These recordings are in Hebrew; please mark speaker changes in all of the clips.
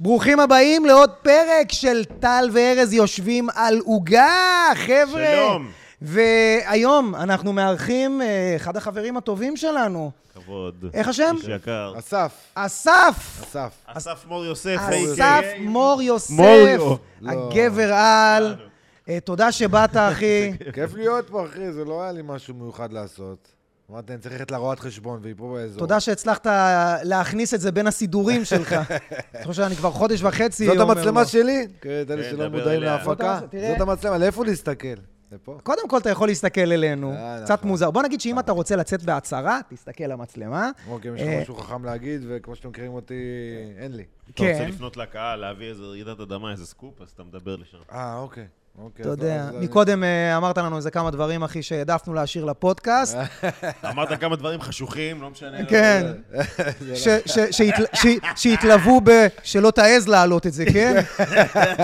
Speaker 1: ברוכים הבאים לעוד פרק של טל וארז יושבים על עוגה, חבר'ה.
Speaker 2: שלום.
Speaker 1: והיום אנחנו מארחים אה, אחד החברים הטובים שלנו,
Speaker 2: כבוד.
Speaker 1: איך השם?
Speaker 2: איש יקר.
Speaker 3: אסף,
Speaker 1: אסף.
Speaker 3: אסף.
Speaker 2: אסף מור יוסף. אוקיי.
Speaker 1: אסף
Speaker 2: A.K.A.
Speaker 1: מור יוסף,
Speaker 2: כן. מוריו.
Speaker 1: הגבר
Speaker 3: לא.
Speaker 1: על. אה, תודה שבאת, אחי.
Speaker 3: כיף להיות פה, אחי, זה לא היה לי משהו מיוחד לעשות. אמרתי, אני צריך ללכת לרואת חשבון, והיא פה באזור.
Speaker 1: תודה שהצלחת להכניס את זה בין הסידורים שלך. אתה חושב שאני כבר חודש וחצי
Speaker 3: זאת
Speaker 1: אומר
Speaker 3: המצלמה
Speaker 1: לו.
Speaker 3: שלי? כן, את אלה
Speaker 2: כן,
Speaker 3: שלא
Speaker 2: דבר
Speaker 3: מודעים
Speaker 2: אליה.
Speaker 3: להפקה.
Speaker 1: זאת המצלמה,
Speaker 3: זאת המצלמה, לאיפה להסתכל? לפה.
Speaker 1: קודם כל, אתה יכול להסתכל אלינו,
Speaker 3: אה,
Speaker 1: קצת
Speaker 3: נכון.
Speaker 1: מוזר. בוא נגיד שאם אתה רוצה לצאת בהצהרה, תסתכל למצלמה.
Speaker 3: אוקיי, אם יש
Speaker 1: אה,
Speaker 3: לך משהו חכם להגיד, וכמו שאתם מכירים אותי, אין לי.
Speaker 2: אתה רוצה
Speaker 1: כן.
Speaker 2: לפנות לקהל, להביא איזה רעידת אדמה, איזה סקופ, אז אתה מדבר לשם.
Speaker 3: אה, אוקיי. אוקיי.
Speaker 1: אתה
Speaker 3: אז-
Speaker 1: יודע,
Speaker 3: אז אני-
Speaker 1: מקודם אה, אמרת לנו איזה כמה דברים, אחי, שהעדפנו להשאיר לפודקאסט.
Speaker 3: אה,
Speaker 2: אמרת כמה דברים חשוכים, לא משנה. לא-
Speaker 1: כן.
Speaker 3: אה,
Speaker 1: ש-
Speaker 3: לא-
Speaker 1: ש- שהתל- ש- שהתלוו ב... שלא תעז להעלות את זה, כן?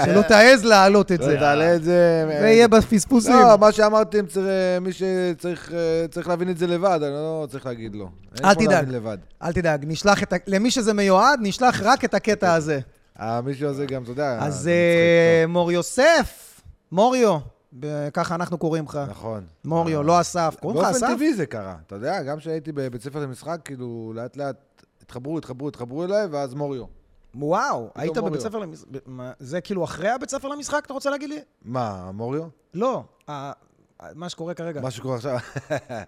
Speaker 1: שלא תעז להעלות את
Speaker 3: לא,
Speaker 1: זה.
Speaker 3: תעלה את זה... אה,
Speaker 1: זה יהיה בפספוסים.
Speaker 3: לא, מה שאמרתם, צר- אה, מי שצריך אה, צריך להבין את זה לבד, אני לא צריך להגיד לו. אין
Speaker 1: אל
Speaker 3: פה
Speaker 1: תדאג.
Speaker 3: להבין לבד.
Speaker 1: אל תדאג, נשלח את... ה- למי שזה מיועד, נשלח רק את
Speaker 3: אה,
Speaker 1: הקטע הזה.
Speaker 3: המישהו הזה גם, אתה יודע...
Speaker 1: אז
Speaker 3: זה
Speaker 1: אה, מור יוסף, מוריו, ב- ככה אנחנו קוראים לך.
Speaker 3: מצחיק, טוב. נכון.
Speaker 1: מוריו, לא אסף. קוראים לך
Speaker 3: באופן
Speaker 1: אסף?
Speaker 3: טבעי זה קרה. אתה יודע, גם כשהייתי בבית ספר למשחק, כאילו, לאט לאט התחברו, התחברו, התחברו אליי, ואז מוריו.
Speaker 1: וואו, היית
Speaker 3: מוריו.
Speaker 1: בבית ספר למשחק... זה כאילו אחרי הבית ספר למשחק, אתה רוצה להגיד לי?
Speaker 3: מה, מוריו?
Speaker 1: לא, ה- ה- מה שקורה כרגע.
Speaker 3: מה שקורה עכשיו?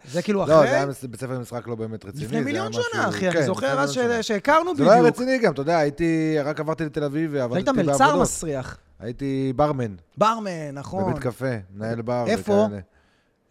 Speaker 1: זה כאילו
Speaker 3: לא, זה
Speaker 1: כן. אחרי,
Speaker 3: היה מס- בית ספר למשחק לא באמת רציני.
Speaker 1: לפני
Speaker 3: זה
Speaker 1: מיליון
Speaker 3: היה
Speaker 1: שנה,
Speaker 3: משהו-
Speaker 1: אחי,
Speaker 3: כן,
Speaker 1: אני זוכר
Speaker 3: לפני
Speaker 1: אז ש-
Speaker 3: מיליון שנה.
Speaker 1: שהכרנו
Speaker 3: זה לא היה
Speaker 1: בדיוק.
Speaker 3: רציני גם, אתה יודע, הייתי, רק עברתי לתל אביב ועבדתי
Speaker 1: היית
Speaker 3: בעבודות.
Speaker 1: מלצר מסריח.
Speaker 3: הייתי ברמן,
Speaker 1: ברמן, נכון.
Speaker 3: בבית קפה, מנהל בר.
Speaker 1: איפה?
Speaker 3: וכאלה.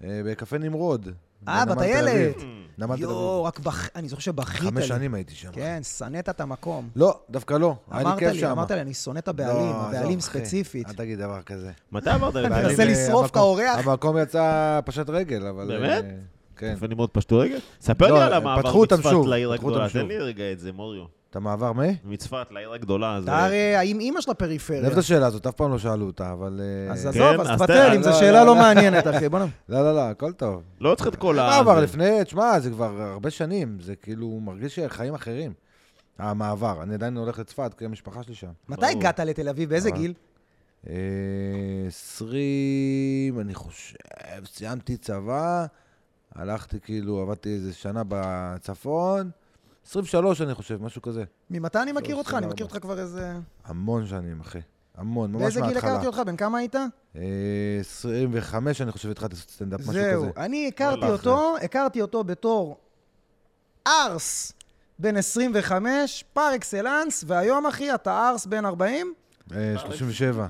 Speaker 3: אה, בקפה נמרוד.
Speaker 1: אה,
Speaker 3: בנמל
Speaker 1: בטיילת.
Speaker 3: תל אביב. נמל תל
Speaker 1: יואו,
Speaker 3: אביב.
Speaker 1: רק בח... אני זוכר שבכית לי.
Speaker 3: חמש שנים הייתי שם.
Speaker 1: כן, שנאת את המקום.
Speaker 3: לא, דווקא לא. היה לי
Speaker 1: אמרת
Speaker 3: כיף
Speaker 1: לי,
Speaker 3: שם.
Speaker 1: אמרת לי, אני שונא את הבעלים,
Speaker 3: לא,
Speaker 1: הבעלים
Speaker 3: עזוב, אחי.
Speaker 1: ספציפית.
Speaker 3: אל תגיד דבר כזה.
Speaker 2: מתי אמרת לי?
Speaker 1: מנסה
Speaker 3: הבעלים,
Speaker 1: לשרוף
Speaker 3: אה,
Speaker 1: את
Speaker 3: המקום-
Speaker 1: האורח.
Speaker 3: המקום יצא פשט רגל, אבל...
Speaker 2: באמת?
Speaker 3: אה, כן.
Speaker 2: איפה נמרוד פשטו רגל? ספר
Speaker 3: לא,
Speaker 2: לי על המעבר
Speaker 3: פתחו אותם
Speaker 2: מצפת
Speaker 3: שוב,
Speaker 2: לעיר
Speaker 3: פתחו
Speaker 2: הגדולה.
Speaker 3: אותם
Speaker 2: תן
Speaker 3: שוב.
Speaker 2: לי רגע את זה, מוריו.
Speaker 3: את המעבר מי?
Speaker 1: כן.
Speaker 2: מצפת לעיר הגדולה. אה, זה-
Speaker 1: אתה הרי עם אימא של הפריפריה.
Speaker 3: אוהב את השאלה הזאת, אף פעם לא שאלו אותה, אבל... אה,
Speaker 1: אז
Speaker 2: כן,
Speaker 1: עזוב, אז
Speaker 2: אז
Speaker 1: תבטל,
Speaker 2: תן,
Speaker 1: אם זו
Speaker 3: לא,
Speaker 1: שאלה
Speaker 3: לא,
Speaker 1: לא
Speaker 3: לא.
Speaker 1: מעניינת, אחי. בוא נ...
Speaker 3: לא, לא, לא, הכל טוב.
Speaker 2: לא צריך את כל ה...
Speaker 3: המעבר
Speaker 2: זה.
Speaker 3: לפני, תשמע, זה כבר הרבה שנים, זה כאילו מרגיש חיים אחרים. המעבר, אני עדיין הולך לצפת, כי המשפחה שלי שם.
Speaker 1: מתי
Speaker 2: ברור.
Speaker 1: הגעת לתל אביב? באיזה
Speaker 3: אבל-
Speaker 1: גיל?
Speaker 3: אה, 20, אני חושב, סיימתי צבא, הלכתי כאילו, עבדתי איזה שנה בצפון, 23 אני חושב, משהו כזה.
Speaker 1: ממתי אני מכיר
Speaker 3: שלוש,
Speaker 1: אותך? אני
Speaker 3: ארבע.
Speaker 1: מכיר אותך כבר איזה...
Speaker 3: המון שנים, אחי. המון, ממש
Speaker 1: באיזה
Speaker 3: מההתחלה.
Speaker 1: גיל הכרתי אותך? בן כמה היית?
Speaker 3: אה, 25, אני חושב, התחלתי לעשות סטנדאפ, משהו כזה. לא
Speaker 1: זהו, אה, אני הכרתי
Speaker 2: וואלה,
Speaker 1: אותו, הכרתי אותו בתור ארס בן 25, פר אקסלנס, והיום, אחי, אתה ארס בן 40?
Speaker 3: אה, 37.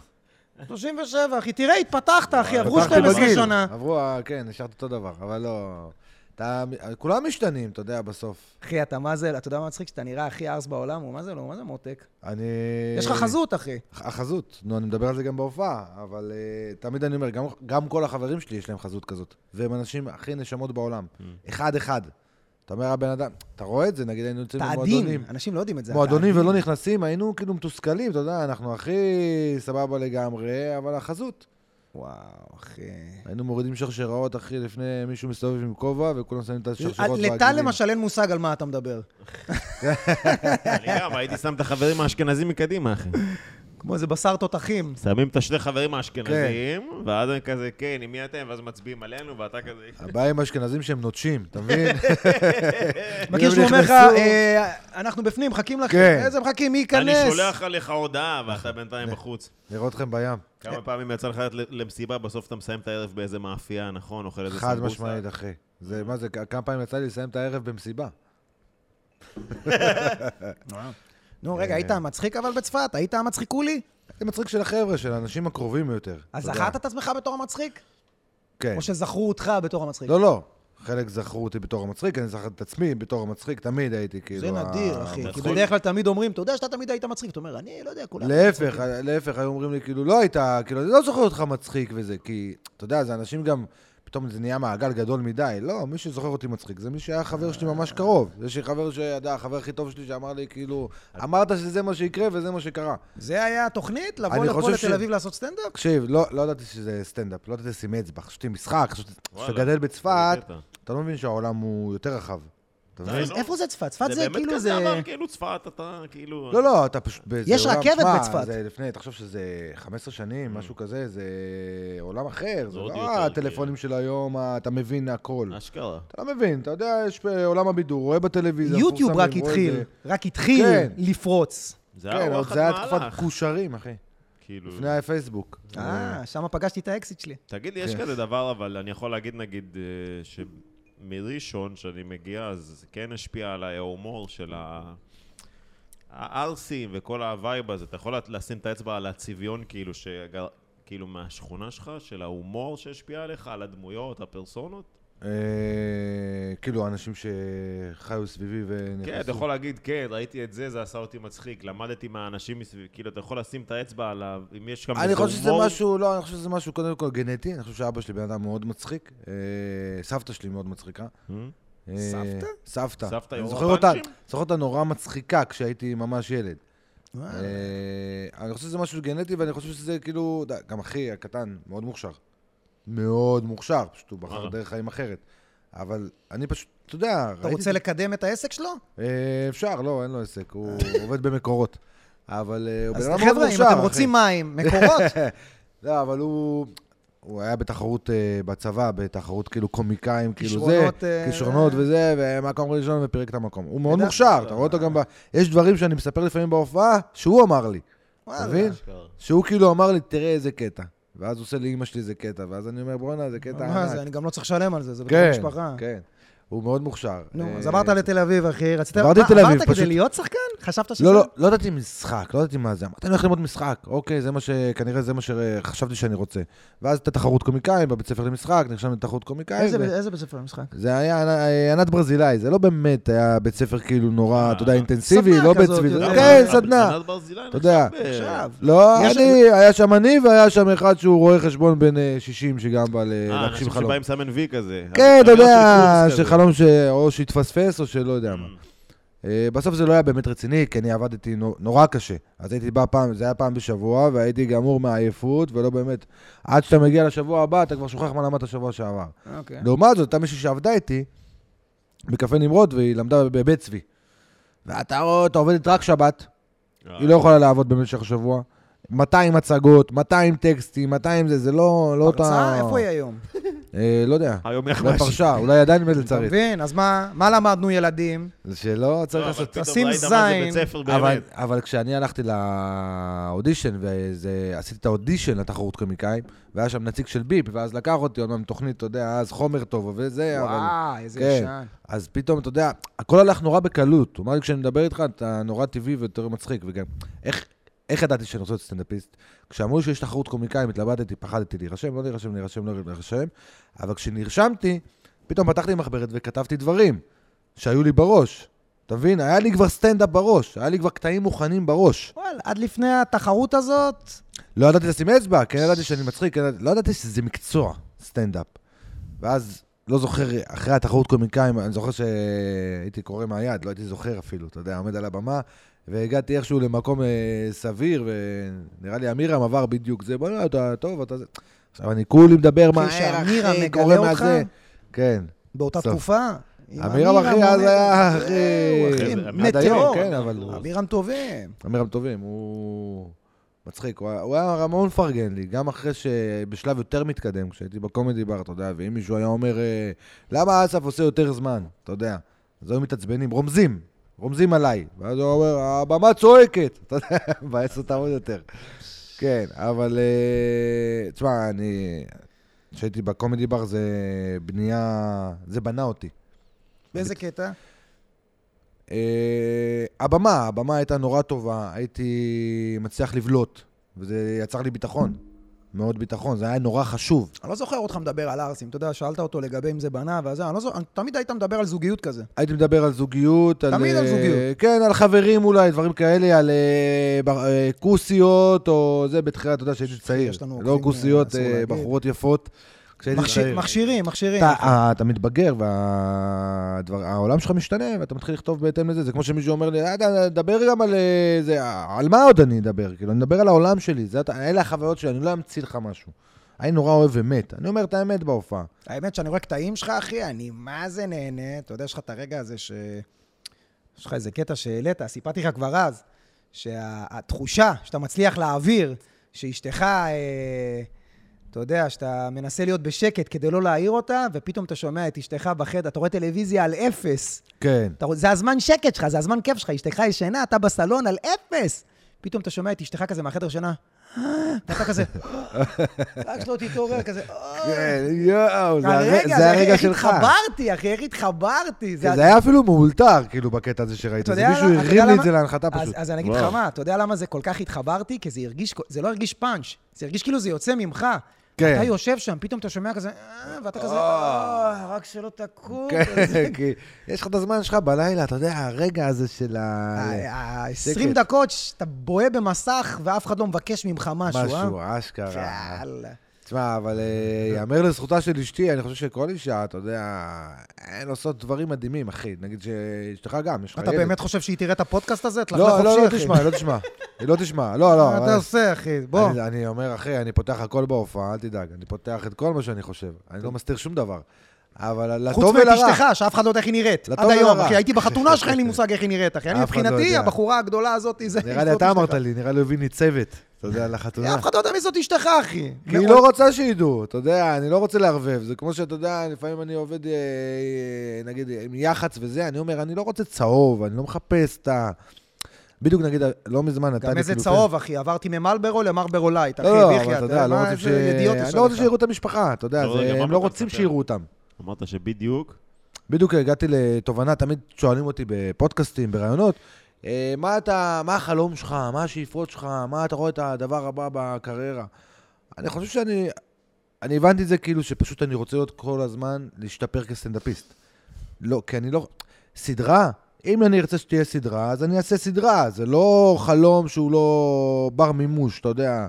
Speaker 1: 37, אחי. תראה, התפתחת, אחי, עברו
Speaker 3: פתחתי
Speaker 1: 12
Speaker 3: בגיל.
Speaker 1: שנה.
Speaker 3: עברו, אה, כן, נשארת אותו דבר, אבל לא... אתה, כולם משתנים, אתה יודע, בסוף.
Speaker 1: אחי, אתה מה זה, אתה יודע מה מצחיק? שאתה נראה הכי ארס בעולם, הוא מה זה לא, מה זה מותק?
Speaker 3: אני...
Speaker 1: יש
Speaker 3: אה,
Speaker 1: לך חזות, אחי.
Speaker 3: החזות, נו, אני מדבר על זה גם בהופעה, אבל uh, תמיד אני אומר, גם, גם כל החברים שלי יש להם חזות כזאת, והם אנשים הכי נשמות בעולם, אחד-אחד. אתה אומר, הבן אדם, אתה רואה את זה, נגיד היינו יוצאים
Speaker 1: אתה
Speaker 3: במועדונים.
Speaker 1: עדין, אנשים לא יודעים את זה. אתה
Speaker 3: מועדונים
Speaker 1: עדין.
Speaker 3: ולא נכנסים, היינו כאילו מתוסכלים, אתה יודע, אנחנו הכי סבבה לגמרי, אבל החזות.
Speaker 1: וואו, אחי.
Speaker 3: היינו מורידים שרשראות, אחי, לפני מישהו מסתובב עם כובע, וכולם שמים את השרשראות
Speaker 1: אה, לטל למשל אין מושג על מה אתה מדבר.
Speaker 2: אני גם, הייתי שם את החברים האשכנזים מקדימה, אחי.
Speaker 1: כמו איזה בשר תותחים.
Speaker 2: שמים את השני חברים האשכנזים, ואז הם כזה, כן, עם מי אתם? ואז מצביעים עלינו, ואתה כזה...
Speaker 3: הבעיה עם אשכנזים שהם נוטשים, אתה מבין?
Speaker 1: מכיר שהוא אומר לך,
Speaker 3: נכנסו-
Speaker 1: אה, אנחנו בפנים, מחכים לכם.
Speaker 3: כן.
Speaker 1: איזה מחכים, מי
Speaker 2: אני
Speaker 1: ייכנס?
Speaker 2: שולח עליך הודעה, ואתה בינתיים בחוץ.
Speaker 3: לראות אתכם בים,
Speaker 2: כמה פעמים יצא לך ללכת למסיבה, בסוף אתה מסיים את הערב באיזה מאפייה, נכון? אוכל איזה
Speaker 3: חד משמעית, אחי. זה, מה זה, כ- כמה פעמים יצא לי לסיים את הערב במסיבה?
Speaker 1: נו,
Speaker 3: אה,
Speaker 1: רגע, היית המצחיק אבל בצפת? היית המצחיקולי?
Speaker 3: זה מצחיק של החבר'ה, של האנשים הקרובים יותר.
Speaker 1: אז
Speaker 3: אתה יודע.
Speaker 1: זכרת את עצמך בתור המצחיק?
Speaker 3: כן.
Speaker 1: או שזכרו אותך בתור המצחיק?
Speaker 3: לא, לא. חלק זכרו אותי בתור המצחיק, אני זכרתי את עצמי בתור המצחיק, תמיד הייתי כאילו...
Speaker 1: זה
Speaker 3: ה-
Speaker 1: נדיר, אחי. כי
Speaker 2: נכון.
Speaker 1: בדרך כלל תמיד אומרים, אתה יודע שאתה תמיד היית מצחיק. אתה אומר, אני לא יודע, כולם...
Speaker 3: להפך, להפך, היו אומרים לי, כאילו, לא הייתה, כאילו, אני לא זוכר אותך מצחיק וזה, כי, אתה יודע, זה אנשים גם, פתאום זה נהיה מעגל גדול מדי. לא, מי שזוכר אותי מצחיק זה מי שהיה חבר שלי ממש קרוב. יש לי חבר שידע, החבר הכי טוב שלי, שאמר לי, כאילו, אמרת שזה מה שיקרה וזה מה שקרה.
Speaker 1: זה היה התוכנית? לבוא
Speaker 3: אני
Speaker 1: לפה
Speaker 3: חושב ש-
Speaker 1: לתל אביב לעשות סטנדאפ?
Speaker 3: תקשיב, לא, לא ידעתי שזה סטנדאפ, לא ידעתי לשים אצבע, חשבתי משחק, חשבתי,
Speaker 2: וואלה,
Speaker 3: כשאתה גדל
Speaker 2: זה
Speaker 3: בצפת,
Speaker 2: קטע.
Speaker 3: אתה לא מבין שהעולם הוא יותר רחב. אתה אתה
Speaker 2: די,
Speaker 3: מבין?
Speaker 2: נו.
Speaker 1: איפה זה צפת? צפת זה
Speaker 2: באמת
Speaker 1: כאילו
Speaker 2: כזה
Speaker 1: זה...
Speaker 2: עבר, כאילו צפת, אתה כאילו...
Speaker 3: לא, לא, אתה פשוט באיזה
Speaker 1: יש
Speaker 3: עולם-
Speaker 1: רכבת
Speaker 3: שמע,
Speaker 1: בצפת.
Speaker 3: זה לפני, תחשוב שזה 15 שנים, משהו כזה, זה עולם אחר. זה
Speaker 2: Mm. עוד
Speaker 3: לא
Speaker 2: יותר, אה.
Speaker 3: הטלפונים של היום, ה- אתה מבין הכל.
Speaker 2: אשכרה.
Speaker 3: אתה לא מבין, אתה יודע, יש אה, עולם הבידור, רואה בטלוויזיה.
Speaker 1: יוטיוב
Speaker 3: מפורסמים,
Speaker 1: רק
Speaker 3: רואה
Speaker 1: התחיל,
Speaker 3: את זה.
Speaker 1: רק התחיל
Speaker 3: כן.
Speaker 1: לפרוץ.
Speaker 2: זה היה
Speaker 3: כן, אבל
Speaker 2: וואחד
Speaker 3: זה היה תקופת
Speaker 2: מהלך.
Speaker 3: כושרים, אחי.
Speaker 2: כאילו...
Speaker 3: לפני הפייסבוק.
Speaker 1: אה, שם פגשתי את האקסיט שלי.
Speaker 2: תגיד לי, יש
Speaker 3: כן.
Speaker 2: כזה דבר, אבל אני יכול להגיד, נגיד, אה, שמראשון, שאני מגיע, אז זה כן השפיע על ההומור של ה... הערסים וכל הווייב הזה. אתה יכול לשים את האצבע על הצביון, כאילו, שגר... כאילו מהשכונה שלך, של ההומור שהשפיע עליך, על הדמויות, הפרסונות?
Speaker 3: אה, כאילו, אנשים שחיו סביבי ונכנסו.
Speaker 2: כן, אתה יכול להגיד, כן, ראיתי את זה, זה עשה אותי מצחיק, למדתי מהאנשים מסביב, כאילו, אתה יכול לשים את האצבע עליו, אם יש גם
Speaker 3: אני
Speaker 2: איזה
Speaker 3: חושב שזה
Speaker 2: הומור-
Speaker 3: משהו, לא, אני חושב שזה משהו קודם כל גנטי, אני חושב שאבא שלי בן אדם מאוד מצחיק, אה, סבתא שלי מאוד מצחיקה.
Speaker 2: אה?
Speaker 3: אה,
Speaker 1: סבתא?
Speaker 3: סבתא.
Speaker 2: סבתא,
Speaker 3: אני
Speaker 2: יו"ר
Speaker 3: זוכר אותה,
Speaker 2: הפאנצ'ים?
Speaker 3: זוכר אותה נורא מצחיקה כשהייתי ממש ילד.
Speaker 2: אה.
Speaker 1: וואלה.
Speaker 3: אה, אני חושב שזה משהו גנטי, ואני חושב שזה כאילו, ד- גם אחי הקטן, מאוד מוכשר. מאוד מוכשר, פשוט הוא בחר
Speaker 2: וואלה.
Speaker 3: דרך חיים אחרת. אבל אני פשוט, אתה יודע,
Speaker 1: אתה
Speaker 3: ראיתי
Speaker 1: רוצה לקדם את העסק שלו?
Speaker 3: אה, אפשר, לא, אין לו עסק, הוא עובד במקורות. אבל אה, הוא בן
Speaker 1: אה. אז
Speaker 3: אדם מאוד
Speaker 1: חבר'ה,
Speaker 3: מוכשר,
Speaker 1: אם
Speaker 3: אחי.
Speaker 1: אתם רוצים מים, מקורות,
Speaker 3: לא, אבל הוא... הוא היה בתחרות אה, בצבא, בתחרות כאילו קומיקאים, כאילו זה,
Speaker 1: כישרונות, אה,
Speaker 3: כישרונות וזה, ומקום ראשון ופירק את המקום. הוא מאוד
Speaker 1: יודע- לא, אה.
Speaker 3: מוכשר, אתה רואה אותו גם ב... יש דברים שאני מספר לפעמים בהופעה, שהוא אמר לי.
Speaker 1: וואלה.
Speaker 3: אתה מבין?
Speaker 2: אשכרה.
Speaker 3: שהוא כאילו אמר לי, תראה איזה קטע. ואז הוא עושה לאימא שלי איזה קטע, ואז אני אומר, בואנה, זה קטע
Speaker 1: מה זה,
Speaker 3: ענק.
Speaker 1: אני גם לא צריך לשלם על זה, זה בגלל
Speaker 3: כן,
Speaker 1: המשפחה.
Speaker 3: כן. הוא מאוד מוכשר.
Speaker 1: נו, אז
Speaker 3: אה,
Speaker 1: עברת לתל אביב, אחי. רצית...
Speaker 3: עברתי
Speaker 1: מה,
Speaker 3: לתל אביב,
Speaker 1: עברת כדי
Speaker 3: פשוט-
Speaker 1: להיות שחקן? חשבת שזה...
Speaker 3: לא, לא, לא ידעתי משחק, לא ידעתי מה זה. אמרתי, אני הולך ללמוד משחק. אוקיי, זה מה ש... כנראה זה מה שחשבתי שאני רוצה. ואז הייתה תחרות קומיקאים בבית ספר למשחק, נרשם לתחרות קומיקאים.
Speaker 1: איזה
Speaker 3: ו-
Speaker 1: איזה בית ספר למשחק?
Speaker 3: זה היה ענ- ענת ברזילי, זה לא באמת היה בית ספר כאילו נורא,
Speaker 2: אה,
Speaker 3: אתה יודע, אינטנסיבי,
Speaker 1: סדנה
Speaker 3: לא
Speaker 1: כזאת,
Speaker 3: בית סביב.
Speaker 1: יודע.
Speaker 3: כן,
Speaker 2: אבל-
Speaker 3: סדנה.
Speaker 2: ענת ברזילי
Speaker 3: אתה יודע.
Speaker 2: נחשב, אה,
Speaker 1: עכשיו.
Speaker 3: לא,
Speaker 1: יש-
Speaker 3: אני, היה שם אני והיה שם אחד שהוא רואה חשבון בן אה, 60 שגם בא ל-
Speaker 2: אה,
Speaker 3: להגשים
Speaker 2: אנשים
Speaker 3: חלום.
Speaker 2: שבאים עם סמן וי כזה. לא
Speaker 3: כן, אתה
Speaker 2: חלום
Speaker 3: יודע,
Speaker 2: של קורס
Speaker 3: של
Speaker 2: כזה.
Speaker 3: חלום ש- או שהתפספס או שלא יודע מה.
Speaker 2: Mm.
Speaker 3: אה, בסוף זה לא היה באמת רציני, כי אני עבדתי נו- נורא קשה. אז הייתי בא פעם, זה היה פעם בשבוע, והייתי גמור מעייפות, ולא באמת. עד שאתה מגיע לשבוע הבא, אתה כבר שוכח מה למדת שבוע שעבר.
Speaker 1: אוקיי.
Speaker 3: לעומת זאת, הייתה מישהי שעבדה איתי בקפה נמרוד, והיא למדה בבית צבי. ואתה רואה, אתה עובדת רק שבת,
Speaker 2: אה,
Speaker 3: היא לא יכולה לעבוד במשך השבוע. 200 הצגות, 200 טקסטים, 200 זה, זה לא... לא
Speaker 1: פרצה? איפה היא היום?
Speaker 3: אה, לא יודע.
Speaker 2: היום יחד.
Speaker 3: אולי פרשה, אולי עדיין
Speaker 1: אתה
Speaker 3: מלצרית.
Speaker 1: מבין? אז מה מה למדנו ילדים?
Speaker 3: זה שלא צריך
Speaker 2: לא, אבל
Speaker 3: לעשות...
Speaker 2: פתאום
Speaker 1: תשים
Speaker 2: ראית מה זה
Speaker 1: זין.
Speaker 2: בית ספר
Speaker 3: אבל,
Speaker 2: באמת.
Speaker 3: אבל כשאני הלכתי לאודישן, וזה- עשיתי את האודישן לתחרות קומיקאים, והיה שם נציג של ביפ, ואז לקח אותי, אומנם תוכנית, אתה יודע, אז חומר טוב וזה, אה, אבל...
Speaker 1: וואי, איזה
Speaker 3: כן.
Speaker 1: ישן.
Speaker 3: אז פתאום, אתה יודע, הכל הלך נורא בקלות. הוא אמר לי, כשאני מדבר איתך, אתה נורא טבעי ויותר מצחיק, וגם, איך, איך ידעתי שאני רוצה להיות סטנדאפיסט? כשאמרו לי שיש תחרות קומיקאים, התלבטתי, פחדתי להירשם, לא להירשם, להירשם, לא להירשם, אבל כשנרשמתי, פתאום פתחתי מחברת וכתבתי דברים שהיו לי בראש. אתה מבין? היה לי כבר סטנדאפ בראש, היה לי כבר קטעים מוכנים בראש.
Speaker 1: וואלה, עד לפני התחרות הזאת,
Speaker 3: לא ידעתי לשים אצבע, כן ידעתי שאני מצחיק, כן ידעתי- לא ידעתי שזה מקצוע, סטנדאפ. ואז, לא זוכר, אחרי התחרות קומיקאים, אני זוכר שהייתי קורא מהיד, לא הייתי זוכר אפילו, אתה יודע, עומד על הבמה, והגעתי איכשהו למקום אה, סביר, ונראה לי אמירם עבר בדיוק זה, בוא'נה, אתה טוב, אתה זה. עכשיו, אני כולי מדבר מהר,
Speaker 1: שאמירם
Speaker 3: אחי,
Speaker 1: מגלה
Speaker 3: קורא
Speaker 1: אותך?
Speaker 3: מהזה. כן.
Speaker 1: באותה
Speaker 3: סוף.
Speaker 1: תקופה. עם
Speaker 3: אמירם, אחי, אז
Speaker 1: עומד- זהו,
Speaker 3: היה, אחי,
Speaker 1: אחי,
Speaker 2: זה-
Speaker 3: עד היום,
Speaker 1: מטאור.
Speaker 3: כן, אבל...
Speaker 1: אמירם טובים.
Speaker 3: אמירם טובים, הוא מצחיק, הוא היה- הוא היה מאוד מפרגן לי, גם אחרי שבשלב יותר מתקדם, כשהייתי בקומדי בר, אתה יודע, ואם מישהו היה אומר, אה, למה אסף עושה יותר זמן, אתה יודע, אז היו מתעצבנים, רומזים, רומזים עליי, ואז הוא אומר, הבמה צועקת, אתה יודע, מבאס אותה עוד יותר. כן, אבל, אה, תשמע, אני, כשהייתי בקומדי בר זה בנייה, זה בנה אותי.
Speaker 1: באיזה קטע?
Speaker 3: אה, הבמה, הבמה הייתה נורא טובה, הייתי מצליח לבלוט, וזה יצר לי ביטחון, מאוד ביטחון, זה היה נורא חשוב.
Speaker 1: אני לא זוכר אותך מדבר על ערסים. אתה יודע, שאלת אותו לגבי אם זה בנה וזה, אני לא זוכר, תמיד היית מדבר על זוגיות כזה.
Speaker 3: הייתי מדבר על זוגיות, על...
Speaker 1: תמיד על
Speaker 3: אה,
Speaker 1: זוגיות.
Speaker 3: כן, על חברים אולי, דברים כאלה, על אה, בר- אה, כוסיות, או זה, בתחילה, אתה יודע שהייתי צעיר.
Speaker 1: יש לנו
Speaker 3: לא
Speaker 1: אורחים,
Speaker 3: כוסיות,
Speaker 1: אסור
Speaker 3: אה,
Speaker 1: להגיד.
Speaker 3: בחורות יפות. כשהייתי
Speaker 1: מכשיר-
Speaker 3: צעיר.
Speaker 1: מכשירים, מכשירים.
Speaker 3: אתה, אה, אתה מתבגר והעולם שלך משתנה ואתה מתחיל לכתוב בהתאם לזה. זה כמו שמישהו אומר לי, "אה, ד- דבר גם על אה, זה, אה, על מה עוד אני אדבר? כאילו, אני מדבר על העולם שלי, זה, אתה- אלה החוויות שלי, אני לא אמציא לך משהו. אני נורא אוהב אמת. אני אומר את האמת בהופעה.
Speaker 1: האמת שאני רואה קטעים שלך, אחי, אני מה זה נהנה. אתה יודע, יש לך את הרגע הזה ש... יש לך איזה קטע שהעלית, סיפרתי לך כבר אז, שהתחושה שאתה מצליח להעביר, שאשתך, אה, אתה יודע, שאתה מנסה להיות בשקט כדי לא להעיר אותה, ופתאום אתה שומע את אשתך בחדר, אתה רואה טלוויזיה על אפס.
Speaker 3: כן.
Speaker 1: אתה, רוא- זה הזמן שקט שלך, זה הזמן כיף שלך, אשתך ישנה, אתה בסלון על אפס. פתאום אתה שומע את אשתך כזה מהחדר שינה, ואתה כזה, רק שלא תתעורר, כזה, "אוי".
Speaker 3: כן, יואו, זה הר-
Speaker 1: הרגע,
Speaker 3: זה
Speaker 1: אחי,
Speaker 3: הרגע
Speaker 1: איך
Speaker 3: שלך.
Speaker 1: התחברתי, אחי, איך התחברתי.
Speaker 3: כן, זה היה אפילו מאולתר, כאילו, בקטע הזה שראית.
Speaker 1: אתה
Speaker 3: זה
Speaker 1: יודע
Speaker 3: מישהו
Speaker 1: למה- אתה
Speaker 3: הרים
Speaker 1: יודע
Speaker 3: לי את זה
Speaker 1: למה-
Speaker 3: להנחתה
Speaker 1: אז-
Speaker 3: פשוט.
Speaker 1: אז אני אגיד לך
Speaker 2: וואו.
Speaker 1: מה, אתה יודע למה זה כל כך התחברתי? כי זה הרגיש, זה לא הרגיש פאנץ', זה הרגיש כאילו זה יוצא ממך.
Speaker 3: כן.
Speaker 1: אתה יושב שם, פתאום אתה שומע כזה, "אה", ואתה כזה, "אה, רק שלא תקום. כזה.
Speaker 3: כן, כי יש לך את הזמן שלך בלילה, אתה יודע, הרגע הזה של ה...
Speaker 1: אה,
Speaker 3: אה,
Speaker 1: ה-20 דקות שאתה בוהה במסך ואף אחד לא מבקש ממך משהו, אה?
Speaker 3: משהו, אה. אשכרה.
Speaker 1: יאללה.
Speaker 3: תשמע, אבל אה, יאמר לזכותה של אשתי, אני חושב שכל אישה, אתה יודע, הן עושות דברים מדהימים, אחי. נגיד שאשתך גם, יש לך ילד.
Speaker 1: אתה באמת חושב שהיא תראה את הפודקאסט הזה? תלך
Speaker 3: לא, לא,
Speaker 1: לחופשי,
Speaker 3: לא
Speaker 1: אחי.
Speaker 3: תשמע, היא לא תשמע. היא לא תשמע, לא, לא.
Speaker 1: מה
Speaker 3: אבל-
Speaker 1: אתה עושה, אחי? בוא.
Speaker 3: אני, אני אומר, אחי, אני פותח הכל בהופעה, אל תדאג. אני פותח את כל מה שאני חושב. אני לא מסתיר שום דבר. אבל
Speaker 1: חוץ
Speaker 3: לטוב
Speaker 1: מאת
Speaker 3: ולרע.
Speaker 1: אשתך, שאף אחד לא יודע איך היא נראית.
Speaker 3: לטוב
Speaker 1: עד היום,
Speaker 3: ולרע.
Speaker 1: אחי, הייתי בחתונה שלך, אין לי מושג איך היא נראית, אחי. אני
Speaker 3: אף אחד לא
Speaker 1: מבחינתי,
Speaker 3: יודע.
Speaker 1: הבחורה הגדולה הזאת, זה...
Speaker 3: נראה לי
Speaker 1: זאת
Speaker 3: אתה
Speaker 1: אשתך.
Speaker 3: אמרת לי, נראה לי הוא הביא ניצבת. אתה יודע, לחתונה.
Speaker 1: אף אחד לא יודע מי זאת אשתך, אחי.
Speaker 3: כי היא
Speaker 1: מאוד-
Speaker 3: לא רוצה שידעו, אתה יודע, אני לא רוצה לערבב. זה כמו שאתה יודע, לפעמים אני עובד, אה, אה, נגיד, עם יח"צ וזה, אני אומר, אני לא רוצה צהוב, אני לא מחפש את ה... בדיוק, נגיד, לא מזמן נתן לי
Speaker 1: גם איזה
Speaker 3: חילופי-
Speaker 1: צהוב, אחי. עברתי ממלברו למרברו לייט, אחי,
Speaker 3: לא, לא, אבל
Speaker 1: בחייאת,
Speaker 3: אתה יודע, לא
Speaker 1: מה,
Speaker 3: רוצים ש...
Speaker 1: איזה ידיעות יש
Speaker 3: אני לא רוצה
Speaker 1: עליך.
Speaker 3: שיראו את המשפחה, אתה יודע,
Speaker 2: לא,
Speaker 3: זה-
Speaker 2: רגע, מה
Speaker 3: הם לא
Speaker 2: באת
Speaker 3: רוצים
Speaker 2: לספר?
Speaker 3: שיראו אותם.
Speaker 2: אמרת שבדיוק,
Speaker 3: בדיוק הגעתי לתובנה, תמיד שואלים אותי בפודקאסטים, בראיונות, אה, מה אתה, מה החלום שלך, מה השאיפות שלך, מה אתה רואה את הדבר הבא בקריירה. אני חושב שאני, אני הבנתי את זה כאילו שפשוט אני רוצה להיות כל הזמן להשתפר כסטנדאפיסט. לא, כי אני לא, סדרה, אם אני ארצה שתהיה סדרה, אז אני אעשה סדרה, זה לא חלום שהוא לא בר מימוש, אתה יודע.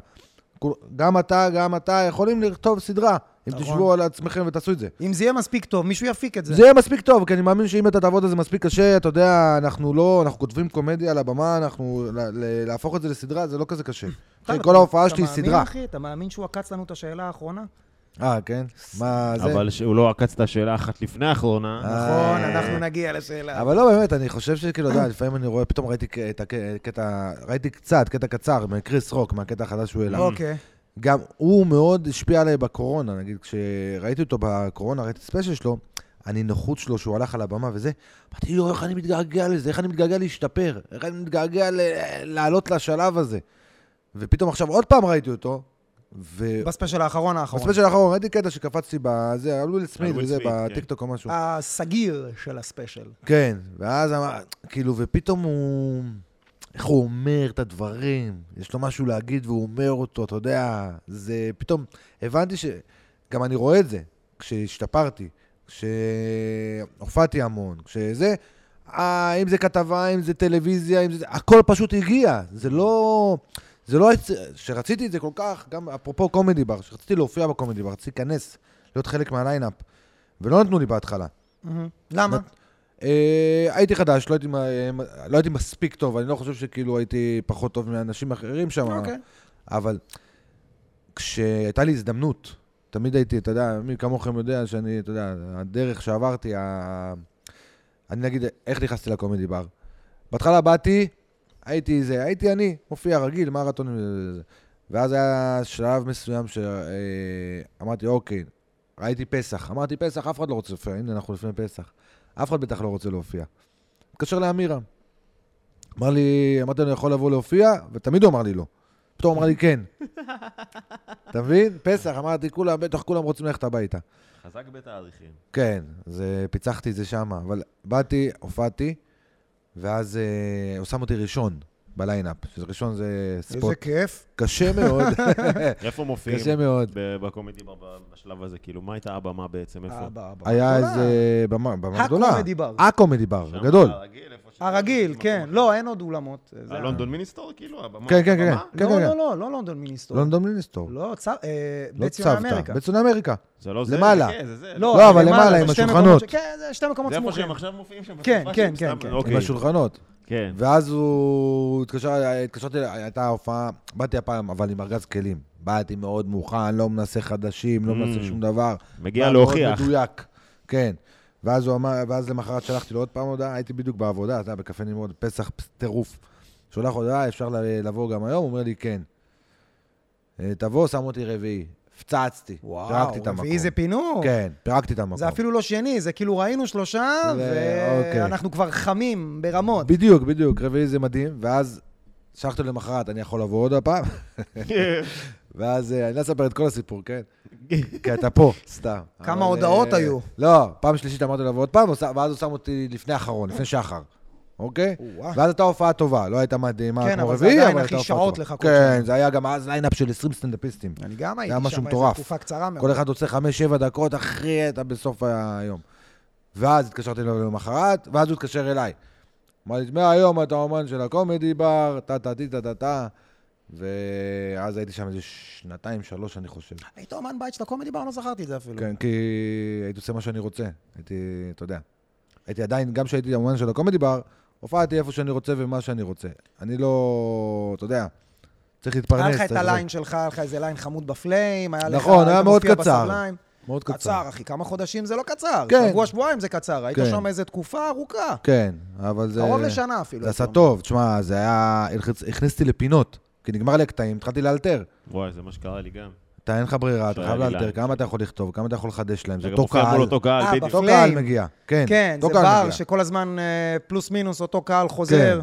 Speaker 3: כול- גם אתה, גם אתה יכולים לכתוב סדרה, אם
Speaker 1: נכון.
Speaker 3: תשבו על עצמכם ותעשו את זה.
Speaker 1: אם זה יהיה מספיק טוב, מישהו יפיק את זה.
Speaker 3: זה יהיה מספיק טוב, כי אני מאמין שאם אתה תעבוד על זה מספיק קשה, אתה יודע, אנחנו לא, אנחנו כותבים קומדיה על הבמה, אנחנו, ל- ל- להפוך את זה לסדרה, זה לא כזה קשה. אחי,
Speaker 1: אתה-
Speaker 3: כל ההופעה
Speaker 1: אתה
Speaker 3: שלי היא
Speaker 1: מאמין,
Speaker 3: סדרה.
Speaker 1: אחי? אתה מאמין שהוא עקץ לנו את השאלה האחרונה?
Speaker 3: אה, כן? מה זה? אה,
Speaker 2: אבל שהוא לא עקץ את השאלה אחת לפני האחרונה.
Speaker 1: נכון, אנחנו נגיע לשאלה.
Speaker 3: אבל לא, באמת, אני חושב שכאילו, אתה יודע, לפעמים אני רואה, פתאום ראיתי ק- את הקטע, ראיתי קצת, קטע קצר מקריס רוק, מהקטע החדש שהוא העלה.
Speaker 1: אוקיי.
Speaker 3: גם הוא מאוד השפיע עליי בקורונה, נגיד, כשראיתי אותו בקורונה, ראיתי את הספיישל שלו, הנינוחות שלו שהוא הלך על הבמה וזה, אמרתי, יואו, איך אני מתגעגע לזה, איך אני מתגעגע להשתפר, איך אני מתגעגע ל- לעלות לשלב הזה. ופתאום עכשיו עוד פעם ראיתי אותו, ו...
Speaker 1: בספיישל האחרון האחרון.
Speaker 3: בספיישל האחרון ראיתי קטע שקפצתי בזה, על וויל סמית
Speaker 2: על וויל
Speaker 3: וזה,
Speaker 2: סמית, כן.
Speaker 3: בטיקטוק או משהו.
Speaker 1: הסגיר של הספיישל.
Speaker 3: כן, ואז אמר, כאילו, ופתאום הוא... איך הוא אומר את הדברים, יש לו משהו להגיד והוא אומר אותו, אתה יודע, זה פתאום, הבנתי ש... גם אני רואה את זה, כשהשתפרתי, כשהופעתי המון, כשזה, אה, אם זה כתבה, אם זה טלוויזיה, אם זה... הכל פשוט הגיע, זה לא... זה לא... הצ- שרציתי את זה כל כך, גם אפרופו קומדי בר, שרציתי להופיע בקומדי בר, רציתי להיכנס, להיות חלק מהליינאפ, ולא נתנו לי בהתחלה.
Speaker 1: מהמם. למה?
Speaker 3: נת- אה, הייתי חדש, לא הייתי, מ- אה, מ- לא הייתי מספיק טוב, אני לא חושב שכאילו הייתי פחות טוב מאנשים אחרים שם,
Speaker 1: אוקיי.
Speaker 3: אבל כשהייתה לי הזדמנות, תמיד הייתי, אתה יודע, מי כמוכם יודע שאני, אתה יודע, הדרך שעברתי, ה... אני נגיד, איך נכנסתי לקומדי בר? בהתחלה באתי, הייתי זה, הייתי אני, מופיע רגיל, מרתונים וזה. וזה. ואז היה שלב מסוים שאמרתי, אוקיי, ראיתי פסח. אמרתי, פסח, אף אחד לא רוצה להופיע, הנה, אנחנו לפני פסח. אף אחד בטח לא רוצה להופיע. התקשר לאמירם. אמר לי, אמרתי לו, אני יכול לבוא להופיע? ותמיד הוא אמר לי לא. פתאום הוא אמר לי כן. אתה מבין? פסח, אמרתי, כולם, בטח כולם רוצים ללכת הביתה.
Speaker 2: אה, חזק בתאריכים.
Speaker 3: כן, אז אה, פיצחתי את זה שם, אבל באתי, הופעתי, ואז אה, הוא שם אותי ראשון בליינאפ. שזה ראשון זה
Speaker 1: איזה
Speaker 3: ספוט
Speaker 1: כיף.
Speaker 3: קשה מאוד,
Speaker 2: איפה מופיעים?
Speaker 3: קשה מאוד.
Speaker 2: ב- בקומדי בר ב- בשלב הזה, כאילו, מה הייתה הבמה בעצם? איפה?
Speaker 1: אבא, אבא.
Speaker 3: היה
Speaker 1: גדולה.
Speaker 3: איזה במה במה גדולה.
Speaker 1: הקומדי בר.
Speaker 3: הקומדי בר,
Speaker 2: שם,
Speaker 3: גדול.
Speaker 2: הרגיל, איפה ש-
Speaker 1: הרגיל,
Speaker 2: מקום
Speaker 1: כן.
Speaker 2: אחר.
Speaker 1: לא, אין עוד אולמות. זה-
Speaker 2: הלונדון מיניסטור, כאילו, הבמה.
Speaker 3: כן, כן, כן.
Speaker 2: הבמה?
Speaker 1: לא,
Speaker 3: כן,
Speaker 1: לא,
Speaker 3: כן.
Speaker 1: לא, לא לונדון מיניסטור.
Speaker 3: לונדון מיניסטור.
Speaker 1: לא, צו- אה,
Speaker 3: לא
Speaker 1: בית ציון
Speaker 3: צוותא.
Speaker 1: אמריקה.
Speaker 3: בצפון אמריקה.
Speaker 2: זה לא זה,
Speaker 3: למעלה.
Speaker 2: זה, כן, זה זה.
Speaker 3: לא, אבל
Speaker 1: למעלה,
Speaker 3: למעלה,
Speaker 1: זה
Speaker 3: עם
Speaker 1: שתי
Speaker 3: השולחנות.
Speaker 1: מקומות ש- כן, זה שתי מקומות
Speaker 2: זה איפה
Speaker 1: סמוכים.
Speaker 2: שהם עכשיו מופיעים שם,
Speaker 1: כן,
Speaker 2: בסופה
Speaker 1: כן,
Speaker 2: שהם
Speaker 1: כן,
Speaker 2: סתם-
Speaker 1: כן.
Speaker 2: אוקיי,
Speaker 3: עם השולחנות.
Speaker 2: כן.
Speaker 3: ואז הוא התקשר, התקשרתי, הייתה הופעה, באתי הפעם, אבל עם ארגז כלים. באתי מאוד מוכן, לא מנסה חדשים, לא מנסה שום דבר.
Speaker 2: Mm. מגיע
Speaker 3: בא מאוד
Speaker 2: להוכיח.
Speaker 3: מדויק, כן. ואז הוא אמר, ואז למחרת שלחתי לו עוד פעם הודעה, הייתי בדיוק בעבודה, אתה יודע, בקפה נמרוד, פסח פס- טירוף. שולח הודעה, אפשר ל- לבוא גם היום? הוא אומר לי, כן. אה, תבוא, שם אותי רביעי. הפצצתי, פירקתי את המקום.
Speaker 1: רביעי זה פינוק.
Speaker 3: כן, פירקתי את המקום.
Speaker 1: אה, זה אפילו לא שני, זה כאילו ראינו שלושה,
Speaker 3: ו- אוקיי.
Speaker 1: ואנחנו כבר חמים ברמות.
Speaker 3: בדיוק, בדיוק, רביעי זה מדהים, ואז שלחתי לו למחרת, אני יכול לבוא עוד הפעם? ואז, אה, אני לא אספר את כל הסיפור, כן? כי אתה פה, סתם.
Speaker 1: כמה
Speaker 3: אבל,
Speaker 1: הודעות
Speaker 3: אה,
Speaker 1: היו?
Speaker 3: לא, פעם שלישית אמרתי לו לבוא עוד פעם, הוא שם- ואז הוא שם אותי לפני האחרון, לפני שחר, אוקיי?
Speaker 1: או-אה.
Speaker 3: ואז הייתה הופעה טובה, לא הייתה מדהימה
Speaker 1: כן,
Speaker 3: כמו
Speaker 1: אבל זה
Speaker 3: רביעי,
Speaker 1: עדיין
Speaker 3: אבל
Speaker 1: הכי
Speaker 3: הייתה הופעה
Speaker 1: שעות
Speaker 3: טובה.
Speaker 1: לחכות
Speaker 3: כן,
Speaker 1: שם.
Speaker 3: זה היה גם אז ליינאפ של 20 סטנדאפיסטים.
Speaker 1: אני גם
Speaker 3: היה
Speaker 1: הייתי שם
Speaker 3: משהו
Speaker 1: איזו
Speaker 3: מטורף.
Speaker 1: תקופה קצרה מאוד.
Speaker 3: כל אחד רוצה חמש, שבע דקות, אחי, אתה בסוף היום. ואז התקשרתי אליו למחרת, ואז הוא התקשר אליי. אמר לי, מהיום אתה אומן של הקומדי בר, טה טה טה טה טה. ואז הייתי שם איזה שנתיים, שלוש, אני חושב.
Speaker 1: היית אומן בית של הקומדי בר, לא זכרתי את זה אפילו.
Speaker 3: כן, כי הייתי עושה מה שאני רוצה. הייתי, אתה יודע. הייתי עדיין, גם כשהייתי האומן של הקומדי בר, הופעתי איפה שאני רוצה ומה שאני רוצה. אני לא, אתה יודע, צריך להתפרנס.
Speaker 1: היה לך את
Speaker 3: צריך-
Speaker 1: הליין שלך, היה לך איזה ליין חמוד בפליים, היה לך...
Speaker 3: נכון, היה
Speaker 1: היית
Speaker 3: מאוד
Speaker 1: מופיע
Speaker 3: קצר.
Speaker 1: בסבליים.
Speaker 3: מאוד קצר.
Speaker 1: קצר, אחי, כמה חודשים זה לא קצר.
Speaker 3: כן.
Speaker 1: שבוע, שבועיים זה קצר. היית
Speaker 3: כן.
Speaker 1: שם איזה תקופה ארוכה.
Speaker 3: כן, אבל זה...
Speaker 1: קרוב לשנה אפילו.
Speaker 3: זה עשה
Speaker 1: הייתי
Speaker 3: טוב, תשמע, זה היה... הלחץ- הכניסתי לפינות, כי נגמר לי הקטעים, התחלתי לאלתר.
Speaker 2: וואי, זה מה שקרה לי גם.
Speaker 3: אתה אין לך ברירה, אתה
Speaker 2: שהיה
Speaker 3: חייב
Speaker 2: לי
Speaker 3: לאלתר,
Speaker 2: ליין.
Speaker 3: כמה אתה יכול לכתוב, כמה אתה יכול לחדש להם,
Speaker 2: אתה
Speaker 3: זה
Speaker 2: גם
Speaker 3: אותו
Speaker 2: מופיע מול
Speaker 3: קהל.
Speaker 2: אותו קהל,
Speaker 1: אה,
Speaker 2: בדיוק.
Speaker 3: אותו
Speaker 1: פליים.
Speaker 3: קהל מגיע, כן,
Speaker 1: כן,
Speaker 3: אותו
Speaker 1: זה
Speaker 3: קהל
Speaker 1: בר
Speaker 3: מגיע.
Speaker 1: שכל הזמן אה, פלוס מינוס אותו קהל חוזר.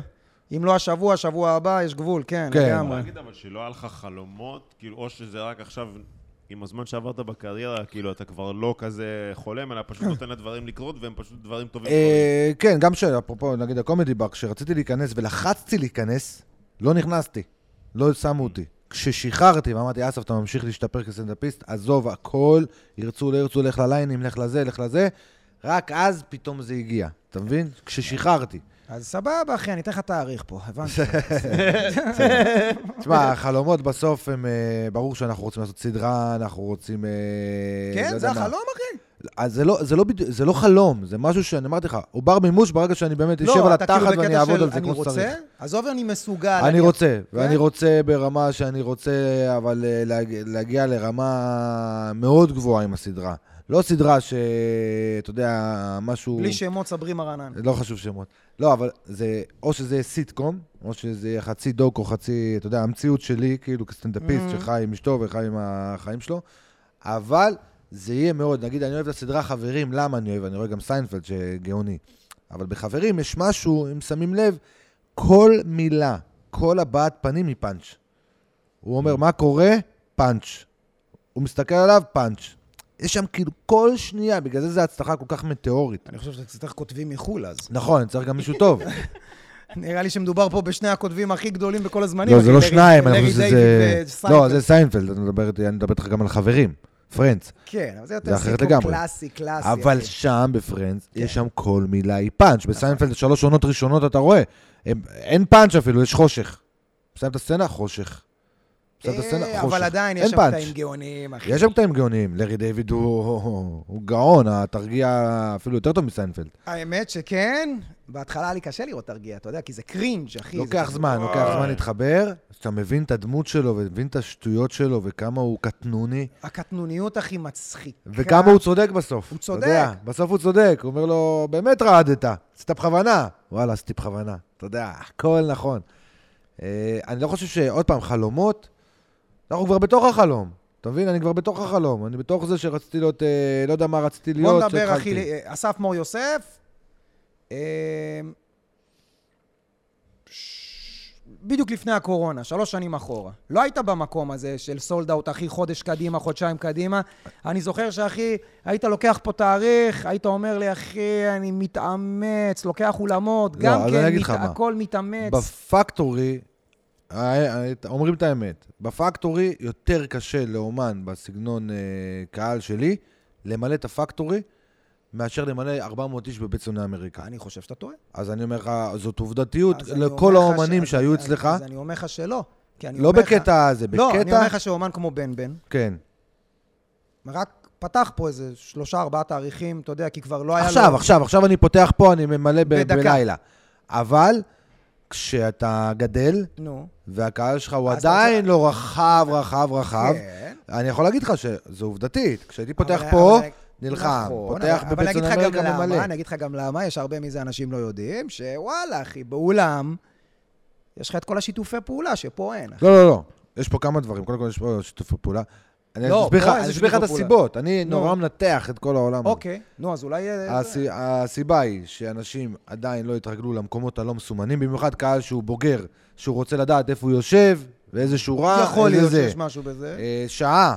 Speaker 1: אם לא השבוע, השבוע הבא, יש גבול, כן,
Speaker 3: כן.
Speaker 2: אבל
Speaker 1: לגמרי.
Speaker 2: להגיד אבל שלא היה לך חלומות, כאילו, או שזה רק עכשיו, עם הזמן שעברת בקריירה, כאילו, אתה כבר לא כזה חולם, אלא פשוט נותן לדברים לקרות, והם פשוט דברים טובים. קורים.
Speaker 3: אה, כן, גם שאפרופו, נגיד הקומדי בר, כשרציתי להיכנס ולחצתי להיכנס, לא נכנסתי, לא שמו אותי. כששחררתי ואמרתי, אסף, אתה ממשיך להשתפר כסטנדאפיסט, עזוב הכל, ירצו, לא ירצו, לך לליינים, לך לזה, לך לזה, רק אז פתאום זה הגיע, אתה מבין? כששחררתי.
Speaker 1: אז סבבה, אחי, אני אתן לך תאריך פה, הבנתי.
Speaker 3: תשמע, החלומות בסוף הם, אה, ברור שאנחנו רוצים לעשות סדרה, אנחנו רוצים... אה,
Speaker 1: כן,
Speaker 3: לא
Speaker 1: זה
Speaker 3: יודע מה.
Speaker 1: החלום, אחי.
Speaker 3: אז זה לא, זה, לא בדיוק, זה לא חלום, זה משהו שאני אמרתי לך, הוא בר מימוש ברגע שאני באמת אשב על
Speaker 1: אתה כאילו
Speaker 3: התחת ואני
Speaker 1: בקטע
Speaker 3: אעבוד
Speaker 1: של
Speaker 3: על זה
Speaker 1: אני
Speaker 3: כמו
Speaker 1: רוצה,
Speaker 3: שצריך.
Speaker 1: עזוב, אני מסוגל.
Speaker 3: אני רוצה, ואני
Speaker 1: כן?
Speaker 3: רוצה ברמה שאני רוצה, אבל אה, להג- להגיע לרמה מאוד גבוהה עם הסדרה. לא סדרה ש... אתה יודע, משהו...
Speaker 1: בלי שמות סברי מרנן.
Speaker 3: לא חשוב שמות. לא, אבל זה, או שזה יהיה סיטקום, או שזה יהיה חצי דוקו, חצי, אתה יודע, המציאות שלי, כאילו, כסטנדאפיסט
Speaker 1: Mhm.
Speaker 3: שחי עם אשתו וחי עם החיים שלו, אבל זה יהיה מאוד, נגיד, אני אוהב את הסדרה חברים, למה אני אוהב? אני רואה גם סיינפלד שגאוני. אבל בחברים יש משהו, אם שמים לב, כל מילה, כל הבעת פנים היא פאנץ'. הוא אומר, מה קורה? פאנץ'. הוא מסתכל עליו, פאנץ'. יש שם כאילו כל שנייה, בגלל זה זו הצלחה כל כך מטאורית.
Speaker 1: אני חושב שאתה צריך כותבים מחו"ל אז.
Speaker 3: נכון, צריך גם מישהו טוב.
Speaker 1: נראה לי שמדובר פה בשני הכותבים הכי גדולים בכל הזמנים.
Speaker 3: לא,
Speaker 1: אחי,
Speaker 3: זה לא
Speaker 1: לארי-
Speaker 3: שניים, אני
Speaker 1: לארי
Speaker 3: חושב שזה...
Speaker 1: דיוויד וסיינפלד.
Speaker 3: לא, זה סיינפלד, אני מדבר איתי- אני מדבר איתך גם על חברים, פרנדס.
Speaker 1: כן, אבל זה יותר
Speaker 3: זה אחרת
Speaker 1: סיפור
Speaker 3: לגמרי.
Speaker 1: קלאסי, קלאסי.
Speaker 3: אבל
Speaker 1: אחי.
Speaker 3: שם בפרנדס,
Speaker 1: כן.
Speaker 3: יש שם כל מילה היא פאנץ'.
Speaker 1: נכון.
Speaker 3: בסיינפלד שלוש עונות ראשונות אתה רואה, הם- אין פאנץ' אפילו, יש חושך. מסיים את הסצנה, חושך. מסיים את הסצנה,
Speaker 1: אה,
Speaker 3: חושך.
Speaker 1: אבל עדיין
Speaker 3: אין
Speaker 1: יש שם
Speaker 3: פאנץ'.
Speaker 1: קטעים גאונים, אחי.
Speaker 3: יש שם קטעים גאוניים, לארי דיוויד הוא הוא גאון, התרגיע אפילו יותר טוב מסיינפלד.
Speaker 1: האמת שכן, בהתחלה היה לי קשה לראות תרגיע, אתה יודע, כי זה קרינג', אחי. זה
Speaker 3: לוקח
Speaker 1: כזה,
Speaker 3: זמן,
Speaker 1: וואו.
Speaker 3: לוקח זמן להתחבר, אתה מבין את הדמות שלו ומבין את השטויות שלו וכמה הוא קטנוני.
Speaker 1: הקטנוניות הכי מצחיקה.
Speaker 3: וכמה הוא צודק בסוף.
Speaker 1: כן. הוא
Speaker 3: אתה יודע,
Speaker 1: צודק.
Speaker 3: בסוף הוא צודק. הוא אומר לו, באמת רעדת, עשית בכוונה. וואלה, עשיתי בכוונה. אתה יודע, הכל נכון. אה, אני לא חושב שעוד פעם, חלומות, אנחנו כבר בתוך החלום. אתה מבין? אני כבר בתוך החלום. אני בתוך זה שרציתי להיות, אה, לא יודע מה רציתי להיות.
Speaker 1: בוא נדבר,
Speaker 3: שהתחלתי.
Speaker 1: אחי, אה, אסף מור יוסף. אה, ש- בדיוק לפני הקורונה, שלוש שנים אחורה. לא היית במקום הזה של סולד אאוט, אחי, חודש קדימה, חודשיים קדימה. אני זוכר שאחי, היית לוקח פה תאריך, היית אומר לי, אחי, אני מתאמץ, לוקח אולמות,
Speaker 3: לא,
Speaker 1: גם
Speaker 3: אז אני
Speaker 1: כן,
Speaker 3: אגיד
Speaker 1: מת...
Speaker 3: לך מה.
Speaker 1: הכל מתאמץ.
Speaker 3: בפקטורי, אה, אה, אומרים את האמת, בפקטורי יותר קשה לאומן בסגנון אה, קהל שלי למלא את הפקטורי מאשר למלא 400 איש בבית שונאי אמריקה.
Speaker 1: אני חושב שאתה טועה.
Speaker 3: אז אני אומר לך, זאת עובדתיות
Speaker 1: אז אני
Speaker 3: לכל
Speaker 1: אומר לך
Speaker 3: האומנים
Speaker 1: ש-
Speaker 3: שהיו
Speaker 1: אז-
Speaker 3: אצלך,
Speaker 1: אז אני אומר לך שלא. כי אני
Speaker 3: לא
Speaker 1: אומר לך-
Speaker 3: בקטע הזה,
Speaker 1: לא, אני אומר
Speaker 3: בקטע...
Speaker 1: לך שאומן כמו בן בן,
Speaker 3: כן.
Speaker 1: רק פתח פה איזה שלושה, ארבעה תאריכים, אתה יודע, כי כבר לא היה לו...
Speaker 3: עכשיו, עכשיו, עכשיו אני פותח פה, אני ממלא ב-
Speaker 1: בדקה.
Speaker 3: בלילה. אבל כשאתה גדל,
Speaker 1: נו.
Speaker 3: והקהל שלך הוא
Speaker 1: אז אתה רוצה-
Speaker 3: עדיין לא רחב, רחב, רחב,
Speaker 1: כן.
Speaker 3: אני יכול להגיד לך שזה עובדתית. כשהייתי פותח
Speaker 1: אבל-
Speaker 3: פה,
Speaker 1: אבל-
Speaker 3: נלחם.
Speaker 1: נכון,
Speaker 3: פותח
Speaker 1: אבל- אבל אני
Speaker 3: בבית
Speaker 1: אגיד לך
Speaker 3: סון
Speaker 1: גם
Speaker 3: אמריקה ממלא.
Speaker 1: למה, אני אגיד לך גם למה, יש הרבה מזה אנשים לא יודעים, שוואלה, אחי, באולם, יש לך את כל השיתופי פעולה שפה אין. אחי.
Speaker 3: לא, לא, לא. יש פה כמה דברים. קודם כל, יש פה שיתופי פעולה. אני
Speaker 1: לא,
Speaker 3: אסביר לך-
Speaker 1: פה איזה
Speaker 3: אני אסביר לך את
Speaker 1: שיתופי פעולה.
Speaker 3: הסיבות. אני
Speaker 1: נו.
Speaker 3: נורא מנתח את כל העולם הזה.
Speaker 1: אוקיי, נו, אז אולי... אה,
Speaker 3: הסי- הסיבה היא שאנשים עדיין לא התרגלו למקומות הלא מסומנים, במיוחד קהל שהוא בוגר, שהוא רוצה לדעת איפה הוא יושב, ואיזה שורה,
Speaker 1: יכול
Speaker 3: איזה
Speaker 1: להיות
Speaker 3: זה.
Speaker 1: שיש משהו בזה.
Speaker 3: אה, שעה.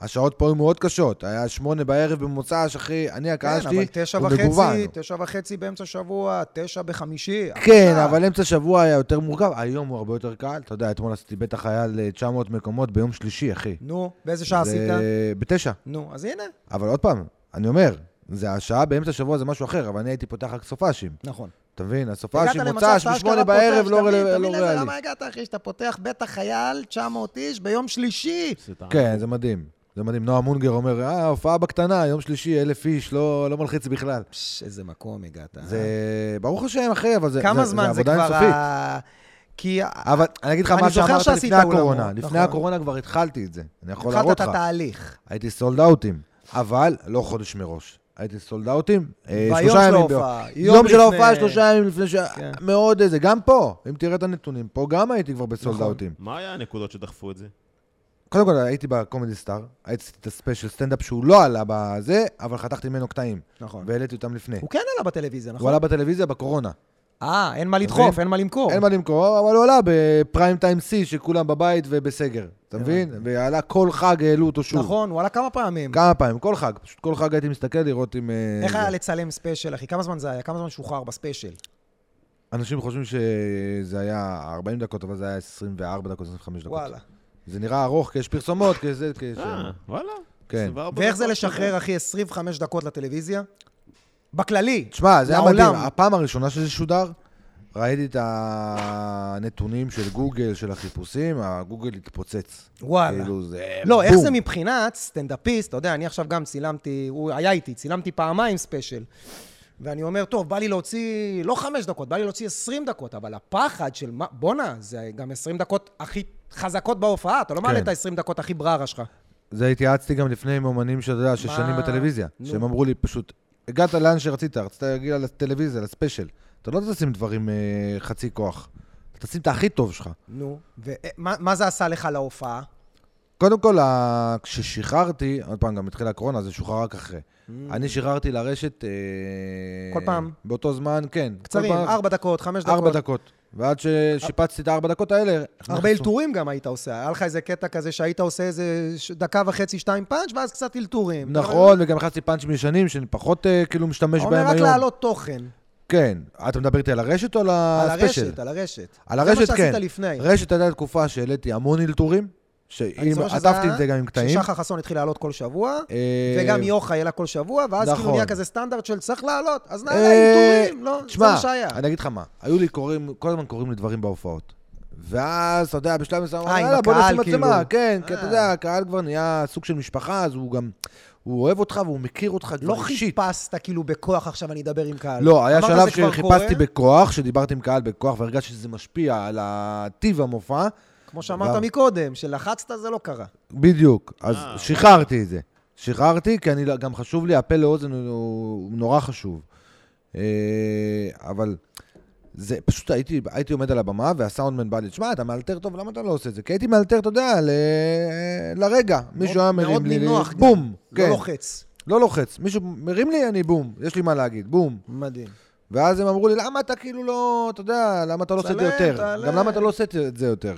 Speaker 3: השעות פה היו מאוד קשות. היה שמונה בערב במוצ"ש, אחי, אני הקהל
Speaker 1: כן,
Speaker 3: שלי,
Speaker 1: אבל תשע
Speaker 3: הוא
Speaker 1: וחצי,
Speaker 3: מגוון.
Speaker 1: תשע וחצי באמצע שבוע, תשע בחמישי.
Speaker 3: כן,
Speaker 1: עכשיו.
Speaker 3: אבל אמצע שבוע היה יותר מורכב, היום הוא הרבה יותר קל. אתה יודע, אתמול עשיתי בטח היה ל-900 מקומות ביום שלישי, אחי.
Speaker 1: נו, באיזה שעה
Speaker 3: זה-
Speaker 1: עשית?
Speaker 3: בתשע.
Speaker 1: נו, אז הנה.
Speaker 3: אבל עוד פעם, אני אומר, זה השעה באמצע שבוע זה משהו אחר, אבל אני הייתי פותח רק סופאשים.
Speaker 1: נכון.
Speaker 3: אתה מבין? הסופאשים,
Speaker 1: הגעת למצב
Speaker 3: מוצ"ש,
Speaker 1: שאשכרה
Speaker 3: בשמונה
Speaker 1: פותח,
Speaker 3: בערב, לא
Speaker 1: תבין,
Speaker 3: רל-
Speaker 1: תבין
Speaker 3: לא
Speaker 1: לזה,
Speaker 3: ריאלי.
Speaker 1: למה הגעת, אחי, שאתה פותח בית החייל, 900 איש, ביום שלישי?
Speaker 2: זה טעם.
Speaker 3: כן, זה מדהים. זה מדהים. נועה מונגר אומר, אה, הופעה בקטנה, יום שלישי, אלף איש, לא לא מלחיץ בכלל.
Speaker 1: פש, איזה מקום הגעת. אה?
Speaker 3: זה, ברוך השם, אחי, אבל זה
Speaker 1: כמה
Speaker 3: זה-
Speaker 1: זמן זה
Speaker 3: עבודה
Speaker 1: כבר...
Speaker 3: אינסופית.
Speaker 1: ה- כי
Speaker 3: אבל אני אגיד לך
Speaker 1: אני
Speaker 3: מה
Speaker 1: זוכר
Speaker 3: שאמרת
Speaker 1: שעשית
Speaker 3: לפני
Speaker 1: אולמות,
Speaker 3: הקורונה.
Speaker 1: נכון.
Speaker 3: לפני הקורונה כבר התחלתי את זה. אני יכול
Speaker 1: התחלת את
Speaker 3: להראות לך.
Speaker 1: התהליך.
Speaker 3: הייתי סולד אאוטים, אבל לא חודש מראש. הייתי סולד אאוטים, אה,
Speaker 1: ביום
Speaker 3: שלושה
Speaker 1: של
Speaker 3: ימים
Speaker 1: ההופעה,
Speaker 3: ביום.
Speaker 1: יום
Speaker 3: יום של
Speaker 1: לפני-
Speaker 3: ההופעה, שלושה ימים לפני ש...
Speaker 1: כן.
Speaker 3: מאוד איזה, גם פה, אם תראה את הנתונים, פה גם הייתי כבר בסולד
Speaker 1: נכון.
Speaker 3: אאוטים.
Speaker 2: מה היה הנקודות שדחפו את זה?
Speaker 3: קודם כל, הייתי בקומדי סטאר, הייתי את הספיישל סטנדאפ שהוא לא עלה בזה, אבל חתכתי ממנו קטעים,
Speaker 1: נכון.
Speaker 3: והעליתי אותם לפני.
Speaker 1: הוא כן עלה בטלוויזיה,
Speaker 3: הוא
Speaker 1: נכון?
Speaker 3: עלה בטלוויזיה בקורונה.
Speaker 1: אה, אין מה לדחוף,
Speaker 3: מבין?
Speaker 1: אין מה למכור.
Speaker 3: אין מה למכור, אבל הוא עלה בפריים טיים C, שכולם בבית ובסגר, אתה מבין? ועלה כל חג, העלו אותו שוב.
Speaker 1: נכון, הוא עלה כמה פעמים.
Speaker 3: כמה פעמים, כל חג. פשוט כל חג הייתי מסתכל לראות אם... אה,
Speaker 1: איך
Speaker 3: זה.
Speaker 1: היה לצלם ספיישל, אחי? כמה זמן זה היה? כמה זמן שוחרר בספיישל?
Speaker 3: אנשים חושבים שזה היה 40 דקות, אבל זה היה 24 דקות, 25 דקות.
Speaker 1: וואלה.
Speaker 3: זה נראה ארוך, כי יש פרסומות, כי זה, כי... יש-
Speaker 2: אה, וואלה.
Speaker 3: כן.
Speaker 2: 24
Speaker 1: ואיך זה
Speaker 2: דקות.
Speaker 1: לשחרר, אחי, 25 דקות לטלוויזיה? בכללי.
Speaker 3: תשמע, זה היה
Speaker 1: לעולם.
Speaker 3: מדהים. הפעם הראשונה שזה שודר, ראיתי את הנתונים של גוגל, של החיפושים, הגוגל התפוצץ.
Speaker 1: וואלה.
Speaker 3: כאילו זה...
Speaker 1: לא, איך
Speaker 3: בום.
Speaker 1: זה מבחינת סטנדאפיסט, אתה יודע, אני עכשיו גם צילמתי, הוא היה איתי, צילמתי פעמיים ספיישל. ואני אומר, טוב, בא לי להוציא, לא חמש דקות, בא לי להוציא עשרים דקות, אבל הפחד של מה, בואנה, זה גם עשרים דקות הכי חזקות בהופעה, אתה לא מעלה
Speaker 3: כן.
Speaker 1: את העשרים דקות הכי בררה שלך.
Speaker 3: זה התייעצתי גם לפני עם אומנים שאתה יודע, ששנים
Speaker 1: מה?
Speaker 3: בטלוויזיה.
Speaker 1: נו.
Speaker 3: שהם אמרו לי פשוט, הגעת לאן שרצית, רצית להגיע לטלוויזיה, לספיישל. אתה לא תשים דברים אה, חצי כוח. אתה תשים את הכי טוב שלך.
Speaker 1: נו, ומה מה זה עשה לך להופעה?
Speaker 3: קודם כל, ה- כששחררתי, עוד פעם, גם התחילה הקורונה, זה שוחרר רק אחרי. אני שחררתי לרשת... אה,
Speaker 1: Mm. כל פעם?
Speaker 3: באותו זמן, כן. כל
Speaker 1: קצרים, אה,
Speaker 3: פעם,
Speaker 1: ארבע דקות, חמש דקות.
Speaker 3: ארבע דקות. ועד ששיפצתי את הארבע דקות האלה... נכנסו-
Speaker 1: הרבה אלתורים גם היית עושה, היה לך איזה קטע כזה שהיית עושה איזה ש- דקה וחצי, שתיים פאנץ', ואז קצת אלתורים.
Speaker 3: נכון, וגם הכנסתי פאנצ'ים ישנים, שאני פחות אה, כאילו משתמש
Speaker 1: אתה
Speaker 3: בהם היום.
Speaker 1: אומר רק להעלות תוכן.
Speaker 3: כן. אתה מדבר איתי על הרשת או על
Speaker 1: על
Speaker 3: הספיישל?
Speaker 1: הרשת, על הרשת.
Speaker 3: על הרשת,
Speaker 1: זה מה
Speaker 3: כן.
Speaker 1: שעשית לפני.
Speaker 3: רשת הייתה תקופה שהעליתי המון אלתורים,
Speaker 1: אני
Speaker 3: שאם
Speaker 1: זוכר שזה
Speaker 3: עטפתי
Speaker 1: היה
Speaker 3: את זה גם עם קטעים.
Speaker 1: ששחר חסון התחיל לעלות כל שבוע,
Speaker 3: אה,
Speaker 1: וגם יוחאי העלה כל שבוע, ואז כאילו
Speaker 3: נכון.
Speaker 1: נהיה כזה סטנדרט של צריך לעלות, אז נעלה
Speaker 3: אה,
Speaker 1: עיטורים, לא? זה
Speaker 3: תשמע,
Speaker 1: מה שהיה.
Speaker 3: אני אגיד לך מה, היו לי קוראים, כל הזמן קוראים לי דברים בהופעות. ואז, אתה יודע, בשלב מסוים,
Speaker 1: אה, עם
Speaker 3: יאללה, בוא
Speaker 1: הקהל,
Speaker 3: נשים מצלמה,
Speaker 1: כאילו.
Speaker 3: כן, כי אתה יודע, הקהל כבר נהיה סוג של משפחה, אז הוא גם, הוא אוהב אותך והוא מכיר אותך
Speaker 1: לא
Speaker 3: כבר אישית.
Speaker 1: חיפשת כאילו בכוח עכשיו אני אדבר עם קהל.
Speaker 3: לא, היה
Speaker 1: אמרת,
Speaker 3: שלב
Speaker 1: "זה כבר
Speaker 3: שחיפשתי
Speaker 1: קורה",
Speaker 3: בכוח, שדיברתי עם קהל בכוח, והרגשתי שזה משפיע על הטיב המופע.
Speaker 1: כמו שאמרת מקודם, שלחצת זה לא קרה.
Speaker 3: בדיוק, אז
Speaker 2: אה,
Speaker 3: שחררתי את זה. שחררתי, כי אני, לא- גם חשוב לי, הפה לאוזן הוא, הוא נורא חשוב. אה, אבל זה, פשוט הייתי, הייתי עומד על הבמה, והסאונדמן בא לי, תשמע, אתה מאלתר טוב, למה אתה לא עושה את זה? כי הייתי מאלתר, אתה יודע, ל... לרגע. מישהו היה
Speaker 1: מאוד-
Speaker 3: מרים
Speaker 1: מאוד
Speaker 3: לי,
Speaker 1: נינוח
Speaker 3: לי-
Speaker 1: גם.
Speaker 3: בום,
Speaker 1: לא
Speaker 3: כן,
Speaker 1: לוחץ.
Speaker 3: לא לוחץ. מישהו מרים לי, אני בום, יש לי מה להגיד, בום.
Speaker 1: מדהים.
Speaker 3: ואז הם אמרו לי, למה אתה כאילו לא, אתה יודע, למה אתה לא עושה את זה
Speaker 1: צלם,
Speaker 3: יותר?
Speaker 1: תעלה."
Speaker 3: גם למה אתה לא עושה את זה יותר?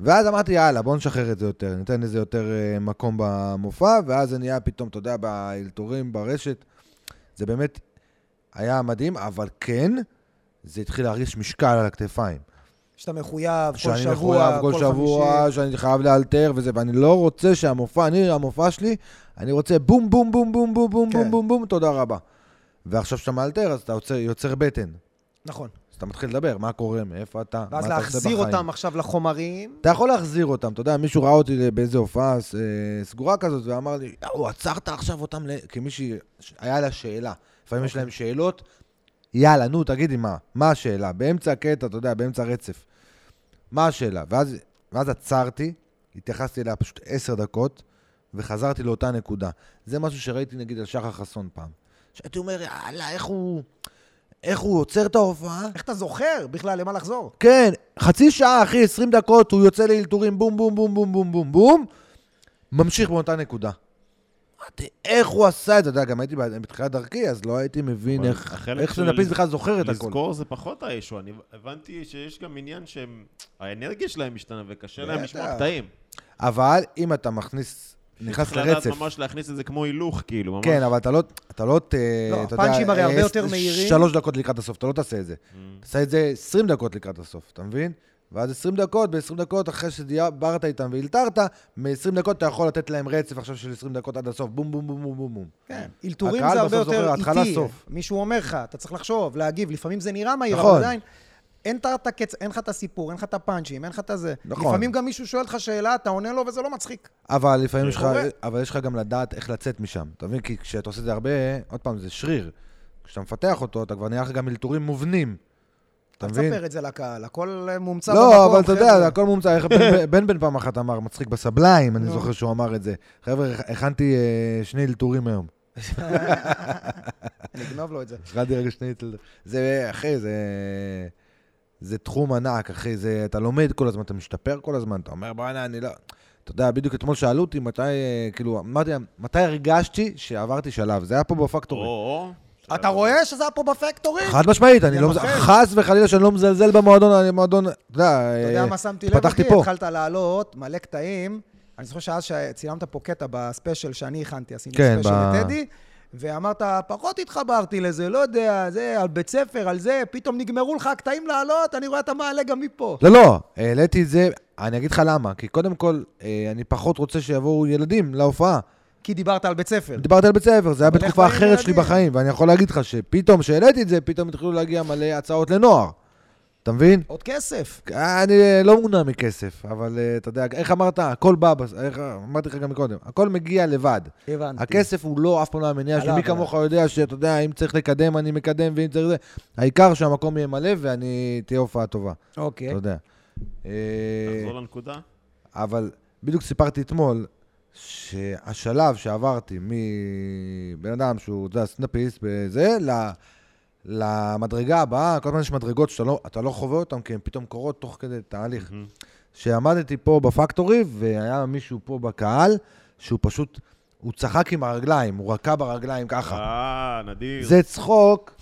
Speaker 3: ואז אמרתי, יאללה, בוא נשחרר את זה יותר, ניתן לזה יותר אה, מקום במופע, ואז זה נהיה פתאום, אתה יודע, באלתורים, ברשת. זה באמת היה מדהים, אבל כן, זה התחיל להרגיש משקל על הכתפיים.
Speaker 1: שאתה מחויב כל
Speaker 3: שאני
Speaker 1: שבוע,
Speaker 3: מחויב כל שבוע,
Speaker 1: חמישי.
Speaker 3: שאני חייב לאלתר וזה, ואני לא רוצה שהמופע, אני, המופע שלי, אני רוצה בום, בום, בום, בום, בום, בום,
Speaker 1: כן.
Speaker 3: בום, בום, בום, תודה רבה. ועכשיו כשאתה מאלתר, אז אתה יוצר, יוצר בטן.
Speaker 1: נכון.
Speaker 3: אז אתה מתחיל לדבר, מה קורה, מאיפה אתה, מה אתה
Speaker 1: ואז
Speaker 3: עושה בחיים.
Speaker 1: להחזיר אותם עכשיו לחומרים.
Speaker 3: אתה יכול להחזיר אותם, אתה יודע, מישהו ראה אותי באיזה הופעה אה, סגורה כזאת, ואמר לי,
Speaker 1: אוקיי.
Speaker 3: יואו, עצרת עכשיו אותם ל... כי מישהי, ש- היה לה שאלה. לפעמים יש להם שאלות, יאללה, נו, תגידי מה, מה השאלה? באמצע הקטע, אתה יודע, באמצע הרצף. מה השאלה? ואז, ואז עצרתי, התייחסתי אליה פשוט עשר דקות, וחזרתי לאותה נקודה. זה משהו שראיתי נגיד על שחר חסון פעם. שהייתי אומר, יאללה, איך הוא... איך הוא עוצר את ההופעה?
Speaker 1: איך אתה זוכר בכלל למה לחזור?
Speaker 3: כן, חצי שעה, אחי, 20 דקות, הוא יוצא לאלתורים, בום, בום, בום, בום, בום, בום, בום, ממשיך באותה נקודה. אמרתי, איך הוא עשה את זה? אתה יודע, גם הייתי בה- בתחילת דרכי, אז לא הייתי מבין
Speaker 2: אבל
Speaker 3: איך
Speaker 2: החלק של
Speaker 3: איך סטנדאפיסט
Speaker 2: לז-
Speaker 3: בכלל זוכר את הכול.
Speaker 2: לזכור זה פחות האישו, אני הבנתי שיש גם עניין שהם, האנרגיה שלהם משתנה וקשה להם
Speaker 3: בטח.
Speaker 2: לשמוע קטעים.
Speaker 3: אבל אם אתה מכניס, נכנס
Speaker 2: צריך לדעת
Speaker 3: לרצף,
Speaker 2: ממש להכניס את זה כמו הילוך, כאילו, ממש.
Speaker 3: כן, אבל אתה לא, אתה לא, ת-
Speaker 1: לא,
Speaker 3: אתה
Speaker 1: הפאנצ'ים הרי
Speaker 3: אה,
Speaker 1: הרבה
Speaker 3: ס-
Speaker 1: יותר מהירים. Mm.
Speaker 3: שלוש דקות לקראת הסוף, אתה לא תעשה את זה. תעשה את זה 20 דקות לקראת הסוף, אתה מבין? ואז 20 דקות, ב-20 דקות אחרי שדיברת איתם והילתרת, מ-20 דקות אתה יכול לתת להם רצף עכשיו של 20 דקות עד הסוף, בום בום בום בום בום בום.
Speaker 1: כן, אלתורים
Speaker 3: הקהל
Speaker 1: זה הרבה
Speaker 3: בסוף זוכר,
Speaker 1: יותר
Speaker 3: התחלה,
Speaker 1: איטי.
Speaker 3: סוף.
Speaker 1: מישהו אומר לך, אתה צריך לחשוב, להגיב, לפעמים זה נראה מהיר,
Speaker 3: נכון.
Speaker 1: אבל עדיין... אין את את הקץ, אין לך את הסיפור, אין לך את הפאנצ'ים, אין לך את הזה.
Speaker 3: נכון.
Speaker 1: לפעמים גם מישהו שואל אותך שאלה, אתה עונה לו וזה לא מצחיק.
Speaker 3: אבל לפעמים יש לך,
Speaker 1: קורה.
Speaker 3: אבל יש לך גם לדעת איך לצאת משם, אתה מבין? כי כשאתה עושה את זה הרבה, עוד פעם, זה שריר. כשאתה מפתח אותו, אתה כבר נהיה לך גם אלתורים מובנים. אתה
Speaker 1: אל
Speaker 3: מבין?
Speaker 1: תספר את זה לקהל, הכל אה, מומצא
Speaker 3: לא, אבל אתה יודע,
Speaker 1: חבר'ה.
Speaker 3: זה הכל מומצא. איך בן- בן בן פעם אחת אמר, מצחיק בסבליים, אני זוכר שהוא אמר את זה. חבר'ה, הכנתי אה, שני אלתורים היום.
Speaker 1: אני אגנוב לו את זה.
Speaker 3: הכנתי רגע שני אלתורים. זה, אחי, זה... זה תחום ענק, אחי. זה, אתה לומד כל הזמן, אתה משתפר כל הזמן, אתה אומר, בואנה, אני לא... אתה יודע, בדיוק אתמול שאלו אותי מתי, אה, כאילו, אמרתי להם, מתי הרגשתי שעברתי שלב? זה היה פה בפקטורי.
Speaker 2: או, או.
Speaker 1: אתה רואה שזה היה פה בפקטורי?
Speaker 3: חד משמעית, אני
Speaker 1: זה
Speaker 3: לא... מז-
Speaker 1: נופל.
Speaker 3: חס וחלילה שאני לא מזלזל במועדון, אני מועדון... אתה יודע,
Speaker 1: אתה יודע מה שמתי לב?
Speaker 3: אה, פתחתי
Speaker 1: אחי?
Speaker 3: פה.
Speaker 1: התחלת לעלות, מלא קטעים. אני זוכר שאז שצילמת פה קטע בספיישל שאני הכנתי, עשינו
Speaker 3: כן,
Speaker 1: ספיישל
Speaker 3: ב-
Speaker 1: לטדי, ואמרת, פחות התחברתי לזה, לא יודע, זה, על בית ספר, על זה, פתאום נגמרו לך הקטעים לעלות, אני רואה אתה מעלה גם מפה.
Speaker 3: לא, לא, העליתי את זה, אני אגיד לך למה. כי קודם כל, אה, אני פחות רוצה שיבואו ילדים להופעה.
Speaker 1: כי דיברת על בית ספר.
Speaker 3: דיברתי על בית ספר, זה היה
Speaker 1: אבל איך
Speaker 3: בתקופה
Speaker 1: באים
Speaker 3: אחרת שלי
Speaker 1: ילדים?
Speaker 3: בחיים, ואני יכול להגיד לך שפתאום, כשהעליתי את זה, פתאום התחילו להגיע מלא הצעות לנוער. אתה מבין?
Speaker 1: עוד כסף.
Speaker 3: אה, אני אה, לא מונע מכסף, אבל אה, אתה יודע, איך אמרת, הכל בא, בס- איך- אמרתי לך גם מקודם, הכל מגיע לבד.
Speaker 1: הבנתי.
Speaker 3: הכסף הוא לא אף פעם לא המניע שלי,
Speaker 1: עליו,
Speaker 3: מי
Speaker 1: עליו.
Speaker 3: כמוך יודע שאתה יודע, אם צריך לקדם, אני מקדם, ואם צריך זה. העיקר שהמקום יהיה מלא ואני, תהיה הופעה טובה,
Speaker 1: אוקיי.
Speaker 3: אתה יודע. אה,
Speaker 2: תחזור לנקודה.
Speaker 3: אבל בדיוק סיפרתי אתמול שהשלב שעברתי מבן אדם שהוא, אתה יודע, סטנדאפיסט וזה, ל- למדרגה הבאה, כל הזמן יש מדרגות שאתה לא, אתה לא חווה אותן, כי הן פתאום קורות תוך כדי תהליך. שעמדתי פה בפקטורי, והיה מישהו פה בקהל, שהוא פשוט, הוא צחק עם הרגליים, הוא רקע ברגליים ככה.
Speaker 2: אה, נדיר.
Speaker 3: זה צחוק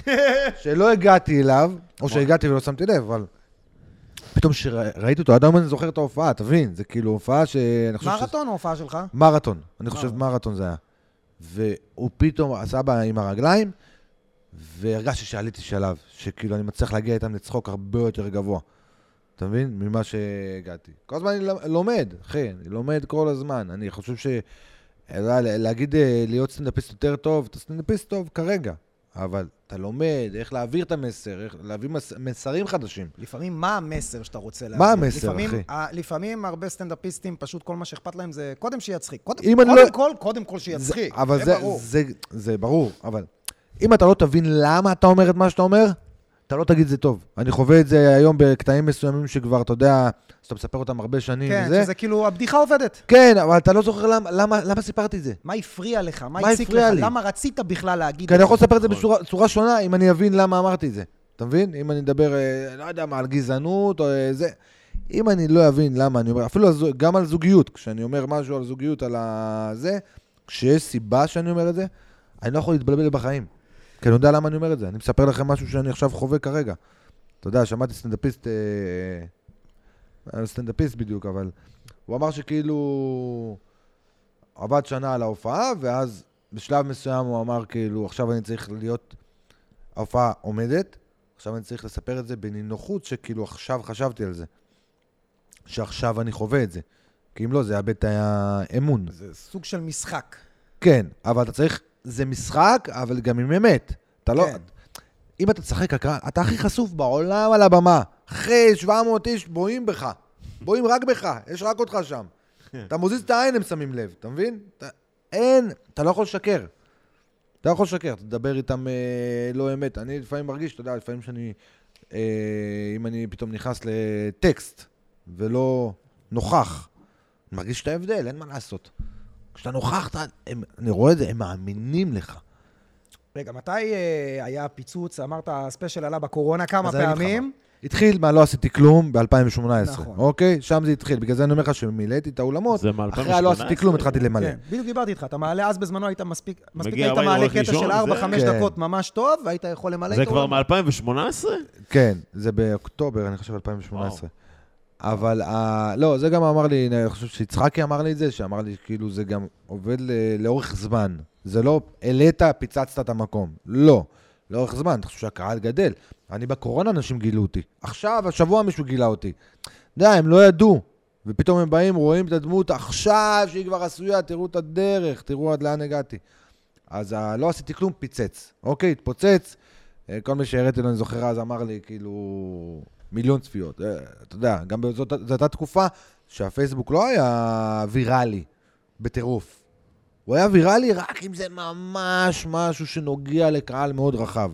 Speaker 3: שלא הגעתי אליו, או שהגעתי ולא שמתי לב, אבל... פתאום שראיתי אותו, עד היום אני זוכר את ההופעה, תבין, זה כאילו הופעה שאני חושב שזה...
Speaker 1: מרתון ההופעה שלך?
Speaker 3: מרתון, אני חושב
Speaker 1: מרתון.
Speaker 3: מרתון זה היה. והוא פתאום עשה בה עם הרגליים, והרגשתי שעליתי שלב, שכאילו אני מצליח להגיע איתם לצחוק הרבה יותר גבוה. אתה מבין? ממה שהגעתי. כל הזמן אני ל- לומד, אחי, אני לומד כל הזמן. אני חושב ש... אה, לא, לה- להגיד אה, להיות סטנדאפיסט יותר טוב, אתה סטנדאפיסט טוב כרגע, אבל אתה לומד איך להעביר את המסר, איך להביא מס... מסרים חדשים.
Speaker 1: לפעמים מה המסר שאתה רוצה להביא?
Speaker 3: המסר,
Speaker 1: לפעמים,
Speaker 3: אחי?
Speaker 1: ה- לפעמים הרבה סטנדאפיסטים, פשוט כל מה שאכפת להם זה קודם שיצחיק. קודם,
Speaker 3: אם אני
Speaker 1: קודם
Speaker 3: לא-
Speaker 1: כל, קודם כל
Speaker 3: זה-
Speaker 1: שיצחיק.
Speaker 3: אבל
Speaker 1: זה
Speaker 3: זה,
Speaker 1: ברור.
Speaker 3: זה, זה ברור, אבל אם אתה לא תבין למה אתה אומר את מה שאתה אומר, אתה לא תגיד זה טוב. אני חווה את זה היום בקטעים מסוימים שכבר, אתה יודע, שאתה מספר אותם הרבה שנים
Speaker 1: כן,
Speaker 3: וזה.
Speaker 1: שזה כאילו, הבדיחה עובדת.
Speaker 3: כן, אבל אתה לא זוכר למה, למה, למה סיפרתי את זה.
Speaker 1: מה הפריע לך? מה
Speaker 3: מה
Speaker 1: הציק לך?
Speaker 3: הפריע לי?
Speaker 1: למה רצית בכלל להגיד
Speaker 3: כי אני יכול לספר את זה
Speaker 2: נכון.
Speaker 3: בצורה צורה שונה, אם אני אבין למה אמרתי את זה. אתה מבין? אם אני אדבר, אה, לא יודע מה, על גזענות או אה, זה. אם אני לא אבין למה אני אומר, אפילו על זו- גם על זוגיות, כשאני אומר משהו על זוגיות, על ה- זה, כשיש סיבה שאני אומר את זה, אני לא יכול להתבלבל בחיים. כי אני יודע למה אני אומר את זה. אני מספר לכם משהו שאני עכשיו חווה כרגע. אתה יודע, שמעתי סטנדאפיסט, אה, אה, סטנדאפיסט בדיוק, אבל הוא אמר שכאילו עבד שנה על ההופעה, ואז בשלב מסוים הוא אמר כאילו, עכשיו אני צריך להיות, ההופעה עומדת, עכשיו אני צריך לספר את זה בנינוחות, שכאילו עכשיו חשבתי על זה. שעכשיו אני חווה את זה. כי אם לא, זה יאבד את האמון.
Speaker 1: זה סוג של משחק.
Speaker 3: כן, אבל אתה צריך, זה משחק, אבל גם עם אמת. אתה לא...
Speaker 1: כן.
Speaker 3: אם אתה תשחק הקרב, אתה הכי חשוף בעולם על הבמה. אחרי 700 איש בואים בך. בואים רק בך, יש רק אותך שם. אתה מוזיז את העין, הם שמים לב, אתה מבין? אתה... אין, אתה לא יכול לשקר. אתה יכול לשקר, אתה תדבר איתם אה, לא אמת. אני לפעמים מרגיש, אתה יודע, לפעמים שאני... אה, אם אני פתאום נכנס לטקסט ולא נוכח, אני מרגיש את ההבדל, אין מה לעשות. כשאתה נוכח, אתה, הם, אני רואה את זה, הם מאמינים לך.
Speaker 1: רגע, מתי אה, היה הפיצוץ? אמרת, הספיישל עלה בקורונה כמה
Speaker 3: אז היה
Speaker 1: פעמים.
Speaker 3: התחיל מה לא עשיתי כלום ב-2018,
Speaker 1: נכון.
Speaker 3: אוקיי? שם זה התחיל. בגלל זה אני אומר לך שמילאתי את האולמות,
Speaker 2: זה מ-
Speaker 3: אחרי הלא עשיתי
Speaker 2: 2018?
Speaker 3: כלום התחלתי למלא.
Speaker 1: כן, בדיוק דיברתי איתך, אתה מעלה, אז בזמנו היית מספיק, מספיק
Speaker 2: מגיע
Speaker 1: היית
Speaker 2: הביתה,
Speaker 1: מעלה
Speaker 2: הולך
Speaker 1: קטע
Speaker 2: לישון,
Speaker 1: של
Speaker 2: זה-
Speaker 1: 4-5
Speaker 3: כן.
Speaker 1: דקות ממש טוב, והיית יכול למלא
Speaker 2: זה
Speaker 1: את
Speaker 2: כבר
Speaker 1: העולם.
Speaker 2: מ-2018?
Speaker 3: כן, זה באוקטובר, אני חושב, 2018. אבל, ה... לא, זה גם אמר לי, אני חושב שיצחקי אמר לי את זה, שאמר לי, כאילו, זה גם עובד ל... לאורך זמן. זה לא, העלית, פיצצת את המקום. לא. לאורך זמן, אתה חושב שהקהל גדל. אני בקורונה, אנשים גילו אותי. עכשיו, השבוע מישהו גילה אותי. אתה יודע, הם לא ידעו. ופתאום הם באים, רואים את הדמות עכשיו, שהיא כבר עשויה, תראו את הדרך, תראו עד לאן הגעתי. אז ה- לא עשיתי כלום, פיצץ. אוקיי, התפוצץ. אה, כל מי שהראיתי לו, אני זוכר אז, אמר לי, כאילו, מיליון צפיות. אה, אתה יודע, גם זאת זאת הייתה תקופה שהפייסבוק לא היה ויראלי, בטירוף. הוא היה ויראלי רק אם זה ממש משהו שנוגע לקהל מאוד רחב.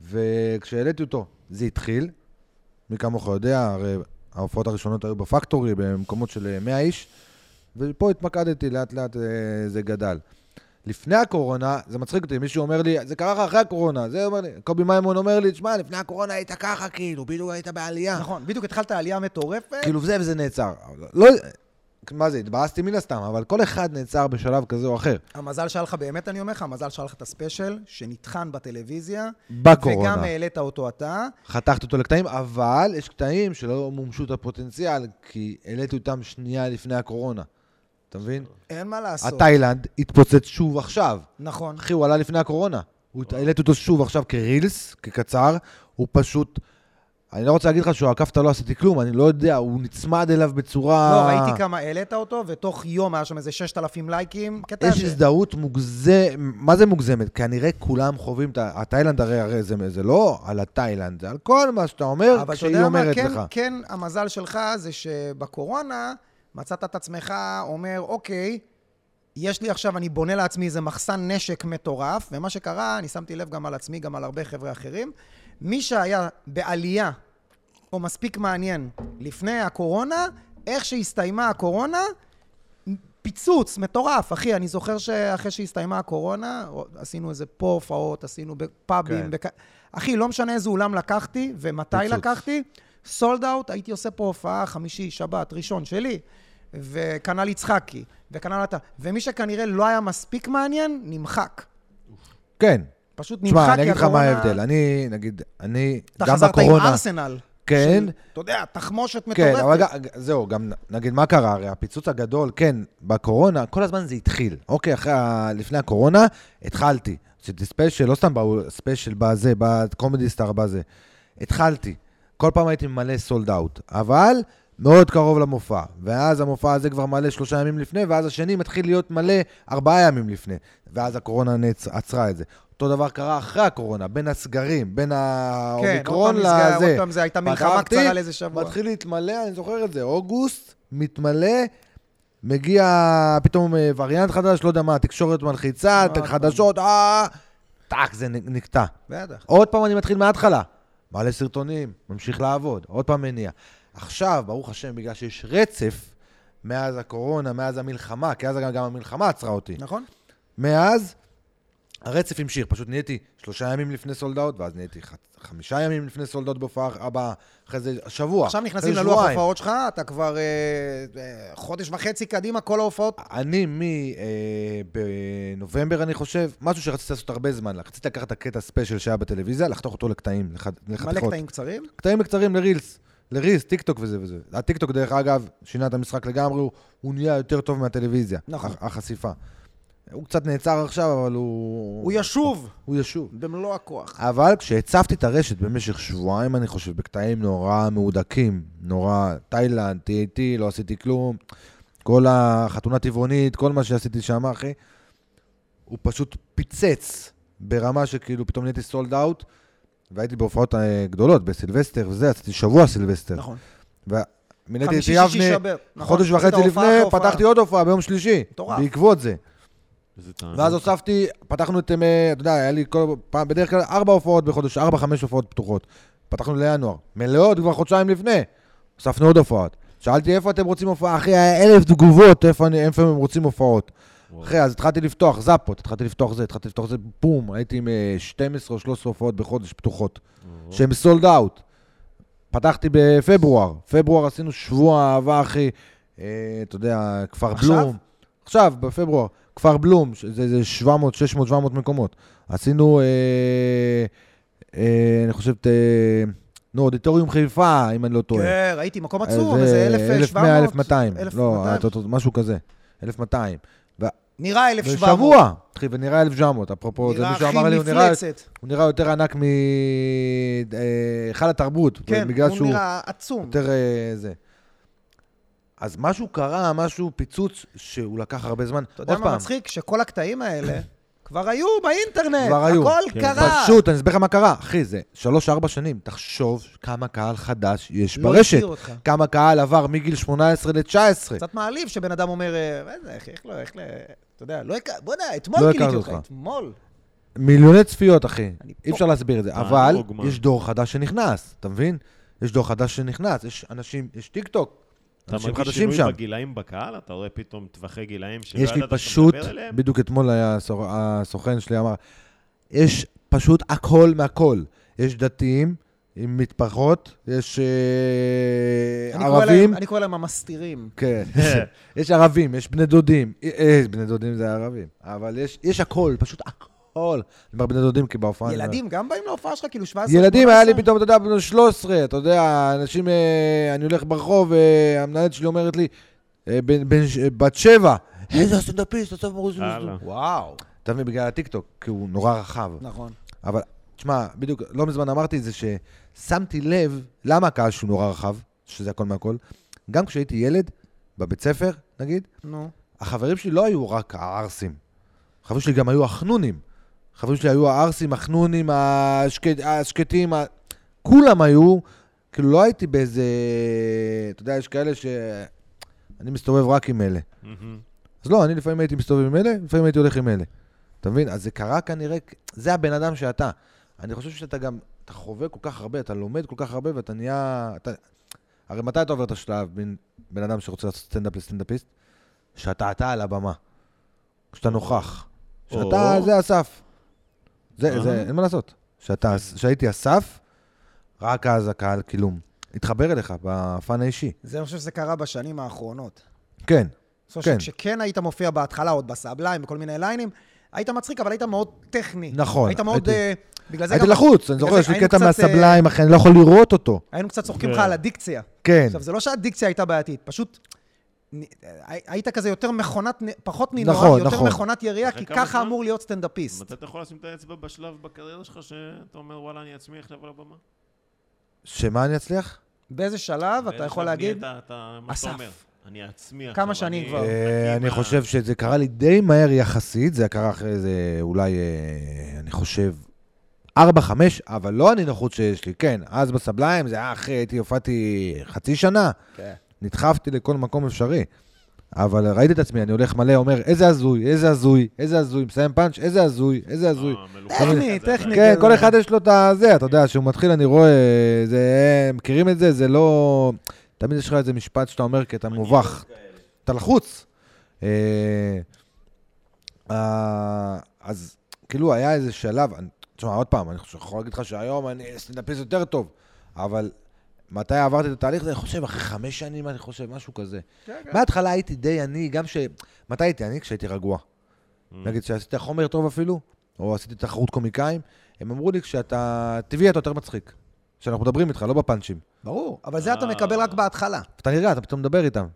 Speaker 3: וכשהעליתי אותו, זה התחיל. מי כמוך יודע, הרי ההופעות הראשונות היו בפקטורי, במקומות של אה, 100 איש, ופה התמקדתי, לאט לאט אה, זה גדל. לפני הקורונה, זה מצחיק אותי, מישהו אומר לי, זה קרה לך אחרי הקורונה, זה אומר לי, קובי מימון אומר לי, תשמע, לפני הקורונה היית ככה, כאילו, בדיוק היית בעלייה.
Speaker 1: נכון, בדיוק התחלת עלייה מטורפת.
Speaker 3: כאילו זה וזה נעצר. לא, מה זה, התבאסתי מן הסתם, אבל כל אחד נעצר בשלב כזה או אחר.
Speaker 1: המזל שהיה לך, באמת אני אומר לך, המזל שהיה לך את הספיישל, שנטחן בטלוויזיה.
Speaker 3: בקורונה.
Speaker 1: וגם העלית אותו אתה.
Speaker 3: חתכתי אותו לקטעים, אבל יש קטעים שלא מומשו את הפוטנציאל, כי העליתי אותם שנייה לפני הקורונה. אתה מבין?
Speaker 1: אין מה לעשות.
Speaker 3: התאילנד התפוצץ שוב עכשיו.
Speaker 1: נכון.
Speaker 3: אחי, הוא עלה לפני הקורונה. הוא העליתי אותו שוב עכשיו כרילס, כקצר, הוא פשוט... אני לא רוצה להגיד לך שהוא עקף את הלא עשיתי כלום, אני לא יודע, הוא נצמד אליו בצורה...
Speaker 1: לא, ראיתי כמה העלית אותו, ותוך יום היה שם איזה 6,000 לייקים. קטע
Speaker 3: יש
Speaker 1: ש-
Speaker 3: הזדהות מוגזמת, מה זה מוגזמת? כנראה כולם חווים את ה... התאילנד הרי, הרי זה, זה לא על התאילנד, זה על כל מה שאתה אומר,
Speaker 1: אבל אתה
Speaker 3: כשהיא
Speaker 1: יודע מה,
Speaker 3: אומרת
Speaker 1: כן,
Speaker 3: לך.
Speaker 1: כן, המזל שלך זה שבקורונה מצאת את עצמך אומר, אוקיי, יש לי עכשיו, אני בונה לעצמי איזה מחסן נשק מטורף, ומה שקרה, אני שמתי לב גם על עצמי, גם על הרבה חבר'ה אחרים, מי שהיה בעלייה, או מספיק מעניין, לפני הקורונה, איך שהסתיימה הקורונה, פיצוץ מטורף, אחי. אני זוכר שאחרי שהסתיימה הקורונה, עשינו איזה פה הופעות, עשינו בפאבים.
Speaker 3: כן.
Speaker 1: בכ... אחי, לא משנה איזה אולם לקחתי ומתי
Speaker 3: פיצוץ.
Speaker 1: לקחתי, סולד אאוט, הייתי עושה פה הופעה חמישי, שבת, ראשון שלי, וכנ"ל יצחקי, וכנ"ל אתה. ומי שכנראה לא היה מספיק מעניין, נמחק.
Speaker 3: כן.
Speaker 1: פשוט נמחק,
Speaker 3: תשמע,
Speaker 1: כי
Speaker 3: אני אגיד לך מה
Speaker 1: הקורונה-
Speaker 3: ההבדל. אני, נגיד, אני,
Speaker 1: אתה
Speaker 3: גם
Speaker 1: חזרת עם
Speaker 3: בקורונה...
Speaker 1: ארסנל.
Speaker 3: כן.
Speaker 1: של, אתה יודע, תחמושת מטורפת.
Speaker 3: כן, אבל גם- זהו, גם נגיד מה קרה, הרי הפיצוץ הגדול, כן, בקורונה, כל הזמן זה התחיל. אוקיי, אחרי, ה- לפני הקורונה, התחלתי. עשיתי ספיישל, לא סתם באו- ספיישל בזה, בקומדי סטאר בזה. התחלתי. כל פעם הייתי מלא סולד אאוט, אבל מאוד קרוב למופע. ואז המופע הזה כבר מלא שלושה ימים לפני, ואז השני מתחיל להיות מלא ארבעה ימים לפני. ואז הקורונה נעצ... עצרה את זה. אותו דבר קרה אחרי הקורונה, בין הסגרים, בין
Speaker 1: כן,
Speaker 3: האומיקרון
Speaker 1: עוד פעם נסגר,
Speaker 3: לזה.
Speaker 1: עוד פעם זה הייתה מלחמה
Speaker 3: פתחתי,
Speaker 1: קצרה לאיזה שבוע.
Speaker 3: מתחיל להתמלא, אני זוכר את זה, אוגוסט, מתמלא, מגיע פתאום אה, וריאנט חדש, לא יודע מה, התקשורת מלחיצה,
Speaker 1: עוד פעם.
Speaker 3: חדשות, אה... טאק, זה נ- נקטע.
Speaker 1: בטח.
Speaker 3: עוד פעם אני מתחיל מההתחלה. מעלה סרטונים, ממשיך לעבוד, עוד פעם מניע. עכשיו, ברוך השם, בגלל שיש רצף מאז הקורונה, מאז המלחמה, כי אז גם, גם המלחמה עצרה אותי.
Speaker 1: נכון?
Speaker 3: מאז הרצף המשיך, פשוט נהייתי שלושה ימים לפני סולד אאוט, ואז נהייתי ח... חמישה ימים לפני סולד אאוט בהופעה הבאה, אחרי זה שבוע.
Speaker 1: עכשיו
Speaker 3: אחרי
Speaker 1: נכנסים
Speaker 3: זה
Speaker 1: ללוח
Speaker 3: שבועיים.
Speaker 1: ההופעות שלך, אתה כבר אה, אה, חודש וחצי קדימה, כל ההופעות.
Speaker 3: אני מ... אה, בנובמבר, אני חושב, משהו שרציתי לעשות הרבה זמן, רציתי לקחת את הקטע ספיישל שהיה בטלוויזיה, לחתוך אותו לקטעים, לח... לחתיכות.
Speaker 1: מלא קטעים קצרים.
Speaker 3: קטעים קצרים לרילס, לרילס, טיק טוק וזה וזה. הטיק טוק, דרך אגב, שינה את המשחק לגמרי, הוא, הוא נהיה יותר טוב מהטלוויזיה,
Speaker 1: נכון.
Speaker 3: הח- החשיפה. הוא קצת נעצר עכשיו, אבל הוא...
Speaker 1: הוא ישוב
Speaker 3: הוא ישוב.
Speaker 1: במלוא הכוח.
Speaker 3: אבל כשהצפתי את הרשת במשך שבועיים, אני חושב, בקטעים נורא מהודקים, נורא תאילנד, TAT, לא עשיתי כלום, כל החתונה טבעונית, כל מה שעשיתי שם, אחי, הוא פשוט פיצץ ברמה שכאילו פתאום נהייתי סולד אאוט, והייתי בהופעות אה, גדולות, בסילבסטר וזה, עשיתי שבוע סילבסטר.
Speaker 1: נכון.
Speaker 3: ומילאתי את
Speaker 1: חמישי, שישי,
Speaker 3: יבנה,
Speaker 1: שבת. נכון.
Speaker 3: חודש
Speaker 1: עשית
Speaker 3: וחצי
Speaker 1: הופעה
Speaker 3: לפני,
Speaker 1: אחרי הופעה.
Speaker 3: פתחתי עוד הופעה ביום שלישי.
Speaker 1: מטורף.
Speaker 3: בעקבות זה.
Speaker 2: איזה טענות.
Speaker 3: ואז הוספתי, פתחנו את, אה, אתה יודע, היה לי כל פעם, בדרך כלל ארבע הופעות בחודש, ארבע, חמש הופעות פתוחות. פתחנו לינואר. מלאות כבר חודשיים לפני. הוספנו עוד הופעות. שאלתי, איפה אתם רוצים הופעה? אחי, היה אלף תגובות, איפה, אני- איפה הם רוצים הופעות.
Speaker 2: וואו.
Speaker 3: אחי, אז התחלתי לפתוח זאפות, התחלתי לפתוח זה, התחלתי לפתוח זה, בום, הייתי עם אה, 12 או 13 הופעות בחודש פתוחות,
Speaker 2: וואו.
Speaker 3: שהן סולד אאוט. פתחתי בפברואר, פברואר עשינו שבוע אהבה, אחי, אה, אתה יודע, כפר
Speaker 1: עכשיו?
Speaker 3: בלום. עכשיו, בפברואר, כפר בלום, שזה זה 700, 600, 700 מקומות. עשינו, אה, אה, אני חושב, ת- נו, אודיטוריום חיפה, אם אני לא טועה. אה,
Speaker 1: כן, ראיתי מקום עצום, איזה אה, 1,700.
Speaker 3: 1,200, לא,
Speaker 1: 1,200.
Speaker 3: אתה- משהו כזה, 1,200.
Speaker 1: נראה 1,700.
Speaker 3: בשבוע. אחי, ונראה 1,700, אפרופו, זה
Speaker 1: נראה
Speaker 3: מישהו
Speaker 1: הכי
Speaker 3: אמר לי, הוא נראה-
Speaker 1: מפלצת.
Speaker 3: הוא נראה יותר ענק מהיכל התרבות.
Speaker 1: כן,
Speaker 3: בגלל
Speaker 1: הוא
Speaker 3: שהוא
Speaker 1: נראה עצום.
Speaker 3: יותר אה, זה. אז משהו קרה, משהו, פיצוץ, שהוא לקח הרבה זמן.
Speaker 1: אתה יודע
Speaker 3: עוד
Speaker 1: מה
Speaker 3: פעם,
Speaker 1: מצחיק? שכל הקטעים האלה כבר היו באינטרנט.
Speaker 3: כבר היו.
Speaker 1: הכל
Speaker 2: כן.
Speaker 1: קרה.
Speaker 3: פשוט, אני אסביר לך מה קרה. אחי, זה שלוש-ארבע שנים. תחשוב כמה קהל חדש יש
Speaker 1: לא
Speaker 3: ברשת.
Speaker 1: הכיר אותך.
Speaker 3: כמה קהל עבר מגיל 18 ל-19.
Speaker 1: קצת מעליב שבן אדם אומר, אה, מה זה, אחי, איך לא, איך ל... אתה יודע, לא הכ... בוא'נה, אתמול
Speaker 3: לא
Speaker 1: גיליתי
Speaker 3: הכרתי
Speaker 1: אותך.
Speaker 3: אותך.
Speaker 1: אתמול.
Speaker 3: מיליוני צפיות, אחי.
Speaker 1: אני פה.
Speaker 3: אי אפשר להסביר את זה.
Speaker 2: תענוג,
Speaker 3: אבל
Speaker 2: מה.
Speaker 3: יש דור חדש שנכנס, אתה מבין? יש דור חדש שנכנס, יש אנשים, יש טיק טוק,
Speaker 2: אתה
Speaker 3: אנשים
Speaker 2: מרגיש
Speaker 3: חדשים
Speaker 2: שינוי
Speaker 3: שם.
Speaker 2: בגילאים בקהל? אתה רואה פתאום טווחי גילאים שלא
Speaker 3: יש לי
Speaker 2: כאילו, לא ידעת שאתה
Speaker 3: פשוט,
Speaker 2: מדבר אליהם?
Speaker 3: בדיוק אתמול היה הסור- הסוכן שלי אמר, יש פשוט הכל מהכל. יש דתיים עם מטפחות, יש אה,
Speaker 1: אני קורא להם-
Speaker 3: ערבים.
Speaker 1: אני קורא להם המסתירים.
Speaker 3: כן,
Speaker 2: אה,
Speaker 3: יש ערבים, יש בני דודים, אה, אה, בני דודים זה ערבים, אבל יש, יש הכל, פשוט הכל. אני אומר בני דודים כי בהופעה... אני אומר-
Speaker 1: ילדים גם באים להופעה שלך, כאילו 17?
Speaker 3: ילדים, היה לי
Speaker 1: 18?
Speaker 3: פתאום, אתה יודע, בן 13, אתה יודע, אנשים, אה, אני הולך ברחוב, אה, המנהלת שלי אומרת לי, אה, בן- בן ש- בת שבע, איזה הסטנדאפיסט, אסף מורוז,
Speaker 2: הלאה.
Speaker 1: וואו.
Speaker 3: אתה מבין, בגלל הטיקטוק, כי הוא נורא רחב.
Speaker 1: נכון.
Speaker 3: אבל, תשמע, בדיוק, לא מזמן אמרתי את זה, ששמתי לב למה הקהל שהוא נורא רחב, שזה הכל מהכל. גם כשהייתי ילד, בבית ספר, נגיד,
Speaker 1: נו.
Speaker 3: החברים שלי לא היו רק הערסים. החברים שלי גם היו החנונים. החברים שלי היו הערסים, החנונים, השקט, השקטים, ה... כולם היו, כאילו לא הייתי באיזה... אתה יודע, יש כאלה ש... אני מסתובב רק עם אלה.
Speaker 2: מהמם.
Speaker 3: אז לא, אני לפעמים הייתי מסתובב עם אלה, לפעמים הייתי הולך עם אלה. אתה מבין? אז זה קרה כנראה, זה הבן אדם שאתה. אני חושב שאתה גם, אתה חווה כל כך הרבה, אתה לומד כל כך הרבה ואתה נהיה... אתה... הרי מתי אתה עובר את השלב בין בן אדם שרוצה לעשות סטנדאפ לסטנדאפיסט? שאתה אתה על הבמה. כשאתה נוכח. שאתה,
Speaker 2: או.
Speaker 3: זה הסף. זה,
Speaker 2: אה.
Speaker 3: זה, אין מה לעשות. שאתה, שהייתי הסף, רק אז הקהל כילום. התחבר אליך בפן האישי.
Speaker 1: זה, אני חושב שזה קרה בשנים האחרונות.
Speaker 3: כן.
Speaker 1: זאת אומרת,
Speaker 3: כן.
Speaker 1: שכשכן היית מופיע בהתחלה עוד בסבליים וכל מיני ליינים, היית מצחיק, אבל היית מאוד טכני.
Speaker 3: נכון,
Speaker 1: היית מאוד...
Speaker 3: הייתי-
Speaker 1: אה, בגלל זה
Speaker 3: הייתי
Speaker 1: גם...
Speaker 3: לחוץ, אני
Speaker 1: בגלל
Speaker 3: זוכר,
Speaker 1: זה
Speaker 3: יש לי
Speaker 1: היינו
Speaker 3: קטע
Speaker 1: קצת, אה,
Speaker 3: מהסבליים, אחי, אני לא יכול לראות אותו.
Speaker 1: היינו קצת צוחקים
Speaker 2: כן.
Speaker 1: לך על הדיקציה.
Speaker 3: כן.
Speaker 1: עכשיו, זה לא שהדיקציה הייתה בעייתית, פשוט... נ- אה, היית כזה יותר מכונת, נ- פחות נינוח,
Speaker 3: נכון,
Speaker 1: יותר
Speaker 3: נכון.
Speaker 1: מכונת יריעה,
Speaker 2: אחרי
Speaker 1: כי
Speaker 2: כמה
Speaker 1: ככה
Speaker 2: זמן?
Speaker 1: אמור להיות סטנדאפיסט.
Speaker 2: מתי אתה יכול לשים את האצבע בשלב בקריירה שלך שאתה אומר, וואלה, אני עצמי עכשיו על הבמה?
Speaker 3: שמה אני אצליח?
Speaker 1: באיזה שלב אתה
Speaker 2: באיזה
Speaker 1: יכול
Speaker 2: שלב
Speaker 1: להגיד,
Speaker 2: נהיית אתה- מה שאתה
Speaker 1: אסף.
Speaker 2: אומר. אני עצמי עכשיו.
Speaker 1: כמה שנים כבר?
Speaker 2: אני לא,
Speaker 3: אה, אני
Speaker 2: עם ה-
Speaker 3: חושב שזה קרה לי די מהר יחסית, זה קרה אחרי איזה אולי, אה, אני חושב, 4-5, אבל לא הנינוחות שיש לי, כן. אז בסבליים זה היה אחרי, הייתי, הופעתי חצי שנה,
Speaker 1: כן.
Speaker 3: נדחפתי לכל מקום אפשרי. אבל ראיתי את עצמי, אני הולך מלא, אומר, איזה הזוי, איזה הזוי, איזה הזוי, מסיים פאנץ', איזה הזוי, איזה הזוי.
Speaker 2: אה, מלוכלך
Speaker 1: טכני,
Speaker 2: כזה,
Speaker 1: טכני.
Speaker 3: כן,
Speaker 1: כזה.
Speaker 3: כל אחד יש לו את הזה, אתה יודע, שהוא מתחיל, אני רואה, זה, מכירים את זה, זה לא... תמיד יש לך איזה משפט שאתה אומר, כי אתה מובך. אתה לחוץ. אה, אה, אז כאילו היה איזה שלב, אני- תשמע, עוד פעם, אני חושב- יכול להגיד לך שהיום אני סטנדאפיסט יותר טוב, אבל מתי עברתי את התהליך הזה? אני חושב, אחרי חמש שנים, אני חושב, משהו כזה.
Speaker 1: כן,
Speaker 3: בהתחלה הייתי די עני, גם ש... מתי הייתי עני? כשהייתי רגוע.
Speaker 1: Mm-hmm.
Speaker 3: נגיד, כשעשית חומר טוב אפילו, או עשיתי תחרות קומיקאים, הם אמרו לי, כשאתה טבעי אתה יותר מצחיק. כשאנחנו מדברים איתך, לא בפאנצ'ים.
Speaker 1: ברור, אבל זה אתה
Speaker 2: אה.
Speaker 1: מקבל רק בהתחלה.
Speaker 3: אתה נרגע, אתה פתאום מדבר איתם.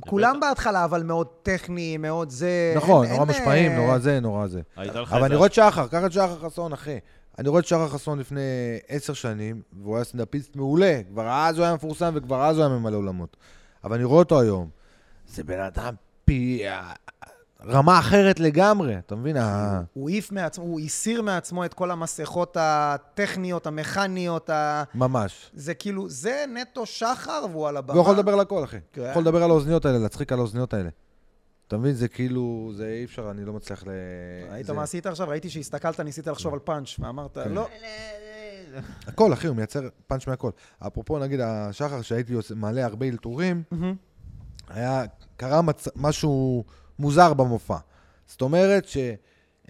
Speaker 1: כולם בהתחלה, אבל מאוד טכני, מאוד זה...
Speaker 3: נכון,
Speaker 1: אה, אין-
Speaker 3: נורא
Speaker 1: אין,
Speaker 3: משפעים,
Speaker 1: אה,
Speaker 3: נורא זה, נורא זה.
Speaker 2: הייתה לך
Speaker 3: אבל
Speaker 2: איזה-
Speaker 3: אני רואה את שחר, קח את שחר חסון, אחי. אני רואה את שחר חסון לפני עשר שנים, והוא היה סטנדאפיסט מעולה. כבר אז הוא היה מפורסם וכבר אז הוא היה ממלא אולמות. אבל אני רואה אותו היום. זה בן אדם פי... רמה אחרת לגמרי, אתה מבין? אה, ה-
Speaker 1: הוא העיף מעצמו, הוא הסיר מעצמו את כל המסכות הטכניות, המכניות, ה...
Speaker 3: ממש.
Speaker 1: זה כאילו, זה נטו שחר והוא על הבמה.
Speaker 3: והוא יכול לדבר על הכל, אחי.
Speaker 1: כן.
Speaker 3: יכול לדבר על האוזניות האלה, להצחיק על האוזניות האלה. אתה מבין, זה כאילו, זה אי אפשר, אני לא מצליח ל...
Speaker 1: ראית
Speaker 3: זה- כן.
Speaker 1: מה עשית עכשיו? ראיתי שהסתכלת, ניסית לחשוב על פאנץ', ואמרת, לא.
Speaker 3: הכל, אחי, הוא מייצר פאנץ' מהכל. אפרופו, נגיד, השחר, שהייתי עושה- מעלה הרבה אלתורים,
Speaker 1: מהמם.
Speaker 3: היה, קרה מצ... משהו מוזר במופע. זאת אומרת שהם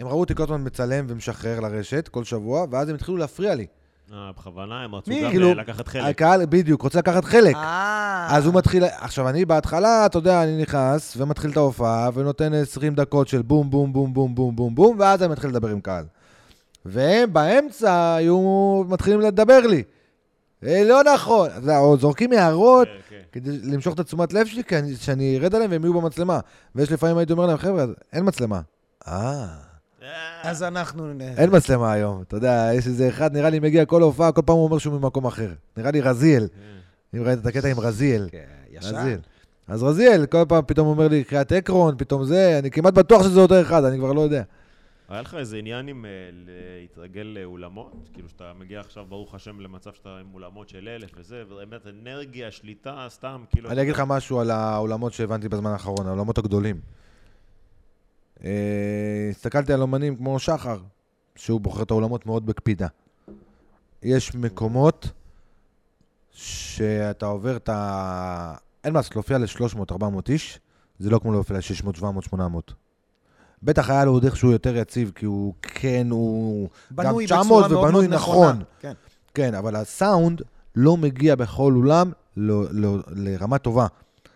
Speaker 3: ראו אותי כל הזמן מצלם ומשחרר לרשת כל שבוע, ואז הם התחילו להפריע לי.
Speaker 2: אה, בכוונה, הם רצו
Speaker 1: מי?
Speaker 2: גם
Speaker 3: כאילו,
Speaker 2: אה, לקחת חלק.
Speaker 3: הקהל בדיוק רוצה לקחת חלק.
Speaker 1: אה.
Speaker 3: אז הוא מתחיל, עכשיו אני בהתחלה, אתה יודע, אני נכנס ומתחיל את ההופעה ונותן 20 דקות של בום, בום, בום, בום, בום, בום, בום, ואז אני מתחיל לדבר עם קהל. והם באמצע היו מתחילים לדבר לי. "אה, לא נכון, אתה יודע, או זורקים הערות,
Speaker 2: כן, כן.
Speaker 3: כדי למשוך את התשומת לב שלי, כי אני- שאני ארד עליהם והם יהיו במצלמה. ויש לפעמים הייתי אומר להם, חבר'ה, אין מצלמה. אה,
Speaker 2: אה,
Speaker 1: אז אנחנו... נ-
Speaker 3: אין מצלמה היום. אתה יודע, יש איזה אחד, נראה לי מגיע כל הופעה, כל פעם הוא אומר שהוא ממקום אחר. נראה לי רזיאל.
Speaker 2: אה, כן.
Speaker 3: אם ראית את הקטע עם רזיאל.
Speaker 1: כן, ישר.
Speaker 3: רזיאל. אז רזיאל, כל פעם פתאום אומר לי קריאת עקרון, פתאום זה, אני כמעט בטוח שזה אותו אחד, אני כבר לא יודע.
Speaker 2: היה לך איזה עניין עם אה, להתרגל לאולמות? כאילו שאתה מגיע עכשיו, ברוך השם, למצב שאתה עם אולמות של אלף וזה, ובאמת אנרגיה, שליטה, סתם, כאילו...
Speaker 3: אני אגיד לך משהו על העולמות שהבנתי בזמן האחרון, העולמות הגדולים. אה, הסתכלתי על אומנים כמו שחר, שהוא בוחר את העולמות מאוד בקפידה. יש מקומות שאתה עובר את ה... אין מה לעשות, להופיע ל-300-400 איש, זה לא כמו להופיע ל-600-700-800. בטח היה לו עוד איכשהו יותר יציב, כי הוא כן, הוא...
Speaker 1: בנוי
Speaker 3: גם
Speaker 1: בצורה
Speaker 3: 900
Speaker 1: מאוד מאוד
Speaker 3: ובנוי
Speaker 1: נכונה.
Speaker 3: נכון.
Speaker 1: כן.
Speaker 3: כן, אבל הסאונד לא מגיע בכל אולם ל- ל- לרמה טובה.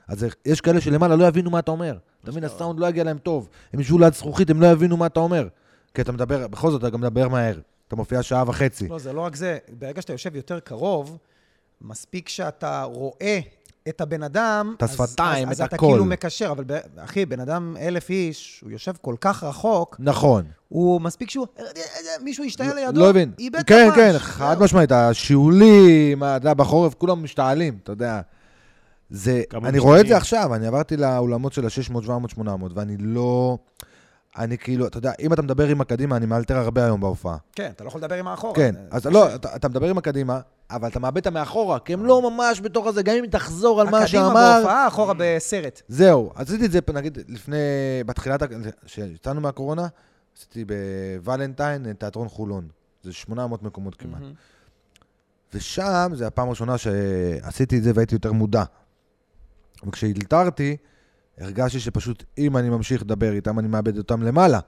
Speaker 3: אז יש כאלה שלמעלה לא יבינו מה אתה אומר. אתה מבין, הסאונד לא יגיע להם טוב. הם ישבו ליד זכוכית, הם לא יבינו מה אתה אומר. כי אתה מדבר, בכל זאת אתה גם מדבר מהר. אתה מופיע שעה וחצי.
Speaker 1: לא, זה לא רק זה. ברגע שאתה יושב יותר קרוב, מספיק שאתה רואה את הבן אדם,
Speaker 3: את השפתיים,
Speaker 1: אז, אז,
Speaker 3: את
Speaker 1: אז אתה
Speaker 3: הכל.
Speaker 1: כאילו מקשר, אבל ב... אחי, בן אדם אלף איש, הוא יושב כל כך רחוק,
Speaker 3: נכון.
Speaker 1: הוא מספיק שהוא... אה, מישהו השתעל לידו,
Speaker 3: לא הבין.
Speaker 1: איבד את
Speaker 3: כן,
Speaker 1: הפאנץ'.
Speaker 3: כן, חד
Speaker 1: זהו.
Speaker 3: משמעית, השיעולים, אתה יודע, בחורף כולם משתעלים, אתה יודע. זה,
Speaker 2: כמה
Speaker 3: אני רואה את זה
Speaker 2: משתנים.
Speaker 3: עכשיו, אני עברתי לאולמות של ה-600, 700, 800, ואני לא... אני כאילו, אתה יודע, אם אתה מדבר עם הקדימה, אני מאלתר הרבה היום בהופעה.
Speaker 1: כן, אתה לא יכול לדבר עם האחורה.
Speaker 3: כן,
Speaker 1: זה-
Speaker 3: אז לא, אתה, אתה מדבר עם הקדימה, אבל אתה מאבד את המאחורה, כי הם לא ממש בתוך הזה, גם אם תחזור על מה
Speaker 1: הקדימה
Speaker 3: שאמר...
Speaker 1: בהופעה, אחורה בסרט.
Speaker 3: זהו, אז עשיתי את זה, נגיד, לפני, בתחילת, ה- כשיצאנו מהקורונה, עשיתי בוולנטיין תיאטרון חולון. זה 800 מקומות כמעט.
Speaker 1: מהמם.
Speaker 3: ושם, זו הפעם הראשונה שעשיתי את זה והייתי יותר מודע. וכשהילתרתי, הרגשתי שפשוט אם אני ממשיך לדבר איתם, אני מאבד אותם למעלה.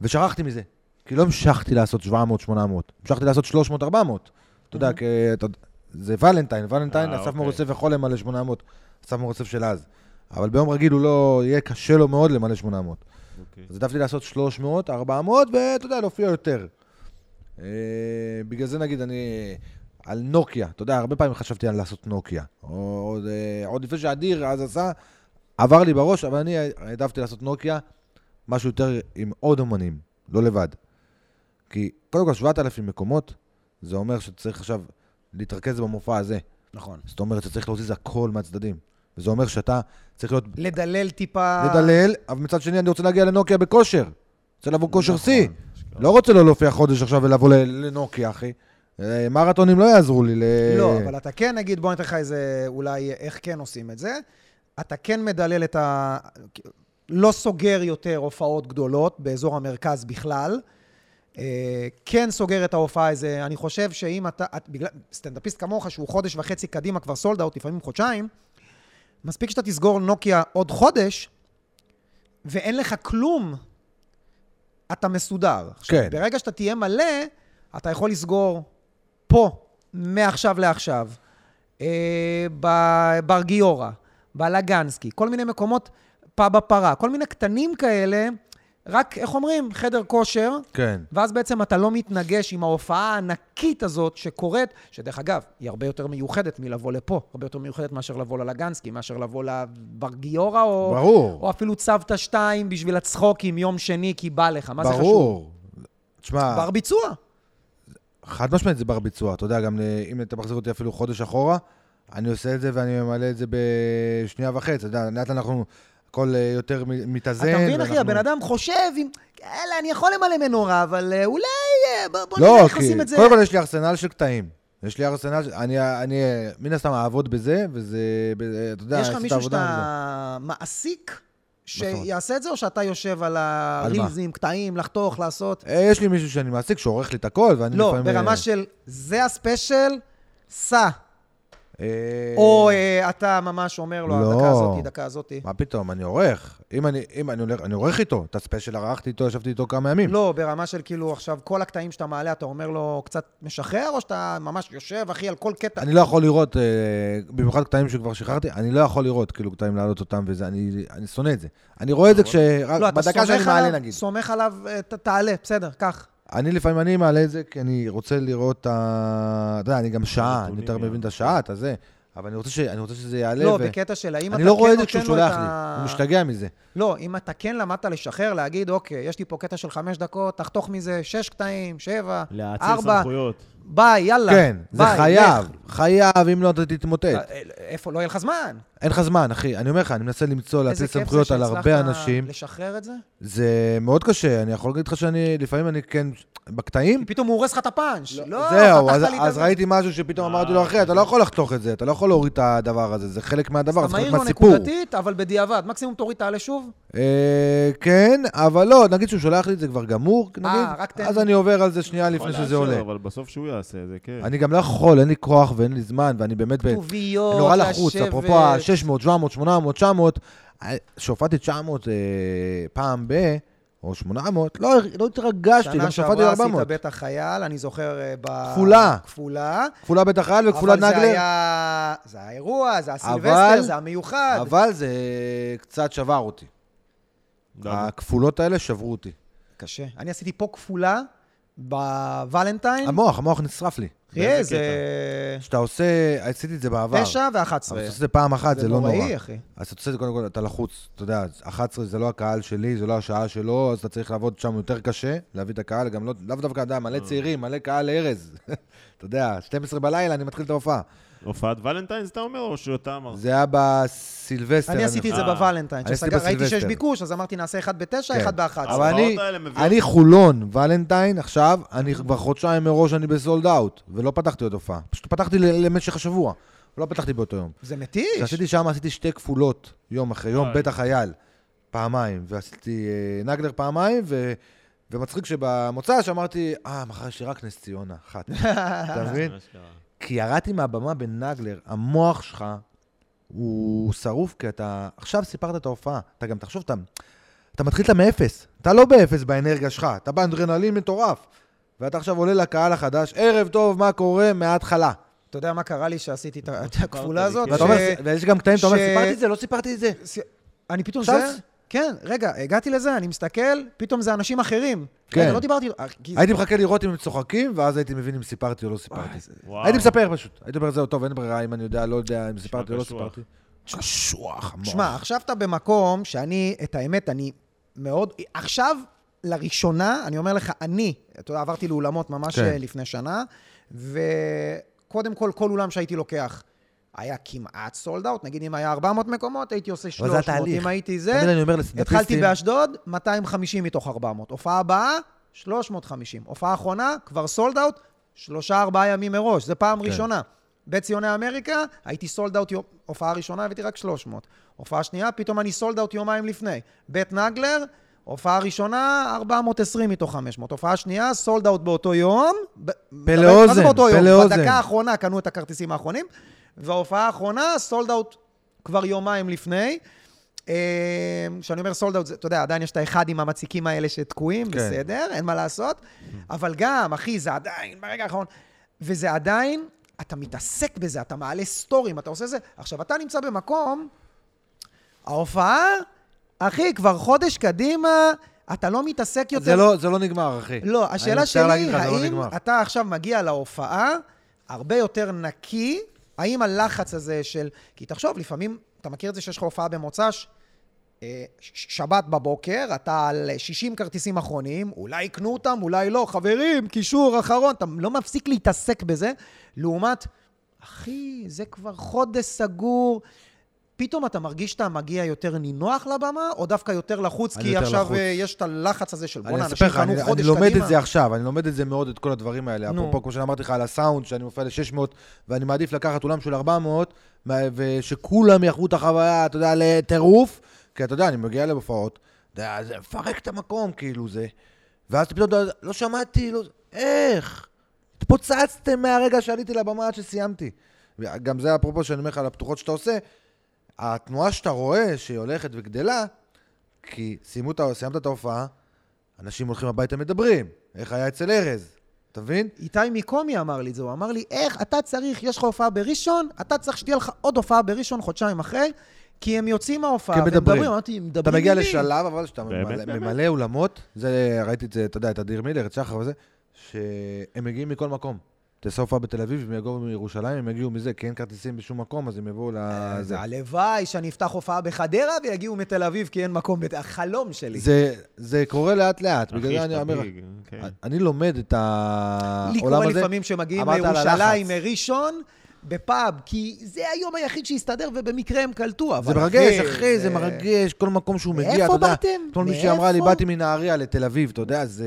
Speaker 3: ושכחתי מזה. כי לא המשכתי לעשות 700-800, המשכתי לעשות 300-400. אתה יודע, כי אתה- זה ולנטיין, ולנטיין,
Speaker 2: אה,
Speaker 3: אסף
Speaker 2: אוקיי.
Speaker 3: מורצף יכול למלא 800, אסף מורצף של אז. אבל ביום רגיל הוא לא, יהיה קשה לו מאוד למלא 800.
Speaker 2: אוקיי.
Speaker 3: אז העדפתי לעשות 300, 400, ואתה יודע, להופיע יותר. אה, בגלל זה נגיד אני... על נוקיה, אתה יודע, הרבה פעמים חשבתי על לעשות נוקיה. או, עוד, אה, עוד לפני שאדיר אז עשה, עבר לי בראש, אבל אני העדפתי לעשות נוקיה, משהו יותר עם עוד אומנים, לא לבד. כי קודם כל 7,000 מקומות, זה אומר שצריך עכשיו להתרכז במופע הזה.
Speaker 1: נכון.
Speaker 3: זאת אומרת שצריך להזיז הכל מהצדדים. וזה אומר שאתה צריך להיות
Speaker 1: לדלל טיפה...
Speaker 3: לדלל, אבל מצד שני אני רוצה להגיע לנוקיה בכושר. רוצה לבוא כושר
Speaker 1: נכון.
Speaker 3: שיא. לא רוצה לא להופיע חודש עכשיו ולבוא ל- לנוקיה, אחי. אה, מרתונים לא יעזרו לי ל...
Speaker 1: לא, אבל אתה כן, נגיד, בוא ניתן לך איזה, אולי איך כן עושים את זה. אתה כן מדלל את ה... לא סוגר יותר הופעות גדולות באזור המרכז בכלל. אה, כן סוגר את ההופעה איזה, אני חושב שאם אתה, את, בגלל, סטנדאפיסט כמוך שהוא חודש וחצי קדימה כבר סולד אאוט, לפעמים חודשיים, מספיק שאתה תסגור נוקיה עוד חודש, ואין לך כלום, אתה מסודר. עכשיו,
Speaker 3: כן.
Speaker 1: ברגע שאתה תהיה מלא, אתה יכול לסגור פה, מעכשיו לעכשיו, אה, ב- בר גיורא, בלגנסקי, כל מיני מקומות, פאב הפרה, כל מיני קטנים כאלה, רק, איך אומרים, חדר כושר,
Speaker 3: כן.
Speaker 1: ואז בעצם אתה לא מתנגש עם ההופעה הענקית הזאת שקורית, שדרך אגב, היא הרבה יותר מיוחדת מלבוא לפה, הרבה יותר מיוחדת מאשר לבוא ללגנסקי, מאשר לבוא לבר גיורא, או,
Speaker 3: ברור.
Speaker 1: או אפילו צוותא 2 בשביל הצחוקים יום שני, כי בא לך, מה זה חשוב?
Speaker 3: ברור. תשמע,
Speaker 1: בר ביצוע.
Speaker 3: חד משמעית זה בר ביצוע. אתה יודע, גם ל- אם אתה מחזיר אותי אפילו חודש אחורה, אני עושה את זה ואני ממלא את זה בשנייה וחצי. אתה יודע, לאט אנחנו... הכל אה, יותר מ- מתאזן.
Speaker 1: אתה מבין, אחי,
Speaker 3: ואנחנו-
Speaker 1: הבן אדם חושב, אם... יאללה, אני יכול למלא מנורה, אבל אה, אולי... אה, בוא בוא נראה
Speaker 3: לא,
Speaker 1: איך
Speaker 3: כי
Speaker 1: עושים את זה.
Speaker 3: קודם כל יש לי ארסנל של קטעים. יש לי ארסנל, של- אני, אני אה, מן הסתם אעבוד בזה, וזה, ב- אה, אתה יודע,
Speaker 1: יש לך
Speaker 3: עשית
Speaker 1: מישהו
Speaker 3: עבודה על זה.
Speaker 1: שאתה מעסיק שיעשה את זה, או שאתה יושב על
Speaker 3: על מה?
Speaker 1: הרילזים, קטעים, לחתוך, לעשות?
Speaker 3: אה, יש לי מישהו שאני מעסיק שעורך לי את הכל, ואני
Speaker 1: לא,
Speaker 3: לפעמים...
Speaker 1: ברמה
Speaker 3: אה,
Speaker 1: של זה הספיישל, סע.
Speaker 3: אה,
Speaker 1: או אה, אתה ממש אומר לו,
Speaker 3: לא.
Speaker 1: הדקה הזאתי, דקה הזאתי.
Speaker 3: מה פתאום, אני עורך. אם אני, אם אני הולך, אני עורך איתו. את הספיישל ערכתי איתו, ישבתי איתו כמה ימים.
Speaker 1: לא, ברמה של כאילו עכשיו כל הקטעים שאתה מעלה, אתה אומר לו קצת משחרר, או שאתה ממש יושב, אחי, על כל קטע?
Speaker 3: אני לא יכול לראות, אה, במיוחד קטעים שכבר שחררתי, אני לא יכול לראות כאילו קטעים להעלות אותם וזה, אני, אני שונא את זה. אני רואה את זה כש... רק
Speaker 1: לא, אתה
Speaker 3: אה, בדקה שאני
Speaker 1: סומך
Speaker 3: מעלה
Speaker 1: עליו,
Speaker 3: נגיד.
Speaker 1: סומך עליו, אה, ת- תעלה, בסדר, קח.
Speaker 3: אני לפעמים, אני מעלה את זה כי אני רוצה לראות את ה... אתה יודע, אני גם שעה, אני
Speaker 2: הנתונים,
Speaker 3: יותר מבין את
Speaker 2: כן.
Speaker 3: השעה, את הזה, אבל אני רוצה, ש... אני רוצה שזה יעלה.
Speaker 1: לא,
Speaker 3: ו-
Speaker 1: בקטע של האם אתה
Speaker 3: אני
Speaker 1: כן
Speaker 3: לא רואה את זה
Speaker 1: נותן
Speaker 3: כשהוא
Speaker 1: לו
Speaker 3: שולח לי,
Speaker 1: ה-
Speaker 3: הוא משתגע מזה.
Speaker 1: לא, אם אתה כן למדת לשחרר, להגיד, אוקיי, יש לי פה קטע של חמש דקות, תחתוך מזה שש קטעים, שבע,
Speaker 2: להעציר
Speaker 1: ארבע,
Speaker 2: סמכויות.
Speaker 1: ביי, יאללה.
Speaker 3: כן, זה
Speaker 1: ביי,
Speaker 3: חייב,
Speaker 1: לך.
Speaker 3: חייב, אם לא, אתה תתמוטט.
Speaker 1: אה, איפה, לא יהיה לך זמן.
Speaker 3: אין לך זמן, אחי. אני אומר לך, אני מנסה למצוא,
Speaker 1: איזה
Speaker 3: להטיל
Speaker 1: כיף זה
Speaker 3: סמכויות על הרבה
Speaker 1: שהצלחת
Speaker 3: אנשים.
Speaker 1: לשחרר את זה?
Speaker 3: זה מאוד קשה, אני יכול להגיד לך שאני, לפעמים אני כן, בקטעים,
Speaker 1: כי פתאום הוא הורס לך את הפאנץ'. לא,
Speaker 3: זהו,
Speaker 1: חתכת
Speaker 3: אז,
Speaker 1: לי את
Speaker 3: אז
Speaker 1: זה.
Speaker 3: ראיתי משהו שפתאום
Speaker 2: אה,
Speaker 3: אמרתי לו, אחי, אתה לא יכול לחתוך את זה, אתה לא יכול להוריד את הדבר הזה, זה חלק מהדבר,
Speaker 1: אתה
Speaker 3: זה חלק
Speaker 1: מעיר לו
Speaker 3: מהסיפור.
Speaker 1: נקודתית, אבל בדיעבד. מקסימום תוריד, תעלה שוב.
Speaker 3: אה, כן, אבל לא, נגיד שהוא שולח לי את זה כבר גמור,
Speaker 1: אה, רק
Speaker 3: נגיד,
Speaker 1: תן-
Speaker 3: אז אני עובר על זה שנייה
Speaker 2: יכול
Speaker 3: לפני שזה
Speaker 2: לאשר,
Speaker 3: עולה.
Speaker 2: אבל בסוף שהוא יעשה את זה, כן.
Speaker 3: אני גם לא יכול, אין לי כוח ואין לי זמן, ואני באמת... ב-
Speaker 1: כתוביות,
Speaker 3: אני כן. נורא לחוץ,
Speaker 1: לשבת.
Speaker 3: אפרופו ה-600, 700, 800, 900, אה, שהופעתי 900 אה, פעם ב... או 800, לא, לא התרגשתי,
Speaker 1: שנה
Speaker 3: גם שפטתי
Speaker 1: שעברה עשית
Speaker 3: 400.
Speaker 1: בטח חייל, אני זוכר אה, ב...
Speaker 3: כפולה.
Speaker 1: כפולה.
Speaker 3: כפולה בית החייל וכפולה
Speaker 1: אבל זה
Speaker 3: נגלר.
Speaker 1: היה... זה האירוע, זה
Speaker 3: אבל-
Speaker 1: הסילבסטר, זה המיוחד.
Speaker 3: אבל זה קצת שבר אותי. אה,
Speaker 2: למה?
Speaker 3: הכפולות האלה שברו אותי.
Speaker 1: קשה. אני עשיתי פה כפולה בוולנטיין.
Speaker 3: המוח, המוח נשרף לי.
Speaker 1: אחי,
Speaker 2: באיזה
Speaker 1: זה
Speaker 3: כשאתה עושה, עשיתי את זה בעבר.
Speaker 1: תשע ואחת עשרה.
Speaker 3: אבל כשאתה עושה את זה פעם אחת, זה לא נורא.
Speaker 1: נוראי, אחי.
Speaker 3: אז אתה עושה את זה קודם כל, אתה לחוץ, אתה יודע, 11 זה לא הקהל שלי, זה לא השעה שלו, אז אתה צריך לעבוד שם יותר קשה, להביא את הקהל, גם לא, לאו דווקא, אתה יודע, מלא צעירים, מלא קהל ארז. אתה יודע, 12 בלילה אני מתחיל את ההופעה.
Speaker 2: הופעת ולנטיינס, אתה אומר, או שאתה אמרת?
Speaker 3: זה היה בסילבסטר.
Speaker 1: אני עשיתי את זה
Speaker 2: אה.
Speaker 1: בוולנטיין.
Speaker 3: אני עשיתי
Speaker 1: שסגר- ראיתי שיש
Speaker 3: בסילבסטר.
Speaker 1: ביקוש, אז אמרתי נעשה אחד בתשע,
Speaker 3: כן.
Speaker 1: אחד באחת.
Speaker 3: אבל אני,
Speaker 2: ההופעות האלה מביאות-
Speaker 3: אני חולון, ולנטיין, עכשיו, אני כבר חודשיים מראש אני בסולד אאוט, ולא פתחתי עוד הופעה. פשוט פתחתי ל- למשך השבוע, לא פתחתי באותו יום.
Speaker 1: זה מתיש.
Speaker 3: כשעשיתי שם, עשיתי שתי כפולות, יום אחרי יום,
Speaker 2: וואי.
Speaker 3: בית החייל, פעמיים, ועשיתי אה, נגלר פעמיים, ו... ומצחיק שבמוצ"ש אמרתי, אה, מחר יש לי רק נס ציונה, אחת. אתה מבין?
Speaker 2: אה,
Speaker 3: כי ירדתי מהבמה בנגלר, המוח שלך הוא שרוף, כי אתה עכשיו סיפרת את ההופעה. אתה גם, תחשוב, אתה, אתה מתחיל אתה מאפס. אתה לא באפס באנרגיה שלך, אתה באנדרנלין מטורף. ואתה עכשיו עולה לקהל החדש, ערב טוב, מה קורה, מההתחלה.
Speaker 1: אתה יודע מה קרה לי שעשיתי את ה- את הכפולה הזאת?
Speaker 3: ואתה אומר,
Speaker 1: ש-
Speaker 3: ויש גם קטעים, אתה אומר,
Speaker 1: ש-
Speaker 3: סיפרתי את זה, לא סיפרתי את זה.
Speaker 1: ס- אני פתאום
Speaker 3: עכשיו-
Speaker 1: זה... כן, רגע, הגעתי לזה, אני מסתכל, פתאום זה אנשים אחרים.
Speaker 3: כן.
Speaker 1: רגע, לא דיברתי... אה, כי-
Speaker 3: הייתי מחכה לראות אם הם צוחקים, ואז הייתי מבין אם סיפרתי או לא סיפרתי.
Speaker 2: וואו.
Speaker 3: הייתי מספר פשוט. הייתי אומר, זהו, טוב, אין ברירה, אם אני יודע, לא יודע, אם סיפרתי או לא
Speaker 2: קשוח.
Speaker 3: סיפרתי. קשוח, המוח.
Speaker 1: שמע, עכשיו אתה במקום שאני, את האמת, אני מאוד... עכשיו, לראשונה, אני אומר לך, אני, אתה יודע, עברתי לאולמות ממש
Speaker 3: כן.
Speaker 1: כן. לפני שנה, וקודם כל, כל אולם שהייתי לוקח היה כמעט סולד אאוט, נגיד אם היה 400 מקומות, הייתי עושה
Speaker 3: אבל
Speaker 1: 300.
Speaker 3: זה התהליך.
Speaker 1: אם הייתי
Speaker 3: תמיד
Speaker 1: זה,
Speaker 3: אני אומר
Speaker 1: התחלתי
Speaker 3: לסטנדאפיסטים,
Speaker 1: באשדוד, 250 מתוך 400. הופעה הבאה, 350. הופעה האחרונה, כבר סולד אאוט, שלושה, ארבעה ימים מראש. זה פעם
Speaker 3: כן.
Speaker 1: כן. ראשונה. בציוני אמריקה, הייתי סולד אאוט, יום- הופעה ראשונה הבאתי רק 300. הופעה שנייה, פתאום אני סולד אאוט יומיים לפני. בית נגלר, הופעה ראשונה, 420 מתוך 500. הופעה שנייה, סולד אאוט באותו יום. ב- מה
Speaker 3: פלא
Speaker 1: זה
Speaker 3: אוזן,
Speaker 1: באותו יום?
Speaker 3: פלא אוזן.
Speaker 1: בדקה האחרונה קנו את הכרטיסים האחרונים, וההופעה האחרונה, סולד אאוט כבר יומיים לפני. אה, כשאני אומר סולד אאוט, אתה יודע, עדיין יש את האחד עם המציקים האלה שתקועים,
Speaker 3: כן.
Speaker 1: בסדר, אין מה לעשות. אבל גם, אחי, זה עדיין, ברגע האחרון, וזה עדיין, אתה מתעסק בזה, אתה מעלה סטורים, אתה עושה זה. עכשיו, אתה נמצא במקום, ההופעה, אחי, כבר חודש קדימה, אתה לא מתעסק יותר.
Speaker 3: זה לא- זה לא נגמר, אחי.
Speaker 1: לא,
Speaker 3: אני
Speaker 1: השאלה
Speaker 3: מצטער להגיד
Speaker 1: שלי,
Speaker 3: לך, זה לא
Speaker 1: האם
Speaker 3: נגמר.
Speaker 1: אתה עכשיו מגיע להופעה הרבה יותר נקי, האם הלחץ הזה של... כי תחשוב, לפעמים, אתה מכיר את זה שיש לך הופעה במוצ"ש? אה, ש- שבת בבוקר, אתה על 60 כרטיסים אחרונים, אולי יקנו אותם, אולי לא. חברים, קישור אחרון, אתה לא מפסיק להתעסק בזה. לעומת, אחי, זה כבר חודש סגור. פתאום אתה מרגיש שאתה מגיע יותר נינוח לבמה, או דווקא יותר לחוץ,
Speaker 3: אני
Speaker 1: כי
Speaker 3: יותר
Speaker 1: עכשיו
Speaker 3: לחוץ.
Speaker 1: אה, יש את הלחץ הזה של
Speaker 3: אני
Speaker 1: בואנה,
Speaker 3: אספר
Speaker 1: אנשים
Speaker 3: לך,
Speaker 1: קנו
Speaker 3: אני, אני
Speaker 1: חודש
Speaker 3: לומד
Speaker 1: קדימה.
Speaker 3: את זה עכשיו, אני לומד את זה מאוד, את כל הדברים האלה.
Speaker 1: נו.
Speaker 3: אפרופו, כמו שאמרתי לך, על הסאונד, שאני מופיע ל-600, ואני מעדיף לקחת אולם של 400, מה- ושכולם יחוו את החוויה, אתה יודע, לטירוף, כי אתה יודע, אני מגיע להופעות, אתה יודע, זה מפרק את המקום, כאילו זה. ואז אתה פתאום, אתה יודע, לא שמעתי, לא... איך? התפוצצתם מהרגע שעליתי לבמה עד שסיימתי. גם זה אפרופו שאני אומר לך על הפתוחות שאתה עושה, התנועה שאתה רואה שהיא הולכת וגדלה, כי סיימו את, ה- סיימת את ההופעה, אנשים הולכים הביתה מדברים, איך היה אצל ארז, אתה מבין?
Speaker 1: איתי מקומי אמר לי את זה, הוא אמר לי, איך אתה צריך, יש לך הופעה בראשון, אתה צריך שתהיה לך עוד הופעה בראשון חודשיים אחרי, כי הם יוצאים מההופעה,
Speaker 3: כי הם
Speaker 1: והם
Speaker 3: מדברים.
Speaker 1: מדברים, אמרתי, מדברים
Speaker 3: אתה מגיע
Speaker 1: עם מי?"
Speaker 3: לשלב, אבל שאתה
Speaker 2: באמת,
Speaker 3: ממלא-
Speaker 2: באמת.
Speaker 3: ממלא אולמות, זה, ראיתי את זה, אתה יודע, את אדיר מילר, את שחר וזה, שהם מגיעים מכל מקום. תעשה הופעה בתל אביב, הם יבואו מירושלים, הם יגיעו מזה, כי אין כרטיסים בשום מקום, אז הם יבואו
Speaker 1: אז
Speaker 3: לזה.
Speaker 1: הלוואי שאני אפתח הופעה בחדרה ויגיעו מתל אביב, כי אין מקום, בת- החלום שלי.
Speaker 3: זה, זה קורה לאט-לאט, בגלל
Speaker 2: אחי,
Speaker 3: זה אני אומר, אה,
Speaker 2: שתפיג, כן.
Speaker 3: אני לומד את
Speaker 1: לי
Speaker 3: העולם
Speaker 1: קורה
Speaker 3: הזה.
Speaker 1: לפעמים שמגיעים
Speaker 3: אמרת על
Speaker 1: לירושלים
Speaker 3: הלחץ.
Speaker 1: מראשון, בפאב, כי זה היום היחיד שהסתדר, ובמקרה הם קלטו, אבל...
Speaker 3: זה מרגש, אחי, זה מרגש, כל מקום שהוא מגיע,
Speaker 1: מאיפה
Speaker 3: אתה יודע.
Speaker 1: באתם?
Speaker 3: אתמול מישהי אמרה לי,
Speaker 1: מאיפה?
Speaker 3: באתי מנהריה לתל אביב, אתה יודע, זה...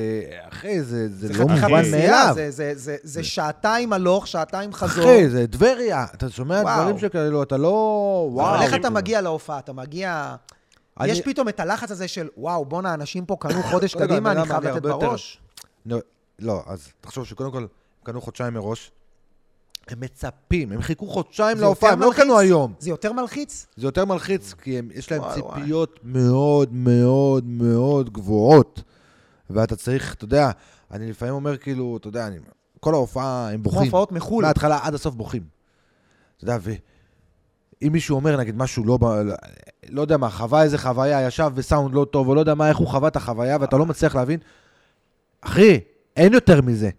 Speaker 3: אחי, זה זה
Speaker 1: זה
Speaker 3: לא
Speaker 1: חתיכת
Speaker 3: מובן
Speaker 1: נסיעה,
Speaker 3: מאליו.
Speaker 1: זה- זה- זה- זה שעתיים הלוך, שעתיים חזור.
Speaker 3: אחי, זה טבריה, אתה שומע
Speaker 1: וואו.
Speaker 3: דברים שכאלו, אתה לא...
Speaker 1: אבל
Speaker 3: וואו.
Speaker 1: איך אתה מגיע להופעה? אתה מגיע...
Speaker 3: אני-
Speaker 1: יש פתאום את הלחץ הזה של, וואו, בואנה, אנשים פה קנו חודש
Speaker 3: רגע,
Speaker 1: קדימה,
Speaker 3: אתה יודע
Speaker 1: אני
Speaker 3: מה,
Speaker 1: חייב
Speaker 3: אני
Speaker 1: לתת
Speaker 3: הרבה יותר-
Speaker 1: בראש.
Speaker 3: נו, לא, אז תחשוב שקודם כל, הם קנו חודשיים מראש. הם מצפים, הם חיכו חודשיים
Speaker 1: זה
Speaker 3: להופעה,
Speaker 1: יותר
Speaker 3: הם לא
Speaker 1: מלחיץ?
Speaker 3: קנו היום.
Speaker 1: זה יותר מלחיץ?
Speaker 3: זה יותר מלחיץ, כי הם, יש להם
Speaker 1: Mm. וואי, וואי.
Speaker 3: ציפיות מאוד מאוד מאוד גבוהות. ואתה צריך, אתה יודע, אני לפעמים אומר כאילו, אתה יודע, אני, כל ההופעה, הם
Speaker 1: כמו
Speaker 3: בוכים.
Speaker 1: הופעות מחו"ל.
Speaker 3: מההתחלה עד הסוף בוכים. אתה יודע, ואם מישהו אומר, נגיד, משהו לא... ב- לא- לא יודע מה, חווה איזה חוויה, ישב וסאונד לא טוב, או לא יודע מה, איך הוא חווה את החוויה, ואתה לא מצליח להבין, אחי, אין יותר מזה.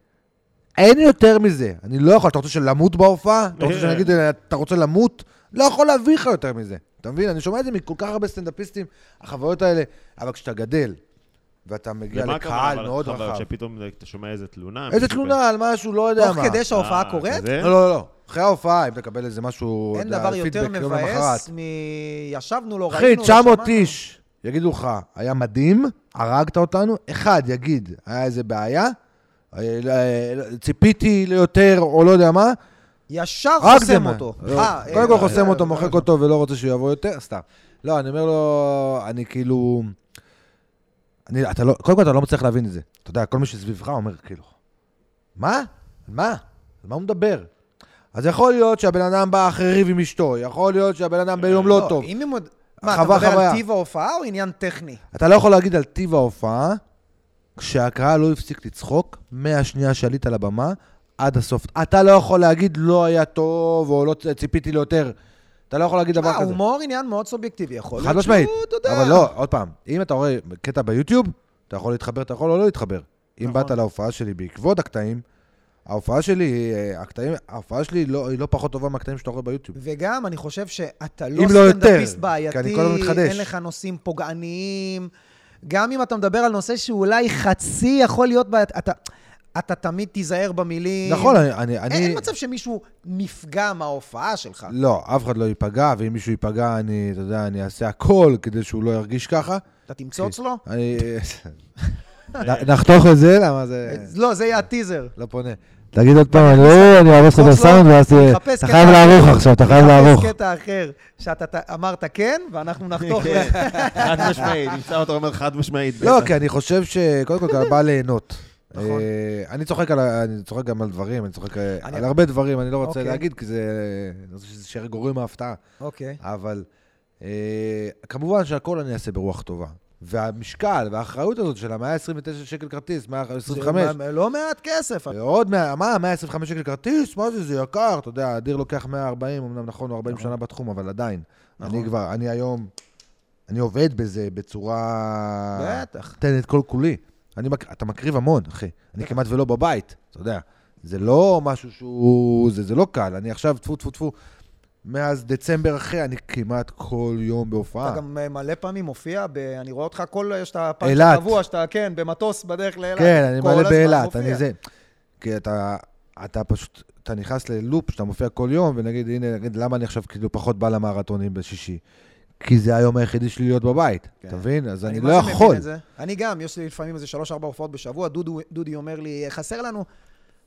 Speaker 3: אין יותר מזה. אני לא יכול, אתה רוצה שלמות בהופעה? אתה
Speaker 2: כן.
Speaker 3: רוצה שאני אגיד, אתה רוצה למות? לא יכול להביא לך יותר מזה. אתה מבין? אני שומע את זה מכל כך הרבה סטנדאפיסטים, החוויות האלה. אבל כשאתה גדל, ואתה מגיע
Speaker 2: למה
Speaker 3: לקהל
Speaker 2: הכוונה, אבל,
Speaker 3: מאוד
Speaker 2: חבל,
Speaker 3: רחב.
Speaker 2: שפתאום אתה שומע איזה תלונה.
Speaker 3: איזה
Speaker 2: מישהו
Speaker 3: תלונה על משהו, לא יודע מה.
Speaker 1: תוך כדי
Speaker 2: ב-
Speaker 1: שההופעה
Speaker 2: אה,
Speaker 1: קורית,
Speaker 2: כזה?
Speaker 3: לא, לא, לא. אחרי ההופעה, אם תקבל איזה משהו,
Speaker 1: אין
Speaker 3: אתה יודע,
Speaker 1: דבר יותר
Speaker 3: פידבק יום
Speaker 1: מבאס
Speaker 3: למחרת.
Speaker 1: מ... ישבנו, לא
Speaker 3: אחי,
Speaker 1: ראינו, לא
Speaker 3: 900
Speaker 1: שמענו.
Speaker 3: איש, יגידו לך, היה מדהים, הרגת אותנו, אחד יגיד, היה איזה בעיה, אה, לא, אה, לא, ציפיתי ליותר, או לא יודע מה,
Speaker 1: ישר
Speaker 3: רק זה
Speaker 1: חוסם
Speaker 3: מה.
Speaker 1: אותו.
Speaker 3: לא,
Speaker 1: אה, אה,
Speaker 3: קודם כל
Speaker 1: אה,
Speaker 3: חוסם
Speaker 1: אה,
Speaker 3: אותו,
Speaker 1: אה,
Speaker 3: מוחק אותו ולא רוצה שהוא יבוא יותר, סתם. לא, אני אומר לו, אני כאילו... אני, אתה לא, קודם כל אתה לא מצליח להבין את זה. אתה יודע, כל מי שסביבך אומר כאילו, מה? מה? על מה הוא מדבר? אז יכול להיות שהבן אדם בא אחרי ריב עם אשתו, יכול להיות שהבן
Speaker 1: אה,
Speaker 3: אדם ביום לא טוב.
Speaker 1: אם הם עוד... מה, אתה
Speaker 3: חווה,
Speaker 1: מדבר על
Speaker 3: חוויה.
Speaker 1: טיב ההופעה או עניין טכני?
Speaker 3: אתה לא יכול להגיד על טיב ההופעה, כשהקהל לא הפסיק לצחוק מהשנייה שעלית לבמה עד הסוף. אתה לא יכול להגיד לא היה טוב, או לא צ- ציפיתי ליותר. אתה לא יכול להגיד דבר
Speaker 1: מה,
Speaker 3: כזה.
Speaker 1: אה, הומור עניין מאוד סובייקטיבי, יכול
Speaker 3: חד
Speaker 1: להיות שהוא,
Speaker 3: משמעית.
Speaker 1: אתה יודע.
Speaker 3: אבל לא, עוד פעם, אם אתה רואה קטע ביוטיוב, אתה יכול להתחבר, אתה יכול או לא להתחבר. אם
Speaker 1: נכון.
Speaker 3: באת להופעה שלי בעקבות הקטעים, ההופעה שלי, אה, הקטעים, ההופעה שלי לא- היא לא פחות טובה מהקטעים שאתה רואה ביוטיוב.
Speaker 1: וגם, אני חושב שאתה
Speaker 3: אם
Speaker 1: לא
Speaker 3: לא
Speaker 1: סטנדאפיסט
Speaker 3: יותר, כי אני
Speaker 1: בעייתי,
Speaker 3: כל הזמן מתחדש.
Speaker 1: אין לך נושאים פוגעניים. גם אם אתה מדבר על נושא שאולי חצי יכול להיות בעייתי, אתה, אתה תמיד תיזהר במילים.
Speaker 3: נכון, אני... אני-
Speaker 1: אין,
Speaker 3: אני-
Speaker 1: אין מצב שמישהו נפגע מההופעה שלך.
Speaker 3: לא, אף אחד לא ייפגע, ואם מישהו ייפגע, אני, אתה יודע, אני אעשה הכל כדי שהוא לא ירגיש ככה.
Speaker 1: אתה
Speaker 3: כן.
Speaker 1: תמצוץ לו?
Speaker 3: אני... נ- נחתוך את זה, למה זה...
Speaker 1: לא, זה יהיה הטיזר.
Speaker 3: לא פונה. תגיד עוד פעם, אני לא, אני אהרוס
Speaker 1: תחפוש
Speaker 3: לך
Speaker 1: לו,
Speaker 3: בסאונד, ואז
Speaker 1: תחפש
Speaker 3: ת-
Speaker 1: קטע
Speaker 3: אתה חייב
Speaker 1: אחר.
Speaker 3: לערוך עכשיו, אתה חייב לערוך.
Speaker 1: יש קטע אחר, שאתה ת- אמרת כן, ואנחנו נחתוך.
Speaker 2: כן, חד משמעית, נמצא אותו אומר חד משמעית.
Speaker 3: לא,
Speaker 2: בטח.
Speaker 3: כי אני חושב שקודם כל אתה בא ליהנות.
Speaker 1: נכון.
Speaker 3: אה, אני צוחק על ה- אני צוחק גם על דברים, אני צוחק אה,
Speaker 1: אני-
Speaker 3: על הרבה דברים, אני לא רוצה
Speaker 1: אוקיי.
Speaker 3: להגיד, כי זה... אני רוצה שזה יישאר גורם ההפתעה.
Speaker 1: אוקיי.
Speaker 3: אבל אה, כמובן שהכל אני אעשה ברוח טובה. והמשקל והאחריות הזאת של ה-129 שקל כרטיס, 125,
Speaker 1: זה לא מעט כסף.
Speaker 3: ועוד, מה, מה, 125 שקל כרטיס? מה זה, זה יקר, אתה יודע, אדיר לוקח 140, אמנם נכון, הוא 40
Speaker 1: נכון.
Speaker 3: שנה בתחום, אבל עדיין. אני
Speaker 1: נכון.
Speaker 3: כבר, אני היום, אני עובד בזה בצורה... אה.
Speaker 1: בטח.
Speaker 3: נותן את כל כולי. אני, מק- אתה מקריב המון, אחי. אני כמעט ולא בבית, אתה יודע. זה לא משהו שהוא... זה, זה לא קל. אני עכשיו, טפו, טפו, טפו. מאז דצמבר, אחי, אני כמעט כל יום בהופעה.
Speaker 1: אתה גם אה, מלא פעמים מופיע, ב- אני רואה אותך כל, יש את הפאנץ'
Speaker 3: אילת.
Speaker 1: הקבוע שאתה, כן, במטוס בדרך לאילת.
Speaker 3: כן, אני
Speaker 1: כל
Speaker 3: מלא
Speaker 1: הזמן
Speaker 3: באילת,
Speaker 1: מופיע.
Speaker 3: אני זה. כי אתה, אתה פשוט, אתה נכנס ללופ שאתה מופיע כל יום, ונגיד, הנה, נגיד, למה אני עכשיו כאילו פחות בא למרתונים בשישי? כי זה היום היחידי שלי להיות בבית,
Speaker 1: כן.
Speaker 3: אתה מבין? אז אני
Speaker 1: מה
Speaker 3: לא
Speaker 1: זה מבין
Speaker 3: יכול.
Speaker 1: את זה. אני גם, יש לי לפעמים איזה שלוש-ארבע הופעות בשבוע, דודו- דודי אומר לי, חסר לנו,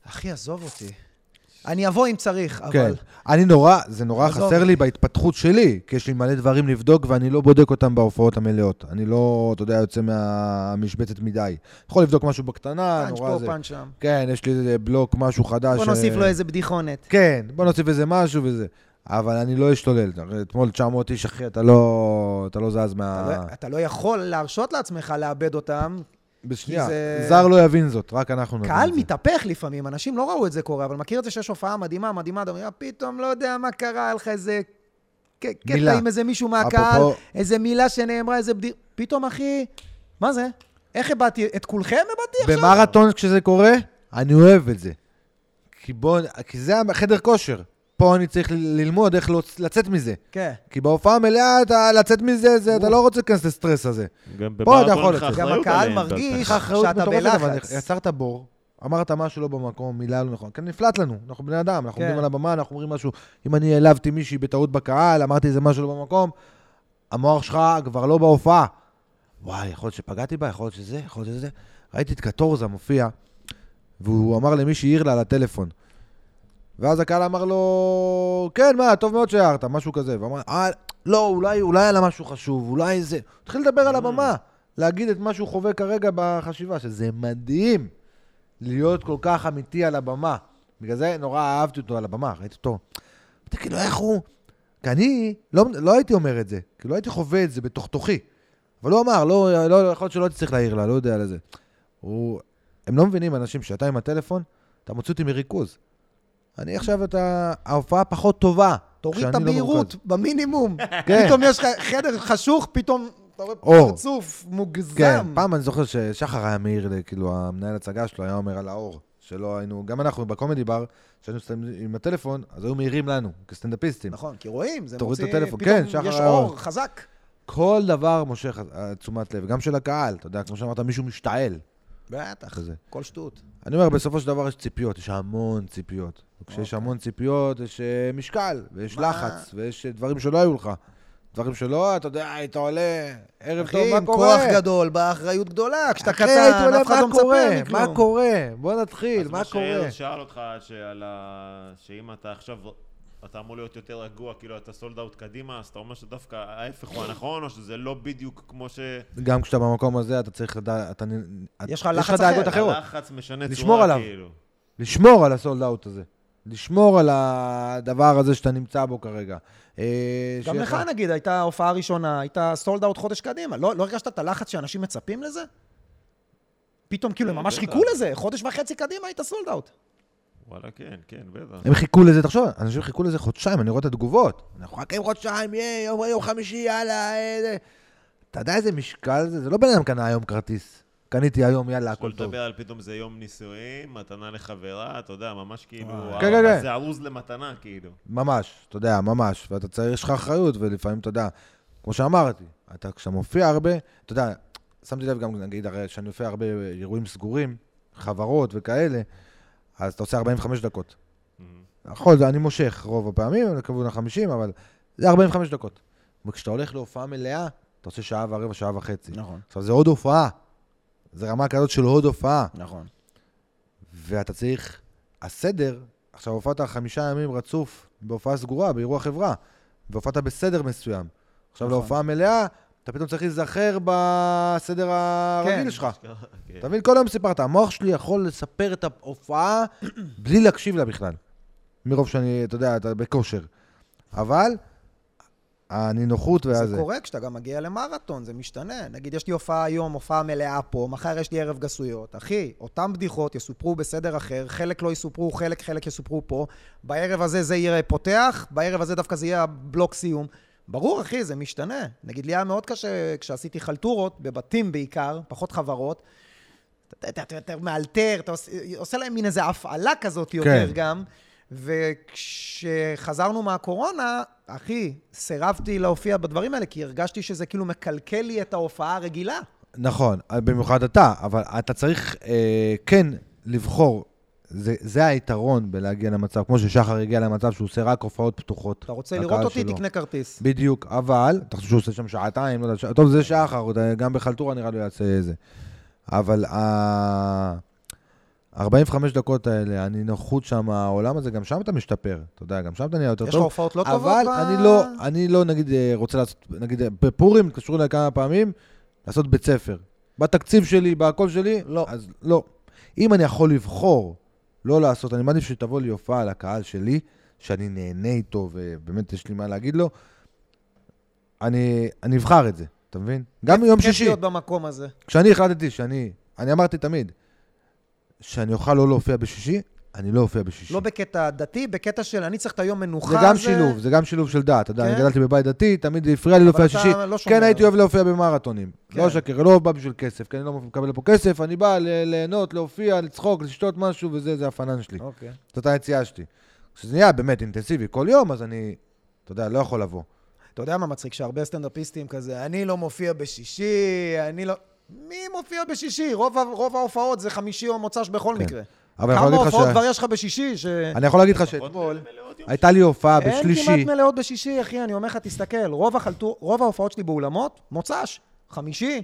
Speaker 1: אחי, עזוב אותי. אני אבוא אם צריך, אבל...
Speaker 3: כן. אני נורא, זה נורא
Speaker 1: עזוב.
Speaker 3: חסר לי בהתפתחות שלי, כי יש לי מלא דברים לבדוק ואני לא בודק אותם בהופעות המלאות. אני לא, אתה יודע, יוצא מהמשבצת מדי. יכול לבדוק משהו בקטנה,
Speaker 1: פאנץ'
Speaker 3: אה, נורא
Speaker 1: פה,
Speaker 3: זה.
Speaker 1: פאנץ' שם.
Speaker 3: כן, יש לי איזה בלוק, משהו חדש.
Speaker 1: בוא נוסיף
Speaker 3: אה,
Speaker 1: לו איזה בדיחונת.
Speaker 3: כן, בוא נוסיף איזה משהו וזה. אבל אני לא אשתולל. הרי אתמול 900 איש, אחי, אתה לא, אתה לא זז
Speaker 1: אתה
Speaker 3: מה...
Speaker 1: לא- אתה לא יכול להרשות לעצמך לאבד אותם.
Speaker 3: בשנייה,
Speaker 1: כי זה-
Speaker 3: זר לא יבין זאת, רק אנחנו נבין.
Speaker 1: קהל
Speaker 3: את זה.
Speaker 1: מתהפך לפעמים, אנשים לא ראו את זה קורה, אבל מכיר את זה שיש הופעה מדהימה, מדהימה, אתה אומר, פתאום לא יודע מה קרה, היה לך איזה ק- קטע
Speaker 3: מילה.
Speaker 1: עם איזה מישהו מהקהל,
Speaker 3: אפרופו-
Speaker 1: איזה מילה שנאמרה, איזה בדיר... פתאום, אחי, מה זה? איך הבעתי? את כולכם הבעתי עכשיו?
Speaker 3: במרתון כשזה קורה, אני אוהב את זה. כי בוא, כי זה החדר כושר. פה אני צריך ל- ללמוד איך להוצ- לצאת מזה.
Speaker 1: כן.
Speaker 3: כי בהופעה המלאה, אתה לצאת מזה, זה, אתה לא רוצה להיכנס לסטרס הזה.
Speaker 2: גם
Speaker 3: פה אתה
Speaker 2: במרתון
Speaker 3: יכול,
Speaker 2: לך
Speaker 3: גם
Speaker 2: אחריות
Speaker 1: גם הקהל
Speaker 2: עליהם, אתה-
Speaker 1: מרגיש
Speaker 2: אתה-
Speaker 3: אחריות
Speaker 1: שאתה
Speaker 3: מטורפת, אבל
Speaker 1: בלחץ.
Speaker 3: יצרת בור, אמרת משהו לא במקום, מילה לא נכון. כן, נפלט לנו, אנחנו בני אדם, אנחנו
Speaker 1: כן.
Speaker 3: עומדים על הבמה, אנחנו אומרים משהו, אם אני העלבתי מישהי בטעות בקהל, אמרתי איזה משהו לא במקום, המוח שלך כבר לא בהופעה. וואי, יכול להיות שפגעתי בה, יכול להיות שזה, יכול להיות שזה. ראיתי את קטורזה מופיע, והוא אמר למי שהעיר לה על הטלפון. ואז הקהל אמר לו, כן, מה, טוב מאוד שהערת, משהו כזה. ואמר, אה, לא, אולי, אולי היה לה משהו חשוב, אולי זה. התחיל לדבר על הבמה, להגיד את מה שהוא חווה כרגע בחשיבה, שזה מדהים להיות כל כך אמיתי על הבמה. בגלל זה נורא אהבתי אותו על הבמה, ראיתי אותו. אמרתי, כאילו, איך הוא... כי אני לא, לא הייתי אומר את זה, כי לא הייתי חווה את זה בתוך תוכי. אבל הוא אמר, לא, לא, יכול להיות שלא הייתי צריך להעיר לה, לא יודע על זה. הוא... הם לא מבינים, אנשים, שאתה עם הטלפון, אתה מוציא אותי מריכוז. אני עכשיו, אתה... ההופעה פחות טובה.
Speaker 1: תוריד את
Speaker 3: כשאני לא
Speaker 1: הבהירות
Speaker 3: מרוכז.
Speaker 1: במינימום.
Speaker 3: כן.
Speaker 1: פתאום יש לך חדר חשוך, פתאום אתה רואה
Speaker 3: אור.
Speaker 1: פרצוף
Speaker 3: כן,
Speaker 1: מוגזם.
Speaker 3: פעם אני זוכר ששחר היה מעיר, לי, כאילו, המנהל הצגה שלו היה אומר על האור, שלא היינו, גם אנחנו בקומדי בר, כשהיינו מסתובבים עם הטלפון, אז היו מעירים לנו, כסטנדאפיסטים.
Speaker 1: נכון, כי רואים, זה
Speaker 3: תוריד את
Speaker 1: מוציא...
Speaker 3: הטלפון,
Speaker 1: פתאום
Speaker 3: כן, שחר
Speaker 1: יש
Speaker 3: היה-
Speaker 1: אור חזק.
Speaker 3: כל דבר מושך אה, תשומת לב, גם של הקהל, אתה יודע, כמו שאמרת, מישהו משתעל.
Speaker 1: בטח,
Speaker 3: כזה.
Speaker 1: כל שטות.
Speaker 3: אני אומר, בסופו של דבר יש ציפיות, יש המון ציפיות. כשיש המון ציפיות, יש אה, משקל, ויש
Speaker 1: אוקיי. מה?
Speaker 3: לחץ, ויש אה, דברים שלא היו לך. דברים שלא, אתה יודע, היית עולה, ערב טוב,
Speaker 1: אחי,
Speaker 3: מה
Speaker 1: עם
Speaker 3: קורה?
Speaker 1: כוח גדול, באחריות גדולה, כשאתה
Speaker 3: אחי, הייתי
Speaker 1: קטן,
Speaker 3: עולה,
Speaker 1: אף אחד
Speaker 3: מה
Speaker 1: לא
Speaker 3: קורה?
Speaker 1: מצפה מכלום.
Speaker 3: מה קורה? בוא נתחיל,
Speaker 2: אז
Speaker 3: מה קורה?
Speaker 2: שאיר שאל אותך שעל ה... שאם אתה עכשיו, אתה אמור להיות יותר רגוע, כאילו אתה סולד אאוט קדימה, אז אתה אומר שדווקא ההפך הוא הנכון, או שזה לא בדיוק כמו ש...
Speaker 3: גם כשאתה במקום הזה, אתה צריך לדעת, אתה... נ-
Speaker 1: יש לך
Speaker 3: אתה-
Speaker 1: לחץ
Speaker 3: דאגות
Speaker 1: אחר.
Speaker 3: אחרות.
Speaker 2: הלחץ משנה צורה,
Speaker 3: לשמור עליו.
Speaker 2: כאילו.
Speaker 3: לשמור על הסולד אאוט הזה. לשמור על הדבר הזה שאתה נמצא בו כרגע. אה,
Speaker 1: גם
Speaker 3: שיהיה
Speaker 1: לך, נגיד, הייתה הופעה ראשונה, הייתה סולד אאוט חודש קדימה. לא לא הרגשת את הלחץ שאנשים מצפים לזה? פתאום, כאילו, הם ממש
Speaker 2: בטח.
Speaker 1: חיכו לזה, חודש וחצי קדימה היית סולד אאוט.
Speaker 2: וואלה, כן, כן, בטח.
Speaker 3: הם חיכו לזה, תחשוב, אנשים חיכו לזה חודשיים, אני רואה את התגובות. אנחנו מחכים חודשיים, יהיה, יום, יום חמישי, יאללה, אה, זה. אתה יודע איזה משקל זה? זה לא בן אדם קנה היום כרטיס. קניתי היום, יאללה,
Speaker 2: שלא
Speaker 3: הכל טוב.
Speaker 2: לדבר על פתאום זה יום נישואים, מתנה לחברה, אתה יודע, ממש כאילו,
Speaker 1: וואי.
Speaker 2: וואו,
Speaker 3: כן, כן,
Speaker 2: אבל
Speaker 3: כן.
Speaker 2: זה ארוז למתנה, כאילו.
Speaker 3: ממש, אתה יודע, ממש. ואתה צריך, יש לך אחריות, ולפעמים, אתה יודע, כמו שאמרתי, אתה כשאתה מופיע הרבה, אתה יודע, שמתי לב גם, נגיד, הרי שאני מופיע הרבה באירועים סגורים, חברות וכאלה, אז אתה עושה 45 דקות. נכון, זה- אני מושך רוב הפעמים, אני לכיוון ה-50, אבל זה 45 דקות. וכשאתה הולך להופעה מלאה, אתה עושה שעה ורבע, שעה וחצי.
Speaker 1: נכון,
Speaker 3: עכשיו, זה עוד הופעה. זה רמה כזאת של עוד הופעה.
Speaker 1: נכון.
Speaker 3: ואתה צריך... הסדר, עכשיו הופעת חמישה ימים רצוף בהופעה סגורה, באירוע חברה, והופעת בסדר מסוים. עכשיו,
Speaker 1: נכון.
Speaker 3: להופעה מלאה, אתה פתאום צריך להיזכר בסדר הרגיל
Speaker 1: כן.
Speaker 3: שלך.
Speaker 2: כן.
Speaker 3: אתה מבין? כל היום סיפרת, המוח שלי יכול לספר את ההופעה בלי להקשיב לה בכלל. מרוב שאני, אתה יודע, אתה בכושר. אבל הנינוחות והזה.
Speaker 1: זה קורה כשאתה גם מגיע למרתון, זה משתנה. נגיד, יש לי הופעה היום, הופעה מלאה פה, מחר יש לי ערב גסויות. אחי, אותן בדיחות יסופרו בסדר אחר, חלק לא יסופרו, חלק חלק יסופרו פה. בערב הזה זה יהיה פותח, בערב הזה דווקא זה יהיה הבלוק סיום. ברור, אחי, זה משתנה. נגיד, לי היה מאוד קשה כשעשיתי חלטורות, בבתים בעיקר, פחות חברות. אתה- אתה אתה יותר מאלתר, אתה עושה- עושה להם מין איזו הפעלה כזאת יותר
Speaker 3: כן.
Speaker 1: גם. וכשחזרנו מהקורונה, אחי, סירבתי להופיע בדברים האלה, כי הרגשתי שזה כאילו מקלקל לי את ההופעה הרגילה.
Speaker 3: נכון, במיוחד אתה, אבל אתה צריך אה, כן לבחור. זה, זה היתרון בלהגיע למצב, כמו ששחר הגיע למצב שהוא עושה רק הופעות פתוחות.
Speaker 1: אתה רוצה
Speaker 3: לקהל
Speaker 1: לראות אותי,
Speaker 3: שלו.
Speaker 1: תקנה כרטיס.
Speaker 3: בדיוק, אבל, אתה חושב שהוא עושה שם שעתיים, לא יודע, ש... טוב, זה אה, שחר, עוד, גם בחלטורה נראה לי הוא יעשה זה. אבל ה... 45 דקות האלה, הנינוחות שם, העולם הזה, גם שם אתה משתפר, אתה יודע, גם שם אתה נהיה יותר טוב.
Speaker 1: יש לך הופעות לא טובות?
Speaker 3: אבל
Speaker 1: ב-
Speaker 3: אני לא, אני לא, נגיד, אה, רוצה לעשות, נגיד, אה, בפורים, התקשרו אליי כמה פעמים, לעשות בית ספר. בתקציב שלי, בהכל שלי,
Speaker 1: לא.
Speaker 3: אז לא. אם אני יכול לבחור לא לעשות, אני מעדיף שתבוא לי הופעה לקהל שלי, שאני נהנה איתו, ובאמת יש לי מה להגיד לו, אני, אני אבחר את זה, אתה מבין? גם יום
Speaker 1: כיף
Speaker 3: שישי.
Speaker 1: להיות במקום הזה.
Speaker 3: כשאני החלטתי שאני, אני אמרתי תמיד, שאני אוכל לא להופיע בשישי, אני לא אופיע בשישי.
Speaker 1: לא בקטע דתי, בקטע של אני צריך את היום מנוחה
Speaker 3: זה
Speaker 1: הזה.
Speaker 3: גם שילוב, זה גם שילוב של דת. אתה יודע, אני
Speaker 1: כן.
Speaker 3: גדלתי בבית דתי, תמיד הפריע לי
Speaker 1: אבל
Speaker 3: להופיע
Speaker 1: אתה
Speaker 3: שישי.
Speaker 1: לא שומר.
Speaker 3: כן, הייתי אוהב להופיע במרתונים.
Speaker 1: כן.
Speaker 3: לא אשקר, לא בא בשביל כסף, כי אני לא מקבל פה כסף, אני בא ל- ליהנות, להופיע, לצחוק, לשתות משהו, וזה, זה הפנן שלי.
Speaker 1: אוקיי.
Speaker 3: זאת היציאה שלי. כשזה נהיה באמת אינטנסיבי כל יום, אז אני, אתה יודע, לא יכול לבוא.
Speaker 1: אתה יודע מה מצחיק? שהרבה סטנדאפיסטים כזה, אני לא מופיע בשישי, אני לא... מי מופיע בשישי? רוב ה- רוב ההופעות זה חמישי או מוצ"ש בכל
Speaker 3: כן.
Speaker 1: מקרה.
Speaker 3: אבל אני יכול
Speaker 1: כמה
Speaker 3: להגיד לך
Speaker 1: הופעות
Speaker 3: ש...
Speaker 1: כבר יש לך בשישי? ש...
Speaker 3: אני יכול להגיד לך שאתמול הייתה לי הופעה
Speaker 1: אין
Speaker 3: בשלישי.
Speaker 1: כמעט מלאות בשישי, אחי, אני אומר לך, תסתכל. רוב, החלטור, רוב ההופעות שלי באולמות, מוצ"ש, חמישי.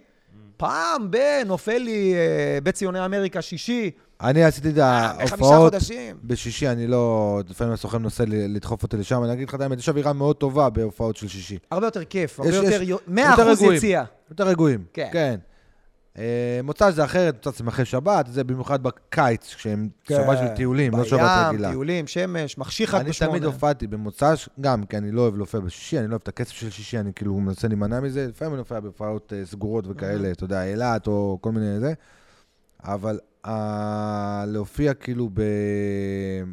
Speaker 1: פעם ב... נופל לי אה, בית ציוני אמריקה שישי.
Speaker 3: אני עשיתי את
Speaker 1: אה, חמישה
Speaker 3: ההופעות
Speaker 1: חודשים.
Speaker 3: בשישי, אני לא... לפעמים הסוכן מנסה ל- לדחוף אותי לשם, אני אגיד לך את האמת, יש אווירה מאוד טובה בהופעות של שישי.
Speaker 1: הרבה יותר כיף, הרבה
Speaker 3: יש-
Speaker 1: יותר...
Speaker 3: יש-
Speaker 1: יו- 100%
Speaker 3: יותר רגועים.
Speaker 1: יציאה.
Speaker 3: יותר רגועים.
Speaker 1: כן.
Speaker 3: כן. אה, מוצ"ש זה אחרת, מוצ"ש הם אחרי שבת, זה במיוחד בקיץ, כשהם שבת של טיולים, לא שבת רגילה.
Speaker 1: כן. בים, טיולים, שמש, מחשיך עד
Speaker 3: אני
Speaker 1: בשמונה.
Speaker 3: תמיד הופעתי במוצ"ש, גם כי אני לא אוהב להופיע בשישי, אני לא אוהב את הכסף של שישי, אני כאילו מנסה להימנע מזה, לפעמים אני הופע בהופעות אה, סגורות וכאלה, אתה יודע, אילת או כל מיני זה, אבל אה, להופיע כאילו ב-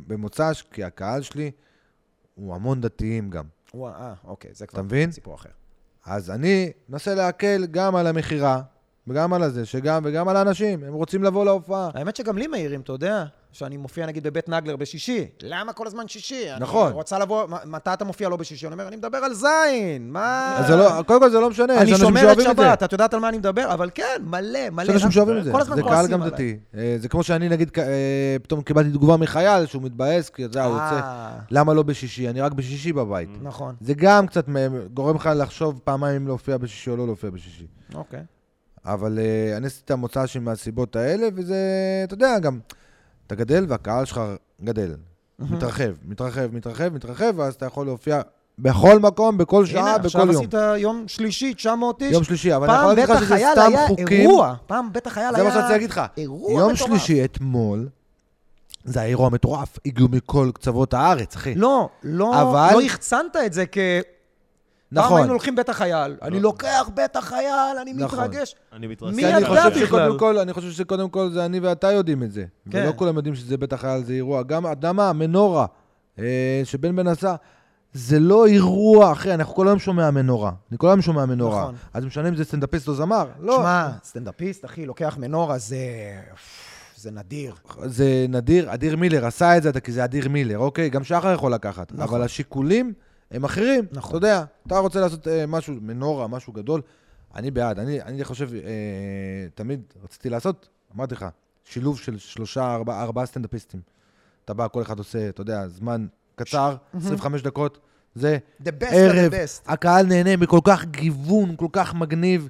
Speaker 3: במוצ"ש, כי הקהל שלי הוא המון דתיים גם.
Speaker 1: וואו, אה, אוקיי, זה כבר
Speaker 3: אתה מבין?
Speaker 1: סיפור אחר.
Speaker 3: אז אני מנסה להקל גם על המכירה, וגם על הזה, שגם, וגם על האנשים, הם רוצים לבוא להופעה.
Speaker 1: האמת שגם לי מעירים, אתה יודע, שאני מופיע נגיד בבית נגלר בשישי. למה כל הזמן שישי? אני
Speaker 3: נכון.
Speaker 1: רוצה לבוא, מ- מתי אתה מופיע לא בשישי? אני אומר, אני מדבר על זין, מה...
Speaker 3: אז זה לא, קודם כל זה לא משנה, יש
Speaker 1: אני
Speaker 3: אנשים
Speaker 1: שומר את
Speaker 3: שאוהבים את זה.
Speaker 1: שבת, את יודעת על מה אני מדבר? אבל כן, מלא, מלא.
Speaker 3: יש אנשים שאוהבים את זה,
Speaker 1: כל הזמן
Speaker 3: זה קהל
Speaker 1: כועסים
Speaker 3: גם
Speaker 1: עליי.
Speaker 3: דתי. אה, זה כמו שאני, נגיד, כ- אה, פתאום קיבלתי תגובה מחייל שהוא מתבאס, כי אתה יודע, הוא יוצא,
Speaker 1: אה,
Speaker 3: למה לא בשישי? אני רק בשישי בבית.
Speaker 1: נכון,
Speaker 3: זה גם קצת מ- גורם לך לחשוב פעמיים אם להופיע בשישי או לא להופיע בשישי.
Speaker 1: אוקיי.
Speaker 3: אבל אה, אני עשיתי את המוצא שלי מהסיבות האלה, וזה, אתה יודע, גם, אתה גדל והקהל שלך גדל. מתרחב, מתרחב, מתרחב, מתרחב, ואז אתה יכול להופיע בכל מקום, בכל
Speaker 1: הנה,
Speaker 3: שעה, בכל
Speaker 1: עכשיו
Speaker 3: יום.
Speaker 1: עשית יום שלישי, 900 איש.
Speaker 3: יום שלישי, אבל אני יכול
Speaker 1: פעם
Speaker 3: להגיד
Speaker 1: בית
Speaker 3: לך שזה
Speaker 1: החייל
Speaker 3: סתם
Speaker 1: היה
Speaker 3: חוקים.
Speaker 1: אירוע. פעם בית החייל היה...
Speaker 3: זה מה שרציתי להגיד לך.
Speaker 1: אירוע
Speaker 3: יום
Speaker 1: מטורף.
Speaker 3: שלישי אתמול, זה האירוע המטורף, הגיעו מכל קצוות הארץ, אחי.
Speaker 1: לא, לא,
Speaker 3: אבל-
Speaker 1: לא החצנת את זה כ... נכון. לא. פעם
Speaker 3: נכון.
Speaker 1: היינו הולכים בית החייל, אני לוקח בית החייל, אני
Speaker 3: נכון.
Speaker 1: מתרגש.
Speaker 2: אני מתרסק.
Speaker 1: מי
Speaker 3: כי
Speaker 1: ידע
Speaker 3: אני חושב
Speaker 1: בכלל?
Speaker 3: שקודם כל, אני חושב שקודם כל זה אני ואתה יודעים את זה.
Speaker 1: כן.
Speaker 3: ולא כולם יודעים שזה בית החייל, זה אירוע. גם, אתה יודע מה, מנורה, אה, שבן בן עשה, זה לא אירוע, אחי, אנחנו כל היום שומע מנורה. אני כל היום שומע מנורה.
Speaker 1: נכון.
Speaker 3: אז משנה אם זה סטנדאפיסט או זמר,
Speaker 1: לא.
Speaker 3: לא.
Speaker 1: שמע, סטנדאפיסט, אחי, לוקח מנורה, זה... זה נדיר.
Speaker 3: זה נדיר, אדיר מילר עשה את זה, אתה- כי זה אדיר מילר, אוקיי? גם שחר יכול לקחת.
Speaker 1: נכון.
Speaker 3: אבל השיקולים הם אחרים.
Speaker 1: נכון.
Speaker 3: אתה יודע, אתה רוצה לעשות אה, משהו, מנורה, משהו גדול, אני בעד. אני, אני חושב, אה, תמיד רציתי לעשות, אמרתי לך, שילוב של שלושה, ארבעה ארבעה סטנדאפיסטים. אתה בא, כל אחד עושה, אתה יודע, זמן קצר, 25 דקות, זה
Speaker 1: The best of
Speaker 3: ערב,
Speaker 1: the best.
Speaker 3: הקהל נהנה מכל כך גיוון, כל כך מגניב.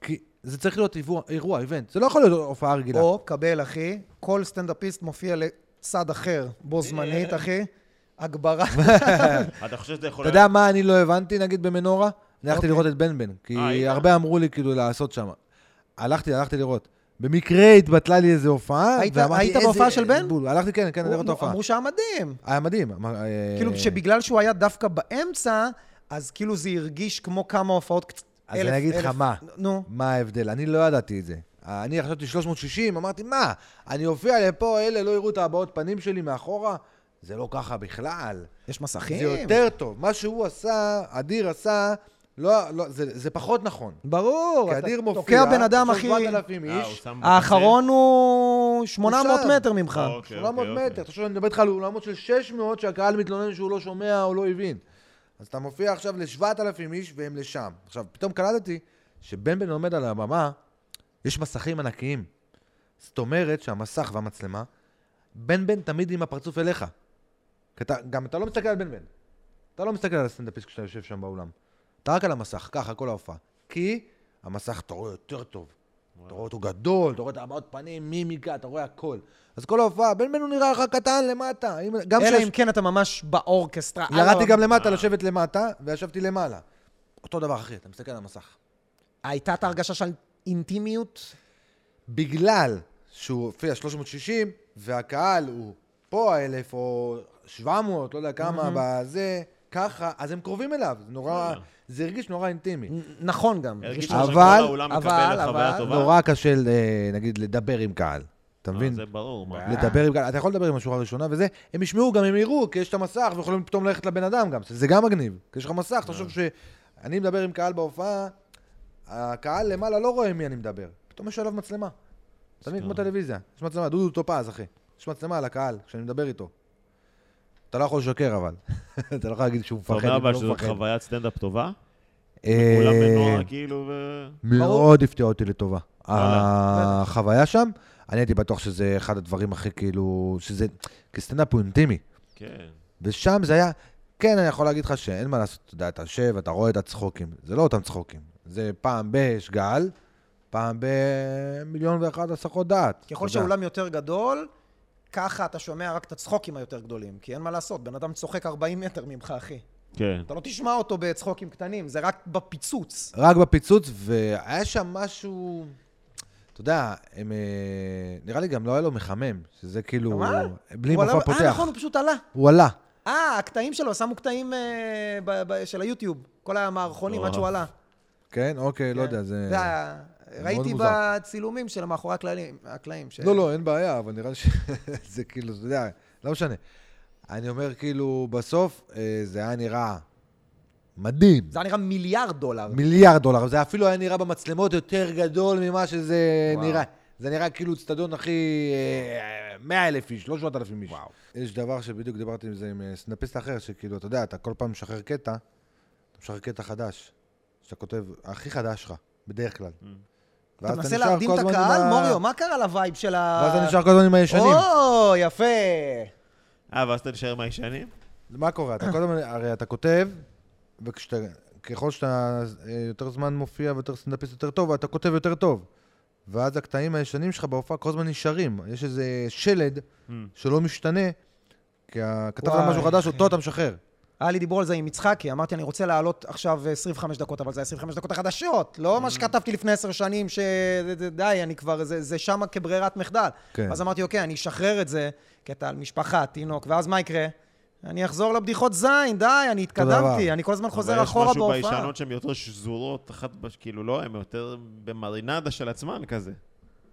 Speaker 3: כי זה צריך להיות אירוע, אירוע, איבנט. זה לא יכול להיות הופעה רגילה.
Speaker 1: או, קבל, אחי, כל סטנדאפיסט מופיע לצד אחר, בו זמנית, אחי. כן, הגברה.
Speaker 2: אתה חושב שזה יכול
Speaker 3: אתה יודע מה אני לא הבנתי, נגיד, במנורה? אני הלכתי
Speaker 1: אוקיי.
Speaker 3: לראות את בן בן,
Speaker 2: אה,
Speaker 3: כי
Speaker 2: הנה.
Speaker 3: הרבה אמרו לי כאילו לעשות שם. הלכתי, הלכתי לראות. במקרה התבטלה לי איזו הופעה,
Speaker 1: היית-
Speaker 3: ואמרתי,
Speaker 1: היית
Speaker 3: "איזה
Speaker 1: בהופעה של בן?"
Speaker 3: בול. הלכתי, כן, כן, לראות את ההופעה.
Speaker 1: אמרו שהיה מדהים.
Speaker 3: היה מדהים. אמר, אה,
Speaker 1: כאילו, שבגלל שהוא היה דווקא באמצע, אז כאילו זה הרגיש כמו כמה הופעות קצת...
Speaker 3: אז אני אגיד לך מה.
Speaker 1: נו.
Speaker 3: מה ההבדל? אני לא ידעתי את זה. אני חשבתי 360, אמרתי, מה? אני אופיע לפה, אלה לא יראו את הבעות פנים שלי מאחורה? זה לא ככה בכלל.
Speaker 1: יש מסכים.
Speaker 3: זה יותר טוב. מה שהוא עשה, אדיר עשה, לא, לא, זה, זה פחות נכון.
Speaker 1: ברור.
Speaker 3: כי
Speaker 1: אתה
Speaker 3: אדיר מופיע,
Speaker 1: תוקע בן אדם,
Speaker 3: עכשיו
Speaker 1: אחי.
Speaker 3: 7,000
Speaker 2: אה, הוא
Speaker 3: איש,
Speaker 2: שם
Speaker 1: האחרון הוא 800
Speaker 3: הוא שם.
Speaker 1: מטר ממך.
Speaker 2: בחצר? אוקיי,
Speaker 3: 800
Speaker 2: אוקיי,
Speaker 3: מטר.
Speaker 2: אוקיי.
Speaker 3: אתה חושב, אני מדבר איתך על אולמות של 600 שהקהל מתלונן שהוא לא שומע או לא הבין. אז אתה מופיע עכשיו ל-7,000 איש והם לשם. עכשיו, פתאום קלטתי שבן בן עומד על הבמה, יש מסכים ענקיים. זאת אומרת שהמסך והמצלמה, בן בן תמיד עם הפרצוף אליך. כי אתה, גם אתה לא מסתכל על בן בן. אתה לא מסתכל על הסטנדאפיסט כשאתה יושב שם באולם. אתה רק על המסך, ככה, כל ההופעה. כי המסך אתה רואה יותר טוב. אתה רואה אותו גדול, אתה רואה את הבעות פנים, מימיקה, אתה רואה הכל. אז כל ההופעה, בן בן הוא נראה לך קטן למטה. אם- גם
Speaker 1: אלא
Speaker 3: שיש-
Speaker 1: אם לא, כן אתה ממש באורקסטרה.
Speaker 3: ירדתי
Speaker 1: אבל-
Speaker 3: גם למטה, לשבת למטה, וישבתי למעלה. אותו דבר, אחי, אתה מסתכל על המסך.
Speaker 1: הייתה את ההרגשה של אינטימיות?
Speaker 3: בגלל שהוא הופיע 360, והקהל הוא פה האלף, או 700, לא יודע כמה, בזה, ככה, אז הם קרובים אליו. זה נורא, זה הרגיש נורא אינטימי.
Speaker 1: נ- נכון גם.
Speaker 2: הרגיש
Speaker 1: הרגשתי-
Speaker 2: לך שכל
Speaker 3: אבל-
Speaker 2: העולם
Speaker 1: אבל-
Speaker 2: מקבל את חוויה
Speaker 1: אבל-
Speaker 2: טובה.
Speaker 3: נורא קשה, אה, נגיד, לדבר עם קהל. אתה
Speaker 2: אה,
Speaker 3: מבין?
Speaker 2: זה ברור, מה.
Speaker 3: לדבר עם קהל, אתה יכול לדבר עם השורה הראשונה וזה, הם ישמעו גם, הם יראו, כי יש את המסך, ויכולים פתאום ללכת לבן אדם גם, זה גם מגניב. כי יש לך מסך, תחשוב
Speaker 2: אה.
Speaker 3: ש... אני מדבר עם קהל בהופעה, הקהל למעלה לא רואה עם מי אני מדבר. פתאום יש עליו מצלמה. אתה
Speaker 2: כן.
Speaker 3: מבין? כמו טלוויזיה. יש מצלמה, דודו טופז, אחי. יש מצלמה על הקהל, כשאני מדבר איתו. אתה לא יכול לשקר, אבל. אתה לא יכול להגיד שהוא
Speaker 2: אתה
Speaker 3: מפחד,
Speaker 2: אומר
Speaker 3: הוא
Speaker 2: אבל
Speaker 3: לא
Speaker 2: שזאת
Speaker 3: מפחד.
Speaker 2: חוויית סטנדאפ טובה?
Speaker 3: אה,
Speaker 2: כולם בנוער, כאילו, ו...
Speaker 3: מאוד הפתיע אותי לטובה.
Speaker 2: וואלה.
Speaker 3: החוויה שם, אני הייתי בטוח שזה אחד הדברים הכי כאילו, שזה, כי סטנדאפ הוא אינטימי.
Speaker 2: כן.
Speaker 3: ושם זה היה, כן, אני יכול להגיד לך שאין מה לעשות, אתה יודע, אתה יושב, אתה רואה את הצחוקים. זה לא אותם צחוקים. זה פעם ביש גל, פעם במיליון ואחת הסחות דעת.
Speaker 1: ככל
Speaker 3: אתה יודע.
Speaker 1: שהאולם יותר גדול, ככה אתה שומע רק את הצחוקים היותר גדולים. כי אין מה לעשות, בן אדם צוחק 40 מטר ממך, אחי.
Speaker 2: כן.
Speaker 1: אתה לא תשמע אותו בצחוקים קטנים, זה רק בפיצוץ.
Speaker 3: רק בפיצוץ, והיה שם משהו... אתה יודע, הם, אה, נראה לי גם לא היה לו מחמם, שזה כאילו...
Speaker 1: מה?
Speaker 3: בלי
Speaker 1: הוא עלה-
Speaker 3: מופע פותח.
Speaker 1: אה, נכון, הוא פשוט עלה.
Speaker 3: הוא עלה.
Speaker 1: אה, הקטעים שלו, שמו קטעים אה, ב- ב- של היוטיוב. כל המערכונים עד שהוא עלה.
Speaker 3: כן? אוקיי, לא
Speaker 1: כן.
Speaker 3: יודע, זה...
Speaker 1: אתה יודע, ראיתי
Speaker 3: מוזר.
Speaker 1: בצילומים של מאחורי הקלעים. הקלעים ש-
Speaker 3: לא, לא, אין בעיה, אבל נראה לי שזה כאילו, אתה יודע, לא משנה. אני אומר, כאילו, בסוף אה, זה היה נראה מדהים.
Speaker 1: זה היה נראה מיליארד דולר.
Speaker 3: מיליארד דולר, זה אפילו היה נראה במצלמות יותר גדול ממה שזה
Speaker 1: וואו.
Speaker 3: נראה. זה נראה כאילו אצטדיון הכי... אה, 100 אלף איש, 300 אלפים איש. וואו. יש דבר שבדיוק דיברתי עם זה עם אה, סטנדאפיסט אחר, שכאילו, אתה יודע, אתה כל פעם משחרר קטע, אתה משחרר קטע חדש, שאתה כותב, הכי חדש שלך, בדרך כלל.
Speaker 1: Mm. אתה
Speaker 3: ואז
Speaker 1: מנסה
Speaker 3: נשאר
Speaker 1: להרדים
Speaker 3: כל
Speaker 1: את
Speaker 3: הזמן עם
Speaker 1: הקהל?
Speaker 3: ה-
Speaker 1: מוריו, מה קרה לווייב של ה...
Speaker 3: ואז אתה נשאר כל הזמן עם הישנים.
Speaker 1: או, יפה.
Speaker 2: אה, ואז אתה נשאר מהישנים?
Speaker 3: מה קורה? אתה כל הזמן, הרי אתה כותב, וכשאתה, ככל שאתה אה, יותר זמן מופיע ויותר סטנדאפיסט יותר טוב, אתה כותב יותר טוב. ואז הקטעים הישנים שלך בהופעה כל הזמן נשארים. יש איזה שלד שלא משתנה, כי ה- כתבת
Speaker 1: וואי,
Speaker 3: משהו חדש, אותו אתה משחרר.
Speaker 1: היה לי דיבור על זה עם יצחקי, אמרתי, אני רוצה להעלות עכשיו 25 דקות, אבל זה 25 דקות החדשות, לא
Speaker 3: כן.
Speaker 1: מה שכתבתי לפני 10 שנים, שדי, אני כבר, זה, זה שמה כברירת מחדל.
Speaker 3: כן.
Speaker 1: אז אמרתי, אוקיי, אני אשחרר את זה, קטע על משפחה, תינוק, ואז מה יקרה? אני אחזור לבדיחות זין, די, אני
Speaker 3: דבר.
Speaker 1: התקדמתי, אני כל הזמן חוזר אחורה
Speaker 2: אבל יש משהו
Speaker 1: בהופעה.
Speaker 2: בישנות שהן יותר שזורות, אחת, בש- כאילו, לא, הן יותר במרינדה של עצמן כזה.
Speaker 3: אה.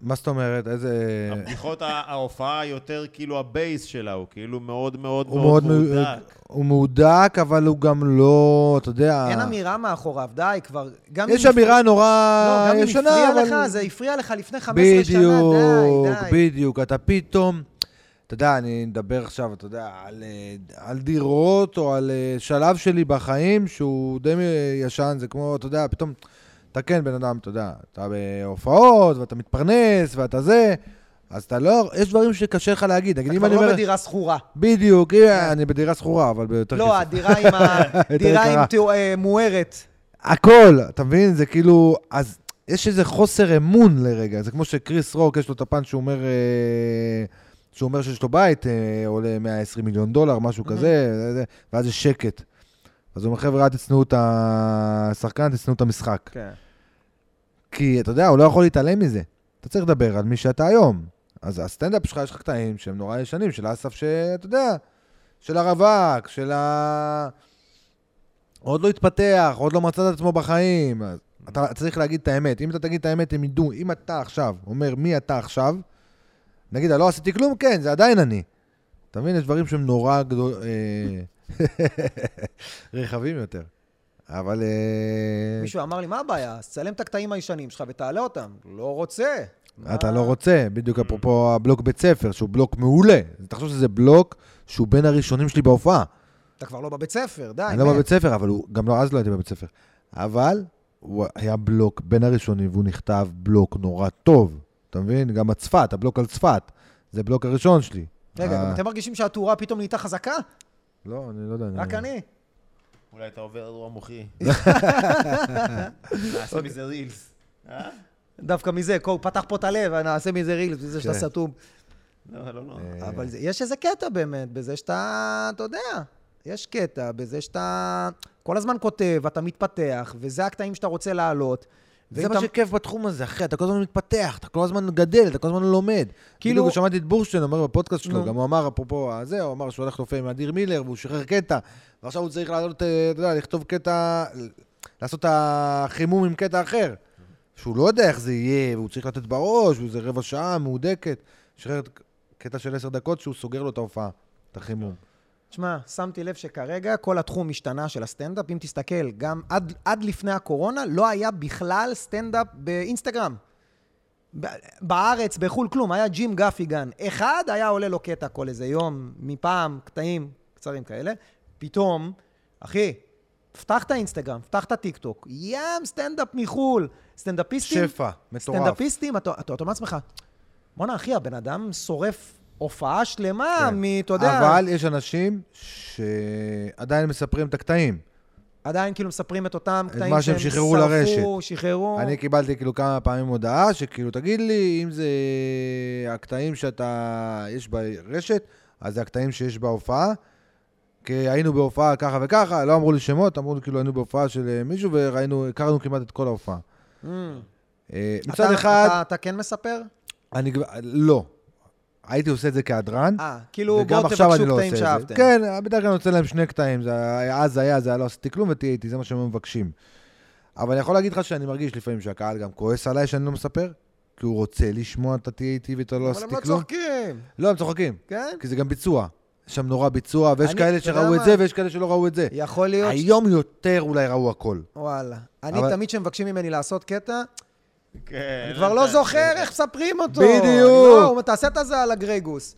Speaker 3: מה זאת אומרת? איזה...
Speaker 2: הבדיחות, ה- ההופעה יותר, כאילו, הבייס שלה הוא כאילו מאוד מאוד
Speaker 3: הוא מאוד...
Speaker 2: מאוד
Speaker 3: מ- אה,
Speaker 2: מודק.
Speaker 3: הוא מהודק, אבל הוא גם לא, אתה יודע...
Speaker 1: אין אמירה מאחוריו, די, כבר... גם
Speaker 3: יש
Speaker 1: אם-
Speaker 3: אמירה נורא
Speaker 1: לא, גם אם
Speaker 3: ישנה,
Speaker 1: הפריע
Speaker 3: אבל...
Speaker 1: לך, זה הפריע לך לפני 15 שנה, די,
Speaker 3: בדיוק,
Speaker 1: די.
Speaker 3: בדיוק. אתה פתאום, אתה יודע, אני מדבר עכשיו, אתה יודע, על, אה, על דירות או על אה, שלב שלי בחיים שהוא די אה, ישן, זה כמו, אתה יודע, פתאום, אתה כן בן אדם, אתה יודע, אתה בהופעות ואתה מתפרנס ואתה זה, אז אתה לא, יש דברים שקשה לך להגיד. נגיד,
Speaker 1: אתה
Speaker 3: אם
Speaker 1: כבר
Speaker 3: אני
Speaker 1: לא
Speaker 3: אומר...
Speaker 1: בדירה שכורה.
Speaker 3: בדיוק, אה, אני בדירה שכורה, אבל ביותר
Speaker 1: לא,
Speaker 3: כסף.
Speaker 1: הדירה עם ה-
Speaker 3: יותר
Speaker 1: דירה עם
Speaker 3: יקרה.
Speaker 1: תאו- אה, מוארת.
Speaker 3: הכל, אתה מבין? זה כאילו, אז יש איזה חוסר אמון לרגע. זה כמו שקריס רוק, יש לו את הפן שהוא אומר, אה, שהוא אומר שיש לו בית, אה, עולה 120 מיליון דולר, משהו כזה, זה- זה, ואז יש שקט. אז הוא אומר, חבר'ה, אל תשנאו את השחקן, תשנאו את המשחק.
Speaker 1: כן.
Speaker 3: כי, אתה יודע, הוא לא יכול להתעלם מזה. אתה צריך לדבר על מי שאתה היום. אז הסטנדאפ שלך, יש לך קטעים שהם נורא ישנים, של אסף שאתה יודע, של הרווק, של ה... עוד לא התפתח, עוד לא מצא את עצמו בחיים. אז אתה צריך להגיד את האמת. אם אתה תגיד את האמת, הם ידעו. אם אתה עכשיו אומר מי אתה עכשיו, נגיד, לא עשיתי כלום, כן, זה עדיין אני. אתה מבין? יש דברים שהם נורא גדול... אה, רחבים יותר. אבל... אה,
Speaker 1: מישהו אמר לי, מה הבעיה? אז תצלם את הקטעים הישנים שלך ותעלה אותם. לא רוצה.
Speaker 3: אתה
Speaker 1: אה,
Speaker 3: לא רוצה, בדיוק אפרופו הבלוק בית ספר, שהוא בלוק מעולה. תחשוב שזה בלוק שהוא בין הראשונים שלי בהופעה.
Speaker 1: אתה כבר לא בבית ספר, די.
Speaker 3: אני לא
Speaker 1: מת.
Speaker 3: בבית ספר, אבל הוא, גם לא, אז לא הייתי בבית ספר. אבל הוא היה בלוק בין הראשונים, והוא נכתב בלוק נורא טוב. אתה מבין? גם הצפת, הבלוק על צפת. זה בלוק הראשון שלי.
Speaker 1: רגע,
Speaker 3: אה,
Speaker 1: גם אתם מרגישים שהתאורה פתאום נהייתה חזקה?
Speaker 3: לא, אני לא יודע.
Speaker 1: רק אני.
Speaker 2: אולי
Speaker 3: אוקיי.
Speaker 2: אתה עובר אירוע מוחי. נעשה מזה רילס. אה?
Speaker 1: דווקא מזה, כל- פתח פה את הלב, נעשה מזה רילס, מזה שאתה
Speaker 3: כן.
Speaker 1: סתום.
Speaker 2: לא, לא, לא.
Speaker 3: אה.
Speaker 1: אבל זה, יש איזה קטע באמת, בזה שאתה, אתה יודע, יש קטע בזה שאתה כל הזמן כותב, אתה מתפתח, וזה הקטעים שאתה רוצה להעלות.
Speaker 3: זה
Speaker 1: ואם
Speaker 3: מה
Speaker 1: אתה-
Speaker 3: שכיף בתחום הזה, אחי, אתה כל הזמן מתפתח, אתה כל הזמן גדל, אתה כל הזמן לומד.
Speaker 1: כאילו-
Speaker 3: כאילו... בדיוק שמעתי את בורשטיין אומר בפודקאסט
Speaker 1: נו.
Speaker 3: שלו, גם הוא אמר, אפרופו הזה, הוא אמר שהוא הולך לופיע עם אדיר מילר, והוא שחרר קטע, ועכשיו הוא צריך לעלות, אה, אתה יודע, לכתוב קטע, לעשות את החימום עם קטע אחר, שהוא לא יודע איך זה יהיה, והוא צריך לתת בראש, וזה רבע שעה מהודקת. שחרר קטע של עשר דקות שהוא סוגר לו את ההופעה, את החימום.
Speaker 1: תשמע, שמתי לב שכרגע כל התחום השתנה של הסטנדאפ. אם תסתכל, גם עד, עד לפני הקורונה לא היה בכלל סטנדאפ באינסטגרם. ב- בארץ, בחו"ל, כלום. היה ג'ים גפיגן. אחד היה עולה לו קטע כל איזה יום, מפעם, קטעים קצרים כאלה. פתאום, אחי, פתח את האינסטגרם, פתח את הטיקטוק. ים סטנדאפ מחו"ל. סטנדאפיסטים...
Speaker 3: שפע, מטורף.
Speaker 1: סטנדאפיסטים, אתה אתה- אתה אומר לעצמך, בואנה אחי, הבן אדם שורף הופעה שלמה
Speaker 3: כן.
Speaker 1: מ... אתה יודע...
Speaker 3: אבל יש אנשים שעדיין מספרים את הקטעים.
Speaker 1: עדיין כאילו מספרים את אותם
Speaker 3: את
Speaker 1: קטעים
Speaker 3: מה שהם שחררו לרשת.
Speaker 1: שחררו.
Speaker 3: אני קיבלתי כאילו כמה פעמים הודעה, שכאילו, תגיד לי, אם זה הקטעים שאתה, יש ברשת, אז זה הקטעים שיש בהופעה. כי היינו בהופעה ככה וככה, לא אמרו לי שמות, אמרו לי כאילו היינו בהופעה של אה, מישהו וראינו, הכרנו כמעט את כל ההופעה.
Speaker 1: Mm.
Speaker 3: אה, מצד
Speaker 1: אתה-
Speaker 3: אחד,
Speaker 1: אתה- אתה כן מספר?
Speaker 3: אני כבר, לא. הייתי עושה את זה כהדרן.
Speaker 1: אה, כאילו בואו תבקשו קטעים שאהבתם.
Speaker 3: כן, בדרך כלל אני רוצה להם שני קטעים, זה היה- אז היה, זה היה, לא עשיתי כלום ותהיה איתי, זה מה שהם היו מבקשים. אבל אני יכול להגיד לך שאני מרגיש לפעמים שהקהל גם כועס עליי שאני לא מספר, כי הוא רוצה לשמוע אתה תהיה איתי ואתה לא
Speaker 1: אבל
Speaker 3: עשיתי
Speaker 1: הם לא
Speaker 3: כלום.
Speaker 1: צוחקים,
Speaker 3: לא, הם צוחקים,
Speaker 1: כן?
Speaker 3: כי זה גם ביצוע. יש שם נורא ביצוע, ויש
Speaker 1: אני-
Speaker 3: כאלה
Speaker 1: אתה יודע
Speaker 3: שראו את
Speaker 1: מה?
Speaker 3: זה ויש כאלה שלא ראו את זה.
Speaker 1: יכול להיות... ש-
Speaker 3: היום יותר אולי ראו הכל.
Speaker 1: וואלה. אני
Speaker 3: אבל-
Speaker 1: תמיד כשמבקשים ממני לעשות קטע,
Speaker 2: כן.
Speaker 1: אני כבר לא זוכר איך מספרים אותו.
Speaker 3: בדיוק.
Speaker 1: אני לא, תעשה את זה על הגרייגוס.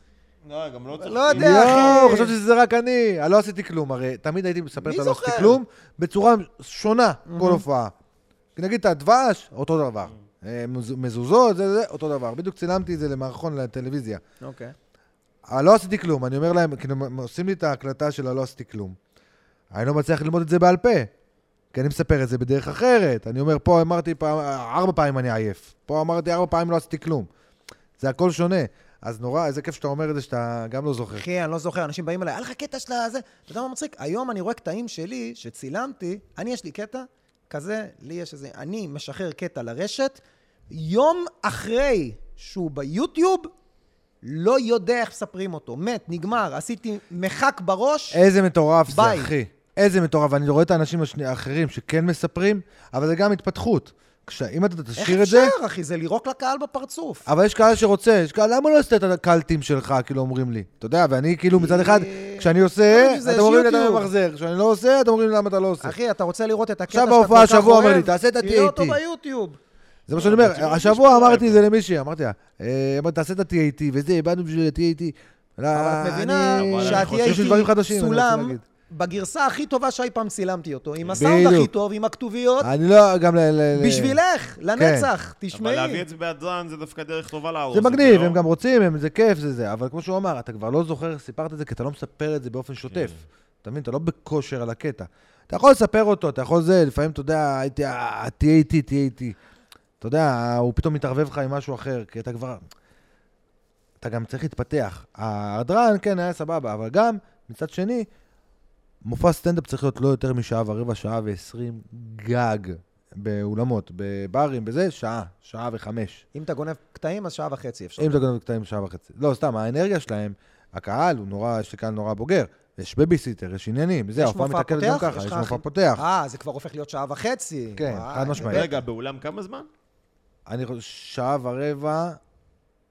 Speaker 2: לא, גם לא צריך...
Speaker 1: לא יודע.
Speaker 3: יואו,
Speaker 1: אחי.
Speaker 3: חשבתי שזה רק אני. אני לא עשיתי כלום, הרי תמיד הייתי מספר
Speaker 1: מי
Speaker 3: את הלא עשיתי
Speaker 1: זוכר?
Speaker 3: כלום, בצורה שונה כל הופעה. נגיד את הדבש, אותו דבר. אה, מז- מזוזות, זה, זה, אותו דבר. בדיוק צילמתי את זה למערכון לטלוויזיה.
Speaker 1: אוקיי.
Speaker 3: הלא עשיתי כלום, אני אומר להם, כאילו, מ- עושים לי את ההקלטה של הלא עשיתי כלום. אני לא מצליח ללמוד את זה בעל פה, כי אני מספר את זה בדרך אחרת. אני אומר, פה אמרתי פעם, ארבע פעמים אני עייף. פה אמרתי ארבע פעמים לא עשיתי כלום. זה הכל שונה. אז נורא, איזה כיף שאתה אומר את זה שאתה גם לא זוכר.
Speaker 1: אחי, אני לא זוכר, אנשים באים אליי, היה לך קטע של הזה? אתה יודע מה מצחיק? היום אני רואה קטעים שלי, שצילמתי, אני יש לי קטע כזה, לי יש איזה... אני משחרר קטע לרשת, יום אחרי שהוא ביוטיוב, לא יודע איך מספרים אותו. מת, נגמר, עשיתי מחק בראש.
Speaker 3: איזה מטורף זה,
Speaker 1: ביי.
Speaker 3: אחי. איזה מטורף. אני רואה את האנשים השני- האחרים שכן מספרים, אבל זה גם התפתחות. כש- אם אתה
Speaker 1: איך
Speaker 3: תשאיר את
Speaker 1: אפשר,
Speaker 3: זה, אה,
Speaker 1: אחי? זה לירוק לקהל בפרצוף.
Speaker 3: אבל יש קהל שרוצה, יש קהל, למה לא עשית את הקלטים שלך, כאילו אומרים לי? אתה יודע, ואני כאילו מצד אחד,
Speaker 1: אה,
Speaker 3: כשאני עושה,
Speaker 1: אבל זה
Speaker 3: אתם אומרים לי אתה
Speaker 1: יוטיוב.
Speaker 3: ממחזר, כשאני לא עושה, אתם אומרים לי למה אתה לא עושה.
Speaker 1: אחי, אתה רוצה לראות את הקטע
Speaker 3: עכשיו
Speaker 1: שאתה כל כך אוהב?
Speaker 3: בהופעה השבוע אומר לי, "תעשה את התהיה
Speaker 1: תראה אותו
Speaker 3: איתי".
Speaker 1: ביוטיוב.
Speaker 3: זה מה
Speaker 1: לא,
Speaker 3: שאני אומר,
Speaker 2: אבל זה
Speaker 3: השבוע
Speaker 2: משפט.
Speaker 3: אמרתי את זה למישהי, אמרתי לה, אה, אמרתי, תעשה את ה-TAT וזה, באנו בשביל ה-TAT.
Speaker 1: אבל את מבינה
Speaker 2: אני
Speaker 1: שהתהיה
Speaker 2: חושב שיש
Speaker 3: דברים
Speaker 1: איתי
Speaker 3: חדשים, אני רוצה
Speaker 1: צולם
Speaker 3: להגיד.
Speaker 1: בגרסה הכי טובה שאי פעם צילמתי אותו, עם הסאונד הכי
Speaker 3: בדיוק.
Speaker 1: טוב, עם הכתוביות,
Speaker 3: אני לא, גם ל... ל- ל- כן.
Speaker 1: בשבילך, לנצח,
Speaker 2: אבל להביא
Speaker 1: תשמעי.
Speaker 2: את זה בהדרן זה דווקא דרך טובה להרוס.
Speaker 3: זה
Speaker 2: את
Speaker 3: מגניב,
Speaker 2: לא?
Speaker 3: הם גם רוצים, הם, זה כיף, זה זה. אבל כמו שהוא אמר, אתה כבר לא זוכר, סיפרת את זה, כי אתה לא מספר את זה באופן שוטף. אתה מבין? אתה לא בכושר על הקטע. אתה יכול לספר אותו, אתה יכול זה, לפעמים, אתה יודע, הייתי, "אה, תהיה איתי, תהיה איתי. אתה יודע, הוא פתאום מתערבב לך עם משהו אחר, כי אתה כבר... אתה גם צריך להתפתח. ההדרן, כן, היה סבבה, אבל גם, מצד שני, מופע סטנדאפ צריך להיות לא יותר משעה ורבע, שעה ועשרים גג באולמות, בברים, בזה, שעה, שעה וחמש.
Speaker 1: אם אתה גונב קטעים, אז שעה וחצי אפשר.
Speaker 3: אם אתה גונב קטעים שעה וחצי. לא, סתם, האנרגיה שלהם, הקהל הוא נורא, יש לי קהל נורא בוגר. יש בייביסיטר, יש עניינים, זה,
Speaker 1: יש
Speaker 3: ההופעה
Speaker 1: מופע
Speaker 3: מתעכבת
Speaker 1: פותח?
Speaker 3: גם ככה,
Speaker 1: יש
Speaker 3: יש
Speaker 1: לך
Speaker 3: מופע
Speaker 1: אחי-
Speaker 3: פותח.
Speaker 1: אה, זה כבר הופך להיות שעה וחצי.
Speaker 3: כן,
Speaker 1: וואי,
Speaker 3: חד משמעית.
Speaker 1: באמת?
Speaker 2: רגע, באולם כמה זמן?
Speaker 3: אני חושב, שעה ורבע,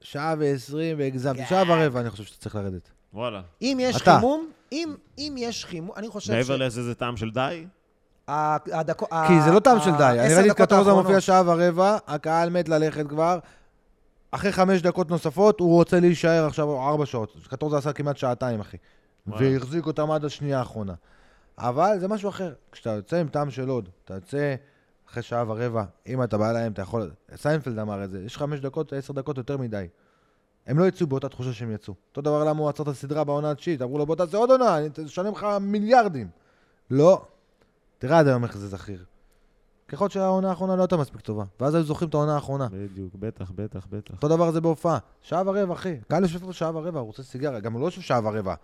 Speaker 3: שעה ועשרים, והגזמתי.
Speaker 1: גג.
Speaker 3: שעה ורבע אני חושב שאתה צריך לרדת.
Speaker 2: וואלה.
Speaker 1: אם יש
Speaker 3: אתה.
Speaker 1: חימום, אם אם יש חימום, אני חושב ש...
Speaker 2: מעבר לזה זה טעם של די?
Speaker 1: ה- הדקו-
Speaker 3: כי זה לא טעם של
Speaker 1: ה-
Speaker 3: די. אני
Speaker 1: עשר
Speaker 3: ראיתי את
Speaker 1: דקות
Speaker 3: קטורזה
Speaker 1: האחרונות.
Speaker 3: מופיע שעה ורבע, הקהל מת ללכת כבר. אחרי חמש דקות נוספות, הוא רוצה להישאר עכשיו ארבע שעות. קטורזה עשה כמעט שעתיים, אחי.
Speaker 2: וואלה.
Speaker 3: והחזיק אותם עד השנייה האחרונה. אבל זה משהו אחר. כשאתה יוצא עם טעם של עוד, אתה יוצא אחרי שעה ורבע, אם אתה בא להם, אתה יכול... סיינפלד אמר את זה, יש חמש דקות, עשר דקות יותר מדי. הם לא יצאו באותה תחושה שהם יצאו. אותו דבר למה הוא עצר את הסדרה בעונה התשיעית, אמרו לו בוא תעשה עוד עונה, אני אשלם לך מיליארדים. לא. תראה עד היום איך זה זכיר. ככל שהעונה האחרונה לא הייתה מספיק טובה, ואז היו זוכרים את העונה האחרונה.
Speaker 2: בדיוק, בטח, בטח, בטח.
Speaker 3: אותו דבר זה בהופעה. שעה ורבע, אחי. קהל יושב לו שעה ורבע, הוא רוצה סיגריה. גם הוא לא יושב שעה ורבע.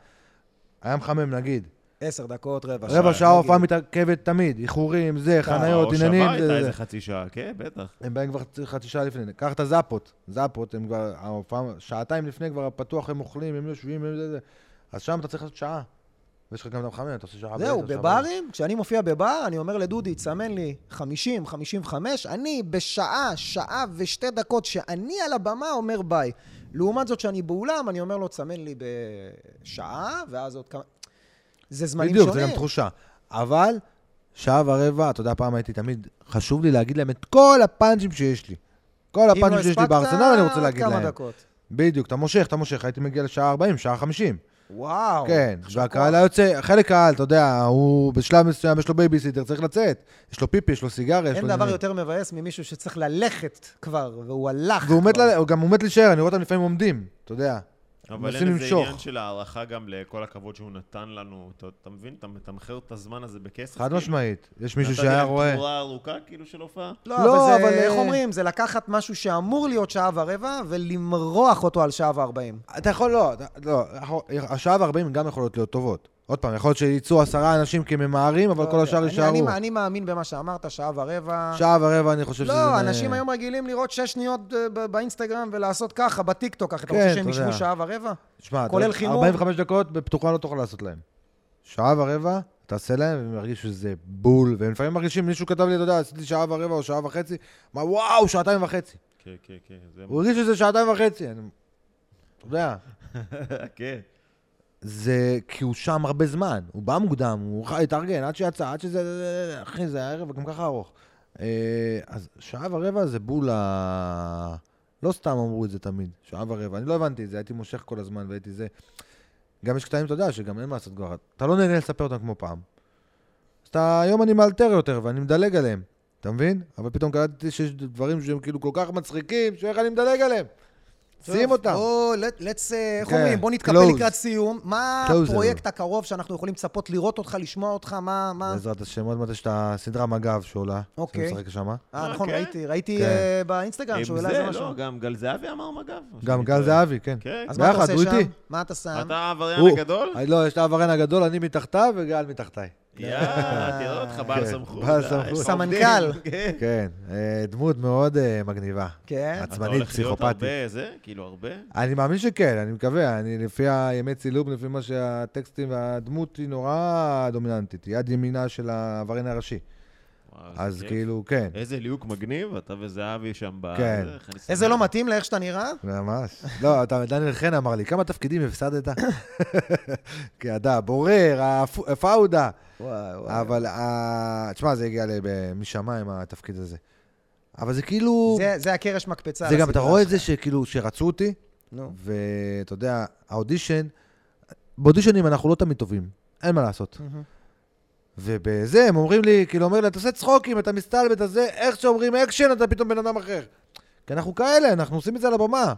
Speaker 3: היה מחמם, נגיד.
Speaker 1: עשר דקות, רבע שעה.
Speaker 3: רבע שעה הופעה
Speaker 1: נגיד.
Speaker 3: מתעכבת תמיד. איחורים, זה,
Speaker 1: אה,
Speaker 3: חניות, עניינים.
Speaker 2: כן, או שבת
Speaker 3: זה,
Speaker 2: הייתה
Speaker 3: זה.
Speaker 2: איזה חצי שעה, כן, בטח.
Speaker 3: הם באים כבר חצי שעה לפני. קח את הזאפות. זאפות, הם כבר, ההופעה, שעתיים לפני כבר פתוח, הם אוכלים, הם יושבים, הם זה, זה. אז שם אתה צריך לעשות שעה. ויש לך גם את המחמם, אתה עושה שעה
Speaker 1: זהו,
Speaker 3: בעשר, שעה
Speaker 1: בברים, כשאני מופיע בבר, אני אומר לדודי, תסמן לי 50, 55, אני בשעה, שעה ושתי דקות שאני על הבמה אומר ביי. לעומת זאת, שאני באולם, אני אומר לו, תסמן לי בשעה, ואז עוד כמה... זה זמנים
Speaker 3: בדיוק, זה
Speaker 1: שונים.
Speaker 3: גם תחושה. אבל שעה ורבע, אתה יודע, פעם הייתי תמיד, חשוב לי להגיד להם את כל הפאנצ'ים שיש לי. כל
Speaker 1: אם לא
Speaker 3: הפאנצ'ים שיש לי
Speaker 1: הספקת,
Speaker 3: בארסנל, אני רוצה
Speaker 1: עוד
Speaker 3: להגיד
Speaker 1: כמה
Speaker 3: להם.
Speaker 1: דקות.
Speaker 3: בדיוק, אתה מושך, אתה מושך, הייתי מגיע לשעה 40, שעה 50.
Speaker 1: וואו.
Speaker 3: כן,
Speaker 1: יישר
Speaker 3: והקהל
Speaker 1: כוח.
Speaker 3: היה יוצא, חלק קהל, אתה יודע, הוא בשלב מסוים, יש לו בייביסיטר, צריך לצאת. יש לו פיפי, יש לו סיגריה, יש לו...
Speaker 1: אין דבר
Speaker 3: עניינים.
Speaker 1: יותר מבאס ממישהו שצריך ללכת כבר, והוא הלך
Speaker 3: והוא מת,
Speaker 1: כבר.
Speaker 3: ל- הוא גם הוא מת להישאר, אני רואה אותם לפעמים עומדים, אתה יודע.
Speaker 2: אבל
Speaker 3: מנסים
Speaker 2: אין איזה
Speaker 3: למשוך.
Speaker 2: עניין של הערכה גם לכל הכבוד שהוא נתן לנו. אתה- אתה מבין? אתה מתמחר את הזמן הזה בכסף.
Speaker 3: חד
Speaker 2: כאילו.
Speaker 3: משמעית. יש מישהו
Speaker 2: נתתי
Speaker 3: שהיה
Speaker 2: להם
Speaker 3: רואה...
Speaker 2: תמורה ארוכה כאילו של הופעה?
Speaker 1: לא,
Speaker 3: לא,
Speaker 1: אבל זה,
Speaker 3: אבל,
Speaker 1: איך
Speaker 3: אה,
Speaker 1: אומרים, זה לקחת משהו שאמור להיות שעה ורבע ולמרוח אותו על שעה וארבעים.
Speaker 3: אתה יכול, לא, אתה- לא, יכול- השעה וארבעים גם יכולות להיות טובות. עוד פעם, יכול להיות שיצאו עשרה אנשים כי הם ממהרים, אבל
Speaker 1: לא
Speaker 3: כל
Speaker 1: יודע.
Speaker 3: השאר
Speaker 1: אני-
Speaker 3: יישארו.
Speaker 1: אני- אני מאמין במה שאמרת, שעה ורבע.
Speaker 3: שעה ורבע אני חושב שזה...
Speaker 1: לא, אנשים היום רגילים לראות שש שניות אה, ב- באינסטגרם ולעשות ככה, בטיקטוק, ככה. אתה
Speaker 3: כן,
Speaker 1: רוצה שהם
Speaker 3: אתה
Speaker 1: ישבו
Speaker 3: יודע.
Speaker 1: שעה ורבע?
Speaker 3: תשמע, אתה
Speaker 1: כולל
Speaker 3: יודע,
Speaker 1: חימום.
Speaker 3: 45 דקות בפתוחה לא תוכל לעשות להם. שעה ורבע, תעשה להם, והם ירגישו שזה בול, והם לפעמים מרגישים, מישהו כתב לי, אתה יודע, עשיתי שעה ורבע או שעה וחצי, אמר, וואו, שעתיים וחצי.
Speaker 2: כן, כן, כן. זה-
Speaker 3: הוא הרגיש שזה שעתיים וחצי. אני... אתה יודע,
Speaker 2: כן.
Speaker 3: זה כי הוא שם הרבה זמן, הוא בא מוקדם, הוא חי, התארגן, עד שיצא, עד שזה... זה- זה- אחי, זה הערב גם ככה ארוך. אה, אז שעה ורבע זה בול ה... לא סתם אמרו את זה תמיד, שעה ורבע. אני לא הבנתי את זה, הייתי מושך כל הזמן והייתי זה. גם יש קטעים, אתה יודע, שגם אין מה לעשות כבר. אתה לא נהנה לספר אותם כמו פעם. אז אתה, היום אני מאלתר יותר ואני מדלג עליהם, אתה מבין? אבל פתאום קלטתי שיש דברים שהם כאילו כל כך מצחיקים, שאיך אני מדלג עליהם? שים אותם.
Speaker 1: בואו, let- let's, אה, איך
Speaker 3: כן,
Speaker 1: אומרים, בוא נתקפל
Speaker 3: close.
Speaker 1: לקראת סיום. מה
Speaker 3: Closer.
Speaker 1: הפרויקט הקרוב שאנחנו יכולים לצפות לראות אותך, לשמוע אותך, מה... מה-
Speaker 3: בעזרת השם, עוד מעט יש את הסדרה מג"ב שעולה,
Speaker 1: אוקיי.
Speaker 3: שאני משחק שמה.
Speaker 1: אה, נכון,
Speaker 2: אה, כן?
Speaker 1: ראיתי, ראיתי
Speaker 3: כן.
Speaker 1: אה, באינסטגרם
Speaker 2: עם
Speaker 1: שהוא העלה איזה
Speaker 2: זה,
Speaker 1: משהו.
Speaker 2: לא, גם גל זהבי אמר מג"ב.
Speaker 3: גם
Speaker 2: שאני
Speaker 3: גל
Speaker 2: טועה.
Speaker 3: זהבי, כן.
Speaker 2: כן.
Speaker 1: אוקיי. אז מה אתה
Speaker 3: ביחד,
Speaker 1: עושה
Speaker 3: הוא
Speaker 1: שם?
Speaker 3: איתי.
Speaker 1: מה אתה שם?
Speaker 2: אתה העבריין
Speaker 3: הוא-
Speaker 2: הגדול?
Speaker 3: אה, לא, יש את העבריין הגדול, אני מתחתיו וגל מתחתיי.
Speaker 2: יאללה, תראה אותך, בעל
Speaker 3: כן,
Speaker 2: סמכות.
Speaker 3: בעל
Speaker 2: אה, יש לך
Speaker 3: סמכות.
Speaker 2: עובדים.
Speaker 1: סמנכ"ל.
Speaker 2: כן.
Speaker 3: כן, אה, דמות מאוד אה, מגניבה.
Speaker 1: כן.
Speaker 2: אתה הולך
Speaker 3: עצבנית,
Speaker 2: להיות
Speaker 3: פסיכופתית.
Speaker 2: הרבה, זה? כאילו, הרבה?
Speaker 3: אני מאמין שכן, אני מקווה. אני, לפי הימי צילום, לפי מה שהטקסטים והדמות היא נורא דומיננטית. יד ימינה של העבריין הראשי.
Speaker 2: וואו, איזה
Speaker 3: אז
Speaker 2: כיף.
Speaker 3: כאילו, כן.
Speaker 2: איזה ליהוק מגניב, אתה וזהבי שם ב...
Speaker 3: כן.
Speaker 2: זה, איך אני שמח.
Speaker 1: איזה לא מתאים לאיך שאתה נראה?
Speaker 3: ממש. לא, אתה, דניאל חן אמר לי, כמה תפקידים הפסדת? כי אתה הבורר, הפ- הפאודה.
Speaker 1: וואי,
Speaker 3: אבל, ה- תשמע, זה הגיע ל- ב- משמיים, התפקיד הזה. אבל זה כאילו...
Speaker 1: זה- זה הקרש מקפצה.
Speaker 3: זה גם, אתה
Speaker 1: לסדרה
Speaker 3: רואה את
Speaker 1: שלך.
Speaker 3: זה שכאילו, שרצו אותי,
Speaker 1: נו.
Speaker 3: ואתה יודע, האודישן, באודישנים אנחנו לא תמיד טובים, אין מה לעשות. ובזה, הם אומרים לי, כאילו, אומר לי, אתה עושה צחוקים, אתה מסתלבט, אתה זה, איך שאומרים אקשן, אתה פתאום בן אדם אחר. כי אנחנו כאלה, אנחנו עושים את זה על הבמה.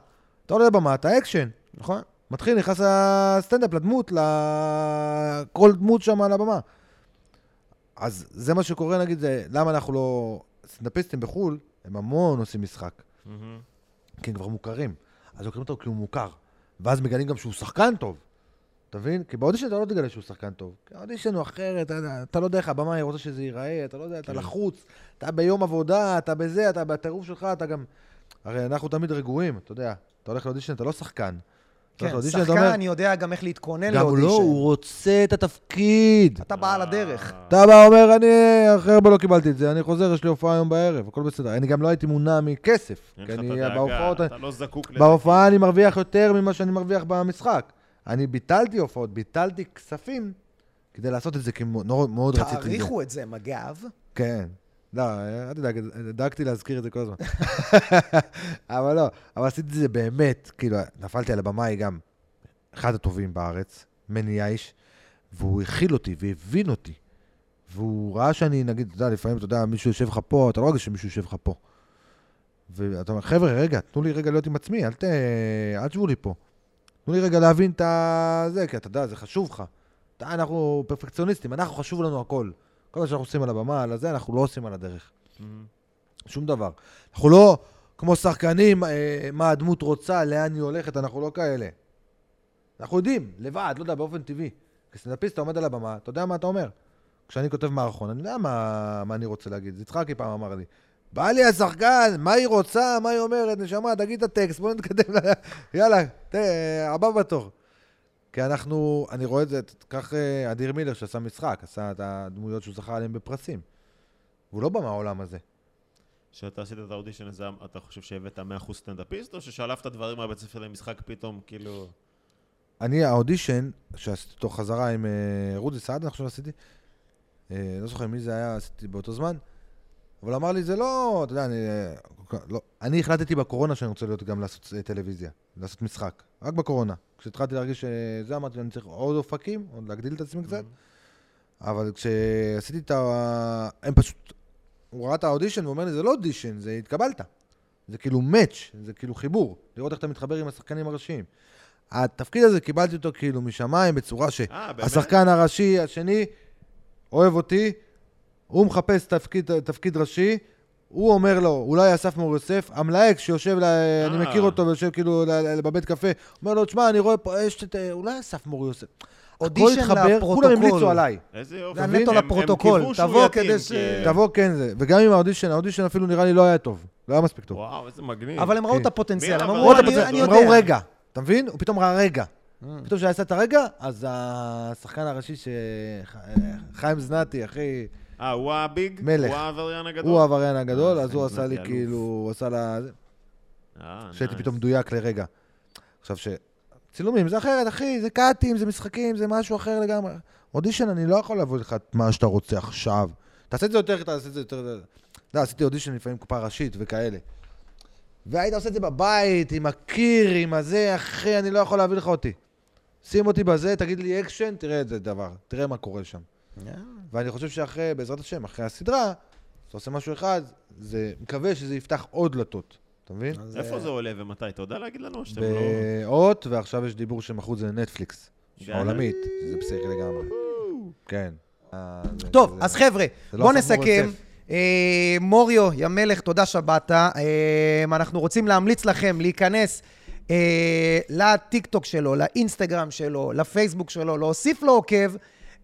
Speaker 3: אתה עולה לבמה, אתה אקשן.
Speaker 1: נכון.
Speaker 3: מתחיל, נכנס הסטנדאפ לדמות, לכל דמות שם על הבמה. אז זה מה שקורה, נגיד, זה, למה אנחנו לא... סטנדאפיסטים בחו"ל, הם המון עושים משחק,
Speaker 2: מהמם.
Speaker 3: כי הם כבר מוכרים. אז לוקחים אותו כי הוא מוכר. ואז מגלים גם שהוא שחקן טוב. אתה מבין? כי באודישן אתה לא תגלה שהוא שחקן טוב. כי האודישן הוא אחרת, אתה, יודע, אתה לא יודע איך הבמה היא רוצה שזה ייראה, אתה לא יודע, אתה
Speaker 2: כן.
Speaker 3: לחוץ, אתה ביום עבודה, אתה בזה, אתה בטירוף שלך, אתה גם... הרי אנחנו תמיד רגועים, אתה יודע. אתה הולך לאודישן, אתה לא שחקן. אתה הולך
Speaker 1: כן,
Speaker 3: לאודישן, אתה אומר,
Speaker 1: שחקן יודע גם איך להתכונן
Speaker 3: גם הוא לא, הוא
Speaker 1: לאודישן.
Speaker 3: רוצה את התפקיד.
Speaker 1: אתה בעל הדרך.
Speaker 2: אה,
Speaker 3: אתה בא אומר, אני אחרי הרבה לא קיבלתי את זה, אני חוזר, יש לי הופעה היום בערב, הכל בסדר. אני גם לא הייתי מונע מכסף.
Speaker 2: אין
Speaker 3: כי
Speaker 2: לך את
Speaker 3: אני,
Speaker 2: הדאגה,
Speaker 3: בהופעות,
Speaker 2: אתה לא זקוק לזה.
Speaker 3: בהופעה אני מרוויח יותר ממה שאני מרוויח במשחק. אני ביטלתי הופעות, ביטלתי כספים כדי לעשות את זה, כי מאוד מאוד רציתי את זה.
Speaker 1: תעריכו את זה, מג"ב.
Speaker 3: כן. לא, אל תדאג, דאגתי להזכיר את זה כל הזמן. אבל לא, אבל עשיתי את זה באמת, כאילו, נפלתי על הבמאי גם, אחד הטובים בארץ, מני יאיש, והוא הכיל אותי והבין אותי. והוא ראה שאני, נגיד, אתה יודע, לפעמים, אתה יודע, מישהו יושב לך פה, אתה לא רגע שמישהו יושב לך פה. ואתה אומר, חבר'ה, רגע, תנו לי רגע להיות עם עצמי, אל ת... אל תשבו לי פה. תנו לי רגע להבין את ה... זה, כי אתה יודע, זה חשוב לך. אתה, אנחנו פרפקציוניסטים, אנחנו חשוב לנו הכל. כל מה שאנחנו עושים על הבמה, על הזה, אנחנו לא עושים על הדרך. שום דבר. אנחנו לא כמו שחקנים, אה, מה הדמות רוצה, לאן היא הולכת, אנחנו לא כאלה. אנחנו יודעים, לבד, לא יודע, באופן טבעי. כסטנדאפיסט, אתה עומד על הבמה, אתה יודע מה אתה אומר. כשאני כותב מערכון, אני יודע מה, מה אני רוצה להגיד. יצחקי פעם אמר לי, בא לי השחקן, מה היא רוצה, מה היא אומרת, נשמה, תגיד את הטקסט, בוא נתקדם, ל- יאללה, ת- הבא בתור. כי אנחנו, אני רואה את זה, ת- קח אה, אדיר מילר שעשה משחק, עשה את הדמויות שהוא זכה עליהן בפרסים. והוא לא בא מהעולם הזה.
Speaker 2: כשאתה עשית את האודישן הזה, אתה חושב שהבאת 100% סטנדאפיסט, או ששלפת דברים מהבית ספר למשחק פתאום, כאילו...
Speaker 3: אני, האודישן, שעשיתי אותו חזרה עם אה, רודי סעד, אני חושב שעשיתי, אה, לא זוכר מי זה היה, עשיתי באותו זמן, אבל אמר לי, זה לא, אתה יודע, אני... אה, כל כך- לא, אני החלטתי בקורונה שאני רוצה להיות גם לעשות אה, טלוויזיה, לעשות משחק, רק בקורונה. כשהתחלתי להרגיש שזה, אמרתי, אני צריך עוד אופקים, עוד להגדיל את עצמי קצת,
Speaker 2: Mm-hmm.
Speaker 3: אבל כשעשיתי את ה... הם פשוט... הוא ראה את האודישן ואומר לי, זה לא אודישן, זה התקבלת. זה כאילו מאץ', זה כאילו חיבור, לראות איך אתה מתחבר עם השחקנים הראשיים. התפקיד הזה, קיבלתי אותו כאילו משמיים, בצורה ש...
Speaker 2: אה, באמת?
Speaker 3: השחקן הראשי השני אוהב אותי, הוא מחפש תפקיד, תפקיד ראשי, הוא אומר לו, אולי אסף מור יוסף, המלהק שיושב, ל...
Speaker 2: אה.
Speaker 3: אני מכיר אותו ויושב כאילו ל- ל- בבית קפה, אומר לו, תשמע, אני רואה פה, יש את... אה, אולי אסף מור יוסף.
Speaker 1: אודישן
Speaker 3: הכל התחבר,
Speaker 1: לפרוטוקול.
Speaker 3: כולם המליצו עליי.
Speaker 2: איזה יופי.
Speaker 1: זה
Speaker 2: מבין?
Speaker 1: נטו
Speaker 2: הם- הם
Speaker 1: לפרוטוקול,
Speaker 2: קיוו שהוא
Speaker 1: תבוא
Speaker 2: יתאים,
Speaker 1: כדי ש-
Speaker 2: כן.
Speaker 3: תבוא, כן זה. וגם עם האודישן, האודישן אפילו נראה לי לא היה טוב. לא היה מספיק טוב.
Speaker 2: וואו, איזה מגניב.
Speaker 1: אבל הם ראו
Speaker 3: כן.
Speaker 1: את הפוטנציאל,
Speaker 2: מי
Speaker 1: הם
Speaker 2: אמר?
Speaker 1: אמרו,
Speaker 2: ראו את
Speaker 1: "אני-
Speaker 2: הפוטנציאל,
Speaker 1: אני
Speaker 3: הם
Speaker 1: יודע. אה,
Speaker 3: ראו רגע, אתה מבין? הוא פתאום ראה רגע. פתאום כשעשה את הרגע, אז השחקן הראשי, ש- ח- חיים זנתי, אחי...
Speaker 2: אה, הוא הביג?
Speaker 3: מלך.
Speaker 2: הוא העבריין הגדול?
Speaker 3: הוא העבריין הגדול,
Speaker 2: אה,
Speaker 3: אז הוא
Speaker 2: זה
Speaker 3: עשה לי
Speaker 2: אלוף.
Speaker 3: כאילו, הוא עשה לה... זה.
Speaker 2: אה,
Speaker 3: שהייתי
Speaker 2: נייס.
Speaker 3: פתאום מדויק לרגע. עכשיו ש... צילומים זה אחרת, אחי, זה קאטים, זה משחקים, זה משהו אחר לגמרי. אודישן, אני לא יכול להביא לך את מה שאתה רוצה עכשיו. תעשה את זה יותר, תעשה את זה יותר... אתה יודע, עשיתי אודישן לפעמים קופה ראשית וכאלה. והיית עושה את זה בבית, עם הקיר, עם הזה, אחי, אני לא יכול להביא לך אותי. שים אותי בזה, תגיד לי אקשן, תראה את זה דבר, תראה מה קורה שם. ואני חושב שאחרי, בעזרת השם, אחרי הסדרה, אתה עושה משהו אחד, זה, מקווה שזה יפתח עוד דלתות, אתה מבין?
Speaker 1: אז,
Speaker 2: איפה
Speaker 1: אה,
Speaker 2: זה עולה ומתי? אתה יודע להגיד לנו? או שאתם לא...
Speaker 3: באות, ועכשיו יש דיבור שמכרו את זה לנטפליקס.
Speaker 2: די.
Speaker 3: העולמית, זה פסיכי לגמרי. כן. אה, זה-
Speaker 1: טוב,
Speaker 3: זה-
Speaker 1: אז חבר'ה,
Speaker 3: זה לא
Speaker 1: בואו
Speaker 3: אסף מור
Speaker 1: נסכם.
Speaker 3: יוסף.
Speaker 1: אה, מוריו, יא מלך, תודה שבאת. אה, אנחנו רוצים להמליץ לכם להיכנס אה, לטיקטוק שלו, לאינסטגרם שלו, לפייסבוק שלו, להוסיף לו עוקב.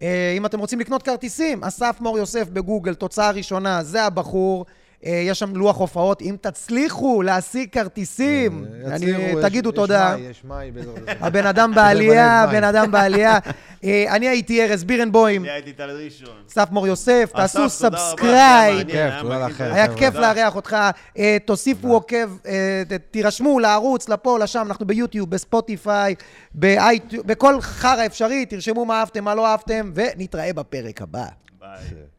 Speaker 1: אה, אם אתם רוצים לקנות כרטיסים, אסף מור יוסף בגוגל, תוצאה ראשונה, זה הבחור. אה, יש שם לוח הופעות. אם תצליחו להשיג כרטיסים,
Speaker 3: אה,
Speaker 1: אני-
Speaker 3: יצליחו, יש-
Speaker 1: תגידו
Speaker 3: יש
Speaker 1: תודה.
Speaker 3: מאי, יש מאי, בעזרת השם.
Speaker 1: הבן אדם בעלייה,
Speaker 3: למלא את מים.
Speaker 1: הבן אדם בעלייה. אה, אני הייתי ארז בירנבוים.
Speaker 2: אני הייתי טל ראשון.
Speaker 1: אסף מור יוסף, תעשו
Speaker 2: אסף, תודה רבה, היה
Speaker 1: סאבסקרייב.
Speaker 2: מעניין, היה
Speaker 3: כיף, תודה
Speaker 2: מגניב.
Speaker 3: לכם.
Speaker 1: היה כיף
Speaker 2: תודה.
Speaker 1: לארח אותך, אה, תוסיפו עוקב, אה, ת- תירשמו לערוץ, לפה, לשם, אנחנו ביוטיוב, בספוטיפיי, באייטיוב, בכל חרא אפשרי, תרשמו מה אהבתם, מה לא אהבתם, ונתראה בפרק הבא.
Speaker 2: ביי.